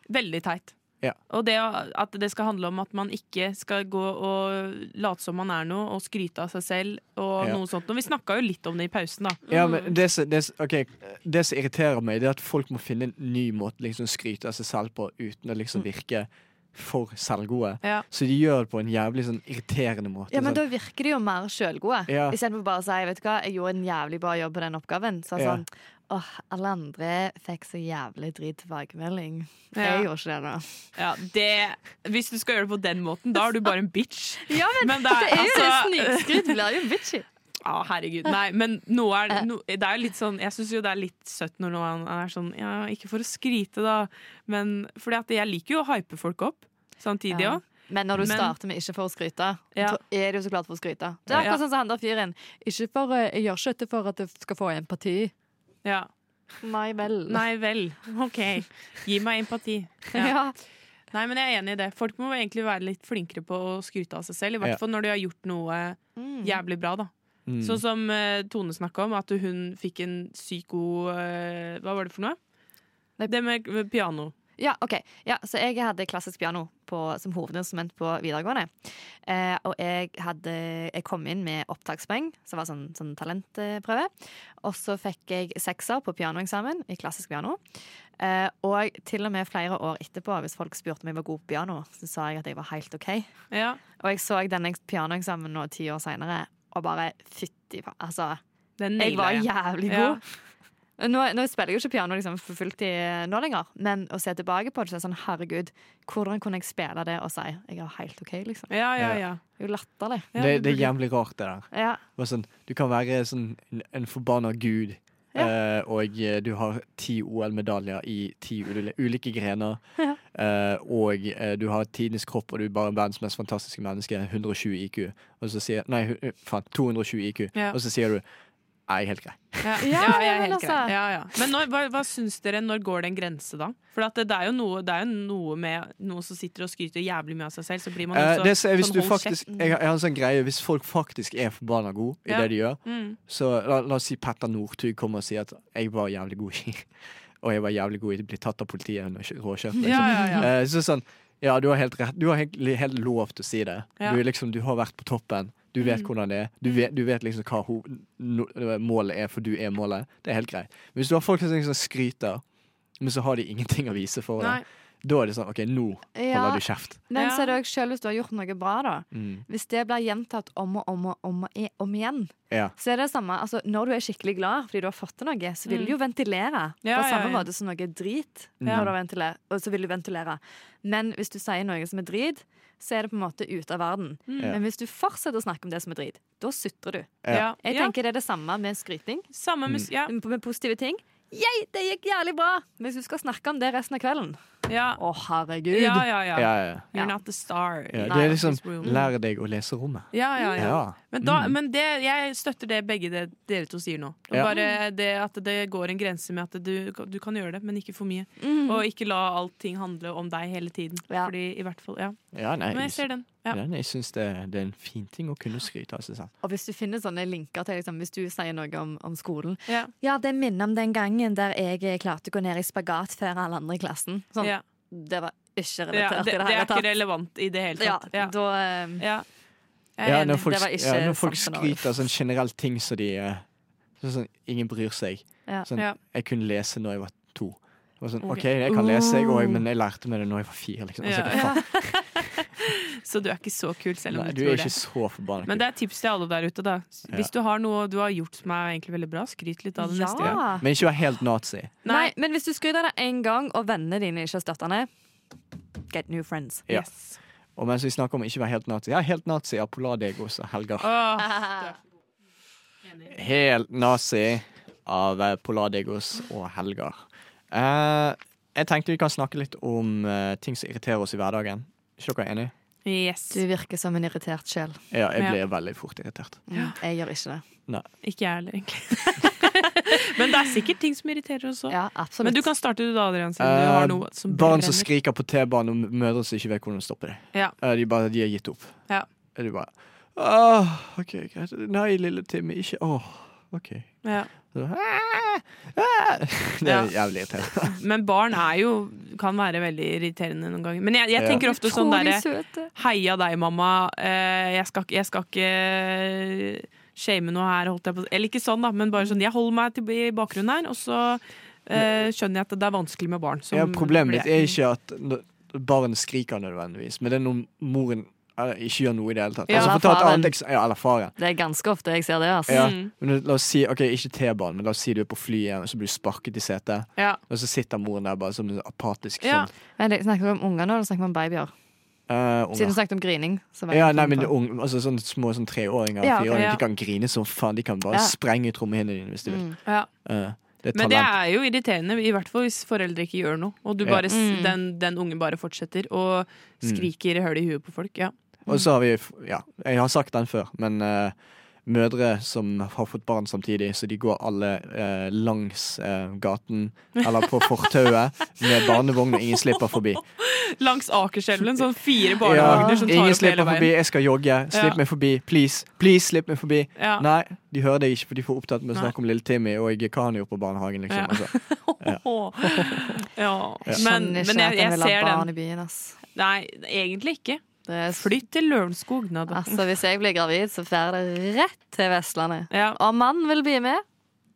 Speaker 5: veldig teit.
Speaker 4: Ja.
Speaker 5: Og det at det skal handle om at man ikke skal gå og late som man er noe, og skryte av seg selv og
Speaker 4: Ja.
Speaker 5: noe sånt. Og vi snakka jo litt om det i pausen, da. Mm.
Speaker 4: Ja, men det som, det, som- ok, det som irriterer meg, det er at folk må finne en ny måte å liksom, skryte av seg selv på uten å liksom virke for selvgode.
Speaker 5: Ja.
Speaker 4: Så de gjør det på en jævlig sånn irriterende måte.
Speaker 6: Ja, men
Speaker 4: sånn.
Speaker 6: Da virker de jo mer sjølgode.
Speaker 4: Ja.
Speaker 6: Istedenfor bare å si vet du hva, jeg gjorde en jævlig bra jobb på den oppgaven. Så er det
Speaker 4: Ja.
Speaker 6: sånn, åh, alle andre fikk så jævlig drit tilbakemelding. Jeg
Speaker 5: Ja.
Speaker 6: gjorde ikke det nå.
Speaker 5: Ja, det, hvis du skal gjøre det på den måten, da er du bare en bitch.
Speaker 6: Ja,
Speaker 5: Men det er, altså-
Speaker 6: snikskryt blir jo bitchy.
Speaker 5: Ja, herregud. Nei, men noe er, no, det er jo litt sånn Jeg syns jo det er litt søtt når noen er sånn Ja, ikke for å skryte, da, men fordi at jeg liker jo å hype folk opp samtidig
Speaker 6: Ja.
Speaker 5: òg.
Speaker 6: Men når du
Speaker 5: Men-
Speaker 6: starter med 'ikke for å skryte',
Speaker 5: Ja.
Speaker 6: så er du jo så glad for å skryte. Det er
Speaker 5: Ja.
Speaker 6: akkurat sånn som han der fyren. Ikke for, eh, jeg gjør ikke dette for at jeg skal få empati.
Speaker 5: Ja.
Speaker 6: Nei vel.
Speaker 5: Nei vel. OK. Gi meg empati.
Speaker 6: Ja.
Speaker 5: Ja. Nei, men jeg er enig i det. Folk må egentlig være litt flinkere på å skryte av seg selv. I
Speaker 4: Ja.
Speaker 5: hvert fall når de har gjort noe
Speaker 6: Mm.
Speaker 5: jævlig bra, da.
Speaker 4: Mm.
Speaker 5: Sånn som eh, Tone snakka om, at hun fikk en syk god eh, Hva var det for noe?
Speaker 6: Nei.
Speaker 5: Det med med piano.
Speaker 6: Ja, ok. Ja, så jeg hadde klassisk piano på, som hovedinstrument på videregående. Eh, og jeg, hadde, jeg kom inn med opptakspoeng, som var sånn, sånn talentprøve. Og så fikk jeg sekser på pianoeksamen i klassisk piano. Eh, og til og med flere år etterpå, hvis folk spurte om jeg var god på piano, så sa jeg at jeg var helt OK.
Speaker 5: Ja.
Speaker 6: Og jeg så denne pianoeksamen nå ti år seinere, og bare fytti faen. Altså,
Speaker 5: Den
Speaker 6: jeg
Speaker 5: naila
Speaker 6: var
Speaker 5: jeg.
Speaker 6: jævlig
Speaker 5: Ja.
Speaker 6: god. Nå, nå spiller jeg jo ikke piano liksom, for fullt i nå lenger, men å se tilbake på det, så er det sånn herregud, hvordan kunne jeg spille det og si jeg er helt OK, liksom.
Speaker 5: Ja, ja, ja.
Speaker 6: Det er jo latterlig.
Speaker 5: ja
Speaker 4: det,
Speaker 5: du
Speaker 4: det er
Speaker 5: burde-
Speaker 4: jævlig rart, det der.
Speaker 6: Ja.
Speaker 4: Bare sånn, du kan være sånn, en, en forbanna gud,
Speaker 6: Ja.
Speaker 4: eh, og eh, du har ti OL-medaljer i ti uli- ulike grener,
Speaker 6: Ja.
Speaker 4: eh, og eh, du har tidenes kropp, og du er bare verdens mest fantastiske menneske, 120 IQ, og så sier, nei, hu- hu- faen, 220 IQ,
Speaker 5: Ja.
Speaker 4: og så sier du, nei, helt grei.
Speaker 5: Ja,
Speaker 6: Ja,
Speaker 5: ja, jeg er
Speaker 6: men
Speaker 5: helt
Speaker 6: altså-
Speaker 5: grei. Ja, ja. Men når, hva, hva syns dere, når går det en grense, da? For at det, det er jo noe, det er jo noe med noen som sitter og skryter jævlig mye av seg selv, så blir man
Speaker 4: Eh,
Speaker 5: også
Speaker 4: det som er, hvis
Speaker 5: sånn,
Speaker 4: du
Speaker 5: hold
Speaker 4: faktisk,
Speaker 5: kjeft.
Speaker 4: jeg, har- jeg har en sånn greie Hvis folk faktisk er forbanna gode i
Speaker 5: Ja.
Speaker 4: det de gjør,
Speaker 5: Mm.
Speaker 4: så la, la oss si Petter Northug kommer og sier at 'jeg var jævlig god i Og jeg var jævlig god i å bli tatt av politiet under kjø- råkjørt. Liksom.
Speaker 5: Ja, ja, ja.
Speaker 4: Eh, så sånn, ja, du har helt rett. Du har egentlig helt lov til å si det.
Speaker 5: Ja. Mhm.
Speaker 4: Du, er liksom, du har vært på toppen. Du vet hvordan det er. Du vet, du vet liksom hva ho no målet er, for du er målet. Det er helt greit. Men hvis du har folk som liksom skryter, men så har de ingenting å vise for
Speaker 5: Nei.
Speaker 4: det, da er det sånn OK, nå
Speaker 6: Ja,
Speaker 4: holder du kjeft.
Speaker 6: men
Speaker 5: Ja.
Speaker 6: så er det òg sjøl hvis du har gjort noe bra, da.
Speaker 4: Mm.
Speaker 6: Hvis det blir gjentatt om og om og om, og i- om igjen,
Speaker 4: Ja.
Speaker 6: så er det det samme. Altså, når du er skikkelig glad fordi du har fått til noe, så vil du jo ventilere.
Speaker 5: Mm. Ja,
Speaker 6: på
Speaker 5: ja,
Speaker 6: samme
Speaker 5: ja.
Speaker 6: måte som noe er drit,
Speaker 4: Ja.
Speaker 6: når du ventilerer, og så vil du ventilere. Men hvis du sier noe som er drit, så er det på en måte ute av verden.
Speaker 5: Mm.
Speaker 4: Ja.
Speaker 6: Men hvis du fortsetter å snakke om det som er drit, da sutrer du.
Speaker 4: Ja. Mm.
Speaker 5: Ja.
Speaker 6: Jeg
Speaker 5: ja.
Speaker 6: tenker det er det samme med skryting.
Speaker 5: Samme mus... Ja.
Speaker 6: Med positive ting. Yay, det gikk jævlig bra! Men hvis du skal snakke om det resten av kvelden,
Speaker 5: Ja,
Speaker 6: Å, herregud.
Speaker 5: ja, ja. ja.
Speaker 4: Ja, ja,
Speaker 5: You're not the star.
Speaker 4: ja.
Speaker 5: in
Speaker 4: Det er
Speaker 5: this
Speaker 4: liksom
Speaker 5: room.
Speaker 4: lær deg å lese rommet.
Speaker 5: Ja, ja, ja.
Speaker 4: Ja.
Speaker 5: Men, da,
Speaker 4: Mm.
Speaker 5: men det, jeg støtter det begge det, dere to sier nå.
Speaker 4: Ja.
Speaker 5: Bare det at det går en grense med at du, du kan gjøre det, men ikke for mye.
Speaker 6: Mm.
Speaker 5: Og ikke la allting handle om deg hele tiden.
Speaker 6: Ja.
Speaker 5: Fordi i hvert fall, ja.
Speaker 4: Ja, nei,
Speaker 5: Men jeg
Speaker 4: jeg,
Speaker 5: ser den. Ja.
Speaker 4: ja, nei, jeg syns det, det er en fin ting å kunne skryte av seg selv.
Speaker 6: Og hvis du finner sånne linker til liksom, Hvis du sier noe om, om skolen
Speaker 5: Ja.
Speaker 6: Ja, det minner om den gangen der jeg eh, klarte å gå ned i spagat før alle andre i klassen. Sånn,
Speaker 5: Ja.
Speaker 6: Det var ikke
Speaker 5: Ja,
Speaker 6: relatert i det
Speaker 5: det, det er
Speaker 6: hele
Speaker 5: ikke
Speaker 6: tatt.
Speaker 5: relevant i det hele
Speaker 6: Ja,
Speaker 5: tatt. Ja.
Speaker 6: da eh,
Speaker 5: Ja. Jeg
Speaker 4: Ja,
Speaker 5: er
Speaker 4: når
Speaker 5: enig.
Speaker 4: folk,
Speaker 6: Det var ikke
Speaker 4: ja, når folk
Speaker 6: sant for noe.
Speaker 4: skryter av sånn generelt ting som de eh, sånn, sånn, Ingen bryr seg.
Speaker 6: Ja.
Speaker 4: Sånn,
Speaker 5: Ja.
Speaker 4: Jeg kunne lese når jeg var to. Det var sånn,
Speaker 6: Ok.
Speaker 4: OK, jeg kan lese, jeg òg, men jeg lærte meg det når jeg var fire. Liksom. Altså,
Speaker 5: Uh. Ja.
Speaker 4: hva faen?
Speaker 5: Så du er ikke så kul, selv om
Speaker 4: Nei,
Speaker 5: du,
Speaker 4: du er
Speaker 5: tror
Speaker 4: ikke
Speaker 5: det.
Speaker 4: så forbanna
Speaker 5: Men det er tips til alle der ute, da. S-
Speaker 4: Ja.
Speaker 5: Hvis du har noe du har gjort som er egentlig veldig bra, skryt litt av det
Speaker 6: Ja.
Speaker 5: neste
Speaker 4: Ja.
Speaker 5: gang.
Speaker 4: Men ikke vær helt nazi.
Speaker 5: Nei.
Speaker 6: Nei, men hvis du skryter deg en gang, og vennene dine ikke har støtta ned Get new friends.
Speaker 4: Ja.
Speaker 5: Yes.
Speaker 4: Og mens vi snakker om ikke være helt nazi Ja, helt nazi av Polardeg også, Helgar.
Speaker 5: Åh,
Speaker 4: Helt nazi av eh, Polardegos og Helgar. Eh, jeg tenkte vi kan snakke litt om eh, ting som irriterer oss i hverdagen. Ikke dere enige?
Speaker 5: yes.
Speaker 6: Du virker som en irritert sjel. Mm,
Speaker 4: Ja, jeg
Speaker 5: Ja.
Speaker 4: blir veldig fort irritert.
Speaker 5: Ja.
Speaker 6: Jeg gjør ikke det.
Speaker 5: Ikke jeg heller, egentlig. Men det er sikkert ting som irriterer oss òg.
Speaker 6: Ja, absolutt.
Speaker 5: Men du kan starte du da, Adrian. Siden du har
Speaker 4: Eh,
Speaker 5: noe som
Speaker 4: Barn
Speaker 5: brenner.
Speaker 4: som skriker på T-banen, og mødre som ikke vet hvordan de stopper det.
Speaker 5: Ja.
Speaker 4: Eh, De, bare, de har gitt opp.
Speaker 5: Ja.
Speaker 4: Er du bare Åh, OK, greit. Nei, lille Timmy, ikke Åh, OK.
Speaker 5: Ja.
Speaker 4: Så, «Ah, ah». Det er jævlig irriterende.
Speaker 5: Men barn er jo kan være veldig irriterende noen ganger. Men jeg, jeg
Speaker 4: Ja.
Speaker 5: tenker ofte sånn derre
Speaker 6: Utrolig søte.
Speaker 5: Heia deg, mamma. Eh, jeg, skal, ikke- jeg skal ikke shame noe her, holdt jeg på å si. Eller ikke sånn, da, men bare sånn. Jeg holder meg til, i bakgrunnen her, og så eh, skjønner jeg at det er vanskelig med barn. som
Speaker 4: Ja, problemet
Speaker 5: blir-
Speaker 4: mitt er ikke at n- barn skriker nødvendigvis, men det er når moren eh, ikke gjør noe i det hele tatt.
Speaker 5: Ja.
Speaker 4: altså,
Speaker 6: Eller
Speaker 4: fortalt
Speaker 6: faren.
Speaker 4: annet eks- ja, eller faren.
Speaker 6: Det er ganske ofte jeg ser det. ass.
Speaker 4: Ja.
Speaker 5: Mm.
Speaker 4: Men la oss si, ok, ikke T-banen, men la oss si du er på flyet, og så blir du sparket i setet.
Speaker 5: Mm, Ja.
Speaker 4: Og så sitter moren der bare som en apatisk
Speaker 5: Ja.
Speaker 4: sånn.
Speaker 6: Men det- Snakker du om unger nå, eller snakker vi om babyer?
Speaker 4: eh, unger.
Speaker 6: Siden du snakket om grining. Så var jeg
Speaker 4: Ja,
Speaker 6: litt
Speaker 4: nei,
Speaker 6: inne
Speaker 4: men
Speaker 6: på-
Speaker 4: unge, altså, sånn små sånn treåringer,
Speaker 6: Ja,
Speaker 4: fireåringer,
Speaker 5: ja.
Speaker 4: de kan grine som faen. De kan bare
Speaker 6: Ja.
Speaker 4: sprenge ut trommehinnene dine hvis de vil.
Speaker 6: Mm.
Speaker 5: ja.
Speaker 4: Eh, det er
Speaker 5: Men det
Speaker 4: talent.
Speaker 5: er jo irriterende, i hvert fall hvis foreldre ikke gjør noe. Og du
Speaker 4: Ja.
Speaker 5: bare, s-
Speaker 6: Mm.
Speaker 5: den, den ungen bare fortsetter og
Speaker 4: Mm.
Speaker 5: skriker høl i huet på folk. Ja.
Speaker 4: Og så har vi Ja, jeg har sagt den før, men eh, mødre som har fått barn samtidig, så de går alle eh, langs eh, gaten eller på fortauet med barnevogn, og ingen slipper forbi.
Speaker 5: Langs Akerselven, sånn fire
Speaker 4: Ja,
Speaker 5: barnehagene som tar
Speaker 4: ingen
Speaker 5: opp hele
Speaker 4: slipper forbi,
Speaker 5: veien.
Speaker 4: jeg skal jogge. Slipp
Speaker 5: Ja.
Speaker 4: meg forbi, please. Please, slipp meg forbi.
Speaker 5: Ja.
Speaker 4: Nei, de hører deg ikke, for de får opptatt med å
Speaker 5: Nei.
Speaker 4: snakke om lille Timmy og hva han gjorde på barnehagen.
Speaker 5: Ja.
Speaker 4: liksom. Altså.
Speaker 5: Ja.
Speaker 6: Jeg
Speaker 5: Men,
Speaker 6: skjønner ikke
Speaker 5: men jeg,
Speaker 6: at jeg
Speaker 5: jeg
Speaker 6: vil ha
Speaker 5: ser
Speaker 6: barn
Speaker 5: den.
Speaker 6: i byen. ass.
Speaker 5: Nei, egentlig ikke.
Speaker 6: Det er s-
Speaker 5: Flytt til Lørenskog. nå, da.
Speaker 6: Altså, hvis jeg blir gravid, så drar det rett til Vestlandet.
Speaker 5: Ja.
Speaker 6: Og mannen vil bli med.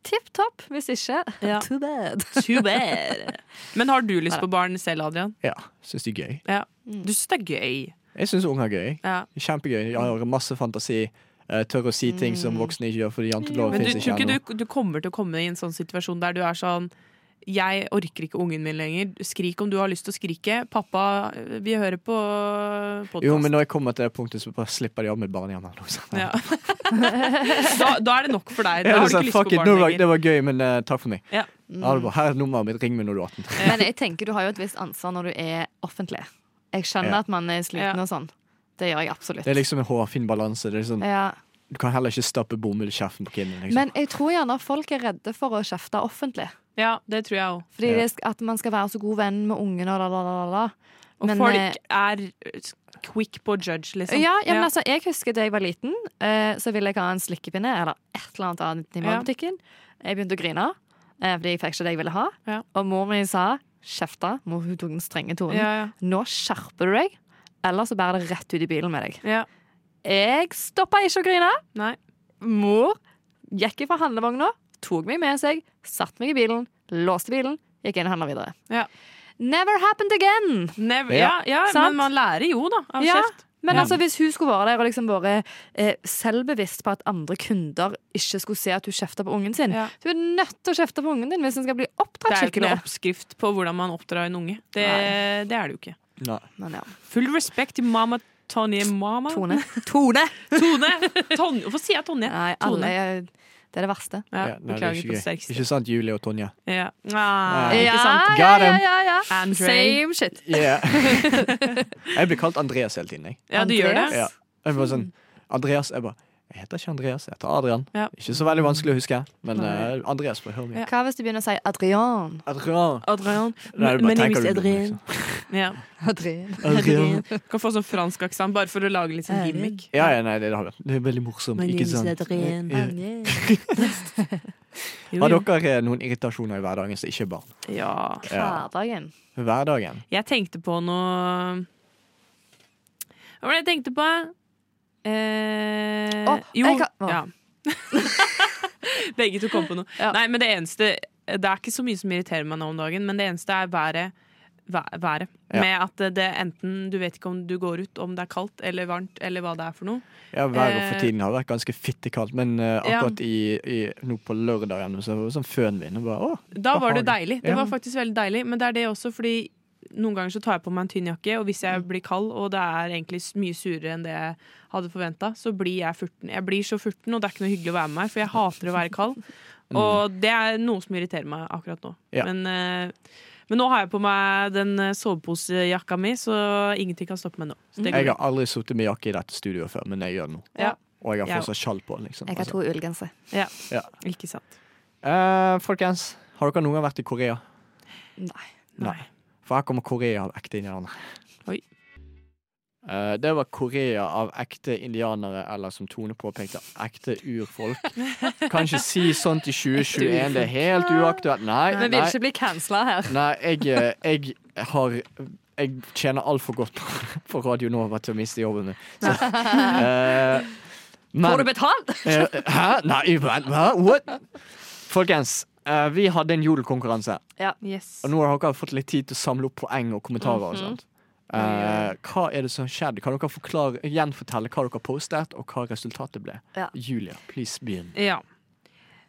Speaker 6: Tipp topp. Hvis ikke,
Speaker 5: Ja.
Speaker 6: too bad.
Speaker 5: Men har du lyst på barn selv, Adrian?
Speaker 4: Ja, Syns de er gøy.
Speaker 5: Ja. Du syns det er gøy.
Speaker 4: Jeg syns unger er gøy.
Speaker 5: Ja.
Speaker 4: Kjempegøy. Jeg
Speaker 5: Mm.
Speaker 4: har masse fantasi. eh, Tør å si ting som voksne ikke gjør, fordi janteloven
Speaker 5: Men du
Speaker 4: fins
Speaker 5: tror
Speaker 4: ikke
Speaker 5: ikke
Speaker 4: ennå.
Speaker 5: du, du kommer til å komme i en sånn situasjon der du er sånn jeg orker ikke ungen min lenger. Skrik om du har lyst til å skrike. Pappa, vi hører på podkast.
Speaker 4: Jo, men når jeg kommer til det punktet, så bare slipper de av med barnehjemmet. eller noe sånt.
Speaker 5: ja. da, da er det nok for deg.
Speaker 4: Ja,
Speaker 5: Da har
Speaker 4: så,
Speaker 5: du ikke lyst
Speaker 4: fuck
Speaker 5: på
Speaker 4: it, nå
Speaker 5: barn
Speaker 4: var, det
Speaker 5: lenger.
Speaker 4: var gøy, men eh, takk for meg.
Speaker 5: Ja.
Speaker 4: Ja, det var, her er nummeret mitt, ring meg når du er 18.
Speaker 6: Men jeg tenker du har jo et visst ansvar når du er offentlig. Jeg skjønner
Speaker 4: Ja.
Speaker 6: at man er sliten
Speaker 5: Ja.
Speaker 6: og sånn. Det gjør jeg absolutt.
Speaker 4: Det er liksom en hårfin balanse. Det er sånn,
Speaker 6: ja.
Speaker 4: du kan heller ikke stappe bomull i kjeften på kiden. Liksom.
Speaker 6: Men jeg tror gjerne folk er redde for å kjefte offentlig.
Speaker 5: Ja, det tror jeg òg.
Speaker 6: Fordi
Speaker 4: Ja.
Speaker 6: det sk- at man skal være så god venn med ungene og la, la, la, la, la.
Speaker 5: Og
Speaker 6: Men,
Speaker 5: folk
Speaker 6: eh,
Speaker 5: er quick på å judge, liksom.
Speaker 6: Ja, ja, men altså, jeg husker da jeg var liten, eh, så ville jeg ha en slikkepinne eller et eller annet annet i
Speaker 5: Ja.
Speaker 6: matbutikken. Jeg begynte å grine, eh, fordi jeg fikk ikke det jeg ville ha.
Speaker 5: Ja.
Speaker 6: Og mor mi sa kjefta. Mor hun tok den strenge tonen.
Speaker 5: ja, ja.
Speaker 6: Nå skjerper du deg, eller så bærer det rett ut i bilen med deg.
Speaker 5: ja.
Speaker 6: Jeg stoppa ikke å grine.
Speaker 5: Nei.
Speaker 6: Mor gikk fra handlevogna, tok meg med seg, satt meg i bilen, låste bilen, gikk inn og handla videre.
Speaker 5: Ja.
Speaker 6: Never happened again!
Speaker 5: Nev
Speaker 4: Ja.
Speaker 5: ja, ja,
Speaker 6: Sant.
Speaker 5: men man lærer jo, da. Av
Speaker 6: Ja.
Speaker 5: kjeft.
Speaker 6: Men
Speaker 4: Ja.
Speaker 6: altså, hvis hun skulle vært der og liksom vært eh, selvbevisst på at andre kunder ikke skulle se at hun kjefter på ungen sin
Speaker 5: Ja.
Speaker 6: Du er nødt til å kjefte på ungen din hvis den skal bli
Speaker 5: Det
Speaker 6: oppdratt
Speaker 5: er jo ikke
Speaker 6: skikkelig.
Speaker 5: noen oppskrift på hvordan man oppdrar en unge. Det, det er det jo ikke.
Speaker 4: Nei.
Speaker 6: Men ja.
Speaker 5: Full respekt til mamma Tonje. Mama
Speaker 6: Tone. Tone!
Speaker 5: Tone! Ton Hvorfor sier jeg Tonje?
Speaker 6: Nei,
Speaker 5: Tone.
Speaker 6: alle er- Det er det verste.
Speaker 5: Ja,
Speaker 4: Ja, nei, det er
Speaker 5: beklager
Speaker 4: ikke
Speaker 5: på det
Speaker 4: gøy.
Speaker 5: sterkeste.
Speaker 4: Ikke sant, Julie og Tonje?
Speaker 5: Ja.
Speaker 4: Ja,
Speaker 5: Ah, ikke
Speaker 6: ja,
Speaker 5: sant?
Speaker 4: Got
Speaker 6: ja,
Speaker 4: him.
Speaker 6: ja, ja.
Speaker 5: Andre.
Speaker 6: Same shit.
Speaker 4: Yeah. jeg blir kalt Andreas hele tiden. Jeg.
Speaker 5: Ja, du gjør det.
Speaker 6: Andreas?
Speaker 4: Ja. Jeg bare sånn, Andreas, jeg bare Jeg heter ikke Andreas, jeg heter Adrian.
Speaker 5: Ja.
Speaker 4: Ikke så veldig vanskelig å huske, men
Speaker 5: Nei.
Speaker 4: eh, Andreas på Hør meg.
Speaker 6: Hva hvis du begynner å si Adrian?
Speaker 4: Adrian.
Speaker 5: Adrian.
Speaker 4: Nei, du bare
Speaker 5: My name
Speaker 4: tenker
Speaker 5: is
Speaker 4: du det, liksom.
Speaker 5: Adrian. Ja.
Speaker 6: Adrian.
Speaker 4: Adrian.
Speaker 5: Kan få sånn fransk aksent, bare for å lage litt sånn
Speaker 6: Adrian.
Speaker 5: gimmick.
Speaker 4: Ja, ja, nei, det har vært Det er veldig morsomt.
Speaker 5: My name
Speaker 4: Ikke
Speaker 5: is
Speaker 4: sant?
Speaker 5: Adrian.
Speaker 4: Ja.
Speaker 5: Jo,
Speaker 4: Har
Speaker 5: jo.
Speaker 4: dere eh, noen irritasjoner i hverdagen som ikke er barn?
Speaker 5: Ja.
Speaker 4: Ja.
Speaker 6: Hverdagen.
Speaker 4: Hverdagen.
Speaker 5: Jeg tenkte på noe Hva var det jeg tenkte på? Eh,
Speaker 6: Å,
Speaker 5: jo,
Speaker 6: jeg kan- å.
Speaker 5: ja. Begge to kom på noe.
Speaker 6: Ja.
Speaker 5: Nei, men det eneste Det er ikke så mye som irriterer meg nå om dagen, men det eneste er været. væ- Været.
Speaker 4: Ja.
Speaker 5: Med at det enten Du vet ikke om du går ut, om det er kaldt eller varmt, eller hva det er for noe.
Speaker 4: Ja, Været for
Speaker 5: Eh.
Speaker 4: tiden har vært ganske fittekaldt, men eh,
Speaker 5: Ja.
Speaker 4: akkurat i, i, nå på lørdagen så var det sånn fønvind. og bare, Å,
Speaker 5: Da var det
Speaker 4: Behagelig.
Speaker 5: deilig. Det
Speaker 4: Ja.
Speaker 5: var faktisk veldig deilig. Men det er det også fordi noen ganger så tar jeg på meg en tynn jakke, og hvis jeg
Speaker 4: Mm.
Speaker 5: blir kald, og det er egentlig s- mye surere enn det jeg hadde forventa, så blir jeg furten. Jeg blir så furten, og det er ikke noe hyggelig å være med meg, for jeg hater å være kald. Og det er noe som irriterer meg akkurat nå.
Speaker 4: Mm. Ja.
Speaker 5: Men, eh, men nå har jeg på meg den eh, soveposejakka mi, så ingenting kan stoppe meg nå. Så det går
Speaker 4: Mm. Jeg
Speaker 5: bra.
Speaker 4: har aldri sittet med jakke i dette studioet før, men jeg gjør det nå.
Speaker 5: Ja.
Speaker 4: Og jeg har
Speaker 5: Ja.
Speaker 4: fortsatt skjall på. liksom.
Speaker 6: Jeg har
Speaker 4: Altså.
Speaker 6: to ullgensere.
Speaker 5: Ja.
Speaker 4: Ja.
Speaker 5: Ikke sant.
Speaker 4: Eh, folkens, har dere noen gang vært i Korea?
Speaker 6: Nei.
Speaker 5: Nei.
Speaker 4: For her kommer Korea av ekte indianere.
Speaker 5: Oi.
Speaker 4: Eh, det var Korea av ekte indianere, eller som Tone påpekte, ekte urfolk. Kan ikke si sånt i 2021, det er helt uaktuelt. Nei,
Speaker 6: Vi vil
Speaker 4: nei,
Speaker 6: ikke bli cancela her.
Speaker 4: nei jeg, eh, jeg har Jeg tjener altfor godt på Radio Nova til å miste jobben min. Så, eh, men-
Speaker 6: Får du betalt?
Speaker 4: Eh, Hæ? Nei, vent, hæ? What? Folkens, eh, vi hadde en jodelkonkurranse.
Speaker 5: Yes.
Speaker 4: Og nå har dere fått litt tid til å samle opp poeng og kommentarer.
Speaker 5: Mhm.
Speaker 4: og sånt. Eh, hva er det som har skjedd? Kan dere forklare, gjenfortelle hva dere postet, og hva resultatet ble?
Speaker 6: Ja.
Speaker 4: Julia, please begynn.
Speaker 5: Ja.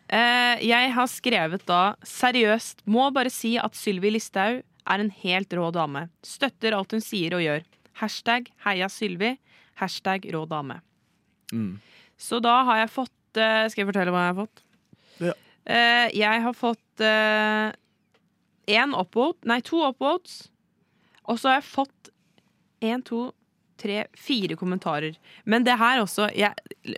Speaker 5: Eh, jeg har skrevet da seriøst må bare si at Sylvi Listhaug er en helt rå dame. Støtter alt hun sier og gjør. Hashtag heia Sylvi. Hashtag rå dame.
Speaker 4: Mm.
Speaker 5: Så da har jeg fått eh, Skal jeg fortelle hva jeg har fått?
Speaker 4: Ja.
Speaker 5: Eh, jeg har fått én upvote, nei to upvotes. Og så har jeg fått én, to, tre, fire kommentarer. Men det her også Jeg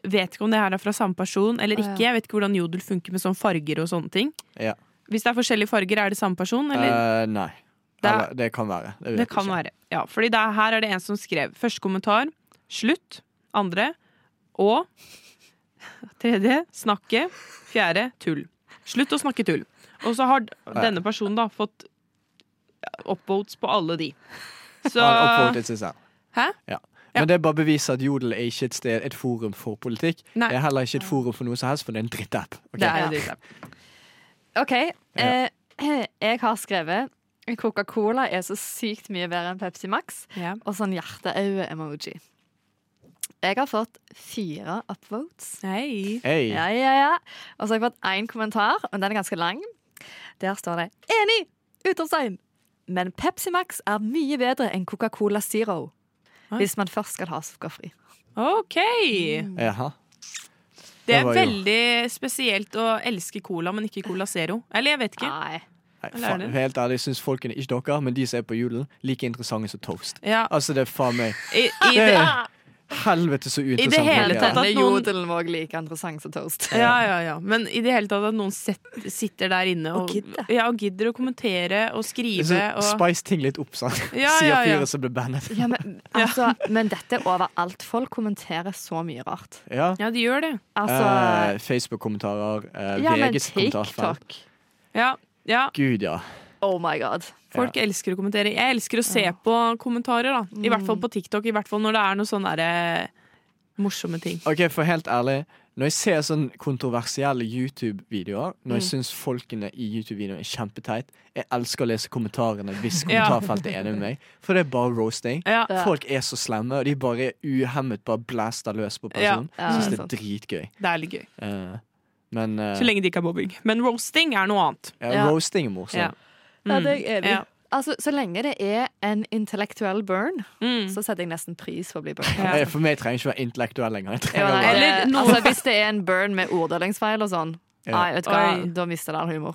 Speaker 5: vet ikke om det her er fra samme person eller
Speaker 6: Å, ja.
Speaker 5: ikke. Jeg vet ikke hvordan Jodel funker med sånne farger og sånne ting.
Speaker 4: Ja.
Speaker 5: Hvis det er forskjellige farger, er det samme person? Eller?
Speaker 4: Eh, nei.
Speaker 5: Det er-
Speaker 4: Eller, det kan være. vet
Speaker 5: Det
Speaker 4: jeg
Speaker 5: kan
Speaker 4: ikke.
Speaker 5: være. Ja, fordi det, er- her er det en som skrev første kommentar, slutt, andre, og tredje, snakke, fjerde, tull. Slutt å snakke tull. Og så har d- denne personen da fått upvotes på alle de. Så
Speaker 4: Han oppfordret seg selv.
Speaker 5: Hæ?
Speaker 4: Ja.
Speaker 5: Ja.
Speaker 4: Men det er bare beviser at Jodel er ikke et sted, et forum for politikk.
Speaker 5: Nei.
Speaker 4: Det er heller ikke et forum for noe som helst, for det er en drittapp. ok?
Speaker 5: Det er jo dritt.
Speaker 6: OK. Eh, jeg har skrevet Coca-Cola er så sykt mye bedre enn Pepsi Max.
Speaker 5: Ja.
Speaker 6: Og sånn hjerteøye-emoji. Jeg har fått fire upvotes.
Speaker 5: Hei.
Speaker 4: Hey.
Speaker 6: Ja, ja, ja. Og så har jeg fått én kommentar, og den er ganske lang. Der står det 'Enig!' utropstegn. Men Pepsi Max er mye bedre enn Coca-Cola Zero.
Speaker 5: Oi.
Speaker 6: Hvis man først skal ha sukkerfri.
Speaker 5: OK!
Speaker 4: Jaha.
Speaker 5: Det
Speaker 4: Det
Speaker 5: er
Speaker 4: var jo-
Speaker 5: veldig spesielt å elske cola, men ikke Cola Zero. Eller jeg vet ikke.
Speaker 6: Nei.
Speaker 4: Nei,
Speaker 5: Eller er
Speaker 4: faen,
Speaker 5: det?
Speaker 4: helt ærlig, jeg syns folkene, ikke dere, men de som er på julen, like interessante som Toast.
Speaker 5: Ja,
Speaker 4: Altså, det er faen meg
Speaker 5: i, i
Speaker 4: Det
Speaker 5: det,
Speaker 4: er helvete så uinteressant.
Speaker 5: hele
Speaker 4: det er.
Speaker 5: tatt, da.
Speaker 6: Denne
Speaker 5: at noen-
Speaker 6: jodelen var også like interessant som toast.
Speaker 5: Ja, ja, ja. Men i det hele tatt at noen set, sitter der inne og,
Speaker 6: Og gidder.
Speaker 5: ja, og gidder å kommentere og skrive.
Speaker 4: Så
Speaker 5: Og,
Speaker 4: Spice ting litt opp, sant?
Speaker 5: Ja,
Speaker 4: Sier
Speaker 5: ja, ja.
Speaker 4: fyret som ble bandet.
Speaker 6: Ja, men, altså, men dette er overalt. Folk kommenterer så mye rart.
Speaker 4: Ja.
Speaker 5: ja, de gjør det.
Speaker 6: Altså
Speaker 4: Eh, Facebook-kommentarer, eh,
Speaker 6: Ja, men
Speaker 4: VGs kommentarfelt.
Speaker 6: TikTok.
Speaker 5: Ja, ja.
Speaker 4: Gud, ja.
Speaker 6: Oh my god.
Speaker 5: Folk elsker å kommentere. Jeg elsker å se på kommentarer, da. I hvert fall på TikTok, i hvert fall når det er noe sånn derre morsomme ting.
Speaker 4: Ok, For helt ærlig, når jeg ser sånn kontroversielle YouTube-videoer, når jeg syns folkene i YouTube-videoen er kjempeteit, jeg elsker å lese kommentarene hvis
Speaker 5: Ja.
Speaker 4: kommentarfeltet er enig med meg, for det er bare roasting.
Speaker 5: Ja.
Speaker 6: Ja.
Speaker 4: Folk er så slemme, og de bare er uhemmet bare blaster løs på personen.
Speaker 6: Ja, ja,
Speaker 4: Syns det er
Speaker 6: sant.
Speaker 4: dritgøy.
Speaker 5: Det er litt gøy.
Speaker 4: Eh, men eh,
Speaker 5: Så lenge det ikke er mobbing. Men roasting er noe annet.
Speaker 4: ja,
Speaker 6: Ja.
Speaker 4: roasting er morsomt.
Speaker 5: Ja.
Speaker 6: Ja, det er jeg enig i.
Speaker 5: Ja.
Speaker 6: Altså, så lenge det er en intellektuell burn,
Speaker 5: Mm.
Speaker 6: så setter jeg nesten pris på å bli burn.
Speaker 5: Ja.
Speaker 4: Eh, For meg trenger ikke være intellektuell lenger. Jeg
Speaker 6: Jo,
Speaker 4: trenger
Speaker 6: nei,
Speaker 4: bare-
Speaker 6: det,
Speaker 5: Eller noe-
Speaker 6: altså, hvis det er en burn med orddelingsfeil og sånn,
Speaker 4: Ja.
Speaker 6: nei, vet du hva,
Speaker 5: Oi.
Speaker 6: da mister det all humor.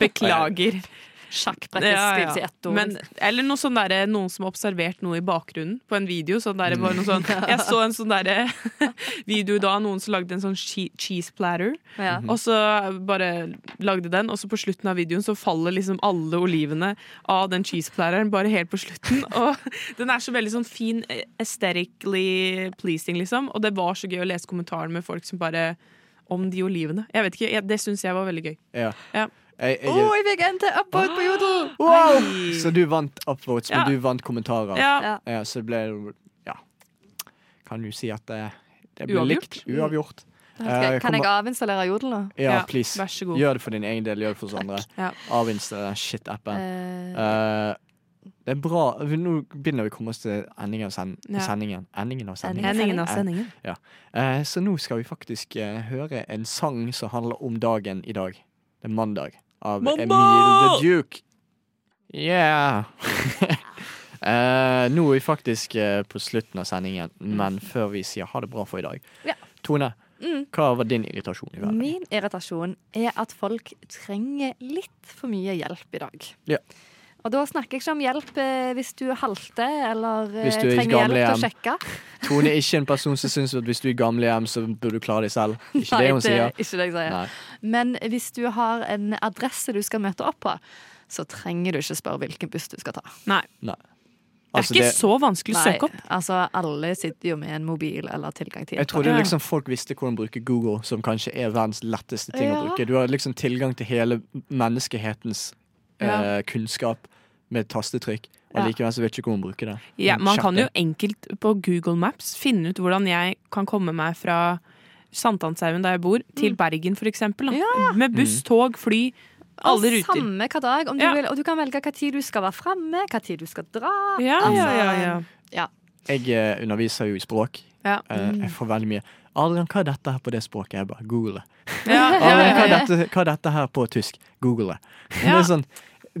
Speaker 5: Beklager.
Speaker 6: Sjakkbrettet skrives i ett ord.
Speaker 5: Men, eller noe sånn derre- noen som har observert noe i bakgrunnen på en video. Sånn derre bare noe sånn, jeg så en sånn derre video da noen som lagde en sånn che- cheese platter.
Speaker 6: ja.
Speaker 5: Og så bare lagde den, og så på slutten av videoen så faller liksom alle olivene av den cheeseplatteren bare helt på slutten. Og den er så veldig sånn fin, eh, aesthetically pleasing, liksom. Og det var så gøy å lese kommentaren med folk som bare om de olivene. Jeg vet ikke, jeg, Det syns jeg var veldig gøy.
Speaker 4: Ja.
Speaker 5: Ja.
Speaker 4: Jeg, jeg,
Speaker 6: Å, jeg fikk en til upvote på Jodel!
Speaker 4: wow!
Speaker 5: Oi.
Speaker 4: Så du vant upvotes, men
Speaker 5: Ja.
Speaker 4: du vant kommentarer.
Speaker 5: Ja,
Speaker 6: Ja.
Speaker 4: Ja, så det ble Ja. Kan du si at det, det ble
Speaker 5: Uavgjort?
Speaker 4: likt? Uavgjort. Eh,
Speaker 6: Kan jeg
Speaker 4: kommer-
Speaker 6: avinstallere Jodel, da?
Speaker 4: Ja,
Speaker 5: Ja,
Speaker 4: please.
Speaker 5: vær så god.
Speaker 4: Gjør det for din egen del, gjør det for oss andre.
Speaker 5: Ja.
Speaker 4: Avinstall den shit-appen.
Speaker 6: Eh,
Speaker 4: Eh, det er bra Nå begynner vi å komme oss til endingen av sen
Speaker 5: Ja.
Speaker 4: sendingen. Endingen av sendingen.
Speaker 5: Endingen av sendingen.
Speaker 4: Eh, så nå skal vi faktisk eh, høre en sang som handler om dagen i dag. Det er mandag. Av
Speaker 5: Mandag!
Speaker 4: Emil the Duke. Yeah. eh, nå er vi faktisk eh, på slutten av sendingen, men før vi sier ha det bra for i dag
Speaker 6: Mm. Ja.
Speaker 4: Tone,
Speaker 6: Mm.
Speaker 4: hva var din irritasjon i verden?
Speaker 6: Min irritasjon er at folk trenger litt for mye hjelp i dag.
Speaker 4: Ja.
Speaker 6: Og da snakker jeg ikke om hjelp eh, hvis du halter eller eh,
Speaker 4: Hvis du er i
Speaker 6: trenger hjelp til å
Speaker 4: gamlehjem.
Speaker 6: sjekke.
Speaker 4: Tone er ikke en person som syns at hvis du er i gamlehjem, så burde du klare deg selv. Ikke
Speaker 6: Nei,
Speaker 4: det hun sier.
Speaker 6: er ikke det jeg sier.
Speaker 4: Nei.
Speaker 6: Men hvis du har en adresse du skal møte opp på, så trenger du ikke spørre hvilken buss du skal ta.
Speaker 5: Nei. Det er
Speaker 4: Altså,
Speaker 5: ikke
Speaker 4: det,
Speaker 5: så vanskelig å søke opp.
Speaker 6: altså Alle sitter jo med en mobil eller tilgang til
Speaker 4: jeg trodde
Speaker 5: Ja.
Speaker 4: liksom folk visste hvordan bruke Google, som kanskje er verdens letteste ting å
Speaker 6: Ja.
Speaker 4: bruke. Du har liksom tilgang til hele menneskehetens eh,
Speaker 5: Ja.
Speaker 4: kunnskap med et tastetrykk, og
Speaker 6: Ja.
Speaker 4: likevel så vet du ikke hvordan bruke det. Mm.
Speaker 5: Ja, man kan jo
Speaker 4: Kjappe.
Speaker 5: enkelt på Google Maps finne ut hvordan jeg kan komme meg fra Sankthanshaugen, der jeg bor, til Bergen for eksempel. da. Med
Speaker 4: Mm.
Speaker 5: buss, tog, fly. Alle
Speaker 6: Og
Speaker 5: ruter.
Speaker 6: Samme hva dag, om du
Speaker 5: Ja.
Speaker 6: vil, og du kan velge hva tid du skal være framme, hva tid du skal dra.
Speaker 5: Ja,
Speaker 6: Altså,
Speaker 5: ja, ja, ja.
Speaker 4: Jeg eh, underviser jo i språk.
Speaker 5: Ja.
Speaker 4: Eh, jeg får veldig mye Adrian, hva er dette her på det språket? Jeg bare Google det.
Speaker 5: Ja, ja,
Speaker 4: Adrian, hva,
Speaker 5: ja,
Speaker 4: er
Speaker 5: ja.
Speaker 4: dette, hva er dette her på tysk? Google det. Det
Speaker 5: Ja.
Speaker 4: er sånn,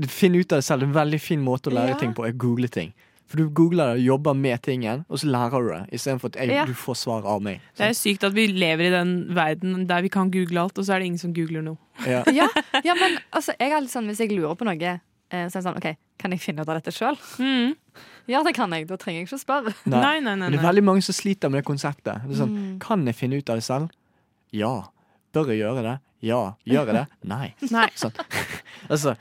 Speaker 4: Finn ut av det selv. Det er en veldig fin måte å lære
Speaker 6: Ja.
Speaker 4: ting på. er å google ting. For du googler det, jobber med tingen, og så lærer du det. Istedenfor at jeg,
Speaker 6: Ja.
Speaker 4: du får svar av meg.
Speaker 5: Det er jo sykt at vi lever i den verden der vi kan google alt, og så er det ingen som googler noe.
Speaker 4: Sånn. Ja.
Speaker 6: Ja, ja, men altså, jeg er litt sånn, hvis jeg lurer på noe, eh, så er det sånn OK, kan jeg finne ut av dette sjøl?
Speaker 5: Mm.
Speaker 6: Ja, det kan jeg. Da trenger jeg ikke å spørre. Mm.
Speaker 4: Nei.
Speaker 5: Nei, Mm. nei, nei.
Speaker 4: Men det er
Speaker 5: nei.
Speaker 4: veldig mange som sliter med det konseptet. Det er sånn, Kan jeg finne ut av det selv? Ja. Bør jeg gjøre det? Ja. Gjør jeg det? Nei.
Speaker 5: Nei.
Speaker 4: Sånn. altså,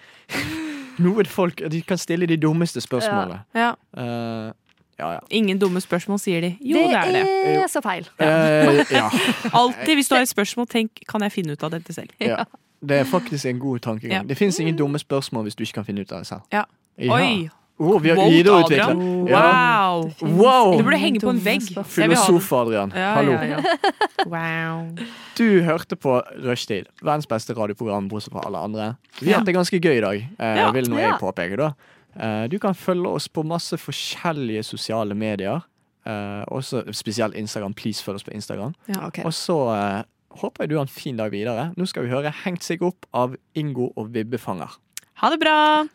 Speaker 4: noen folk de kan stille de dummeste spørsmålene.
Speaker 5: Ja.
Speaker 4: Eh, ja, ja.
Speaker 5: Ingen dumme spørsmål, sier de. Jo, det er det.
Speaker 6: er så feil.
Speaker 4: Eh, ja.
Speaker 5: Alltid hvis du har et spørsmål, tenk kan jeg finne ut av dette selv.
Speaker 4: ja. Det er faktisk en god tankegang.
Speaker 5: Ja.
Speaker 4: Det fins ingen dumme spørsmål hvis du ikke kan finne ut av det selv.
Speaker 5: Ja.
Speaker 4: Ja.
Speaker 5: Oi!
Speaker 4: Oh, vi har
Speaker 5: Quote,
Speaker 4: videreutvikla.
Speaker 5: Adrian.
Speaker 4: Ja.
Speaker 5: Wow!
Speaker 4: Wow!
Speaker 5: Du burde henge på en vegg. Jeg vil ha den.
Speaker 4: Filosof, Adrian.
Speaker 5: Ja,
Speaker 4: Hallo.
Speaker 5: ja, ja. Wow.
Speaker 4: Du hørte på Rushtid, verdens beste radioprogram bortsett fra alle andre. Vi har hatt det ganske gøy i dag, eh,
Speaker 5: Ja.
Speaker 4: vil nå jeg
Speaker 6: Ja.
Speaker 4: påpeke. da. Eh, du kan følge oss på masse forskjellige sosiale medier. Eh, også spesielt Instagram. Please følg oss på Instagram.
Speaker 6: Ok.
Speaker 4: Og så eh, håper jeg du har en fin dag videre. Nå skal vi høre 'Hengt seg opp' av Ingo og Vibbefanger.
Speaker 5: Ha det bra!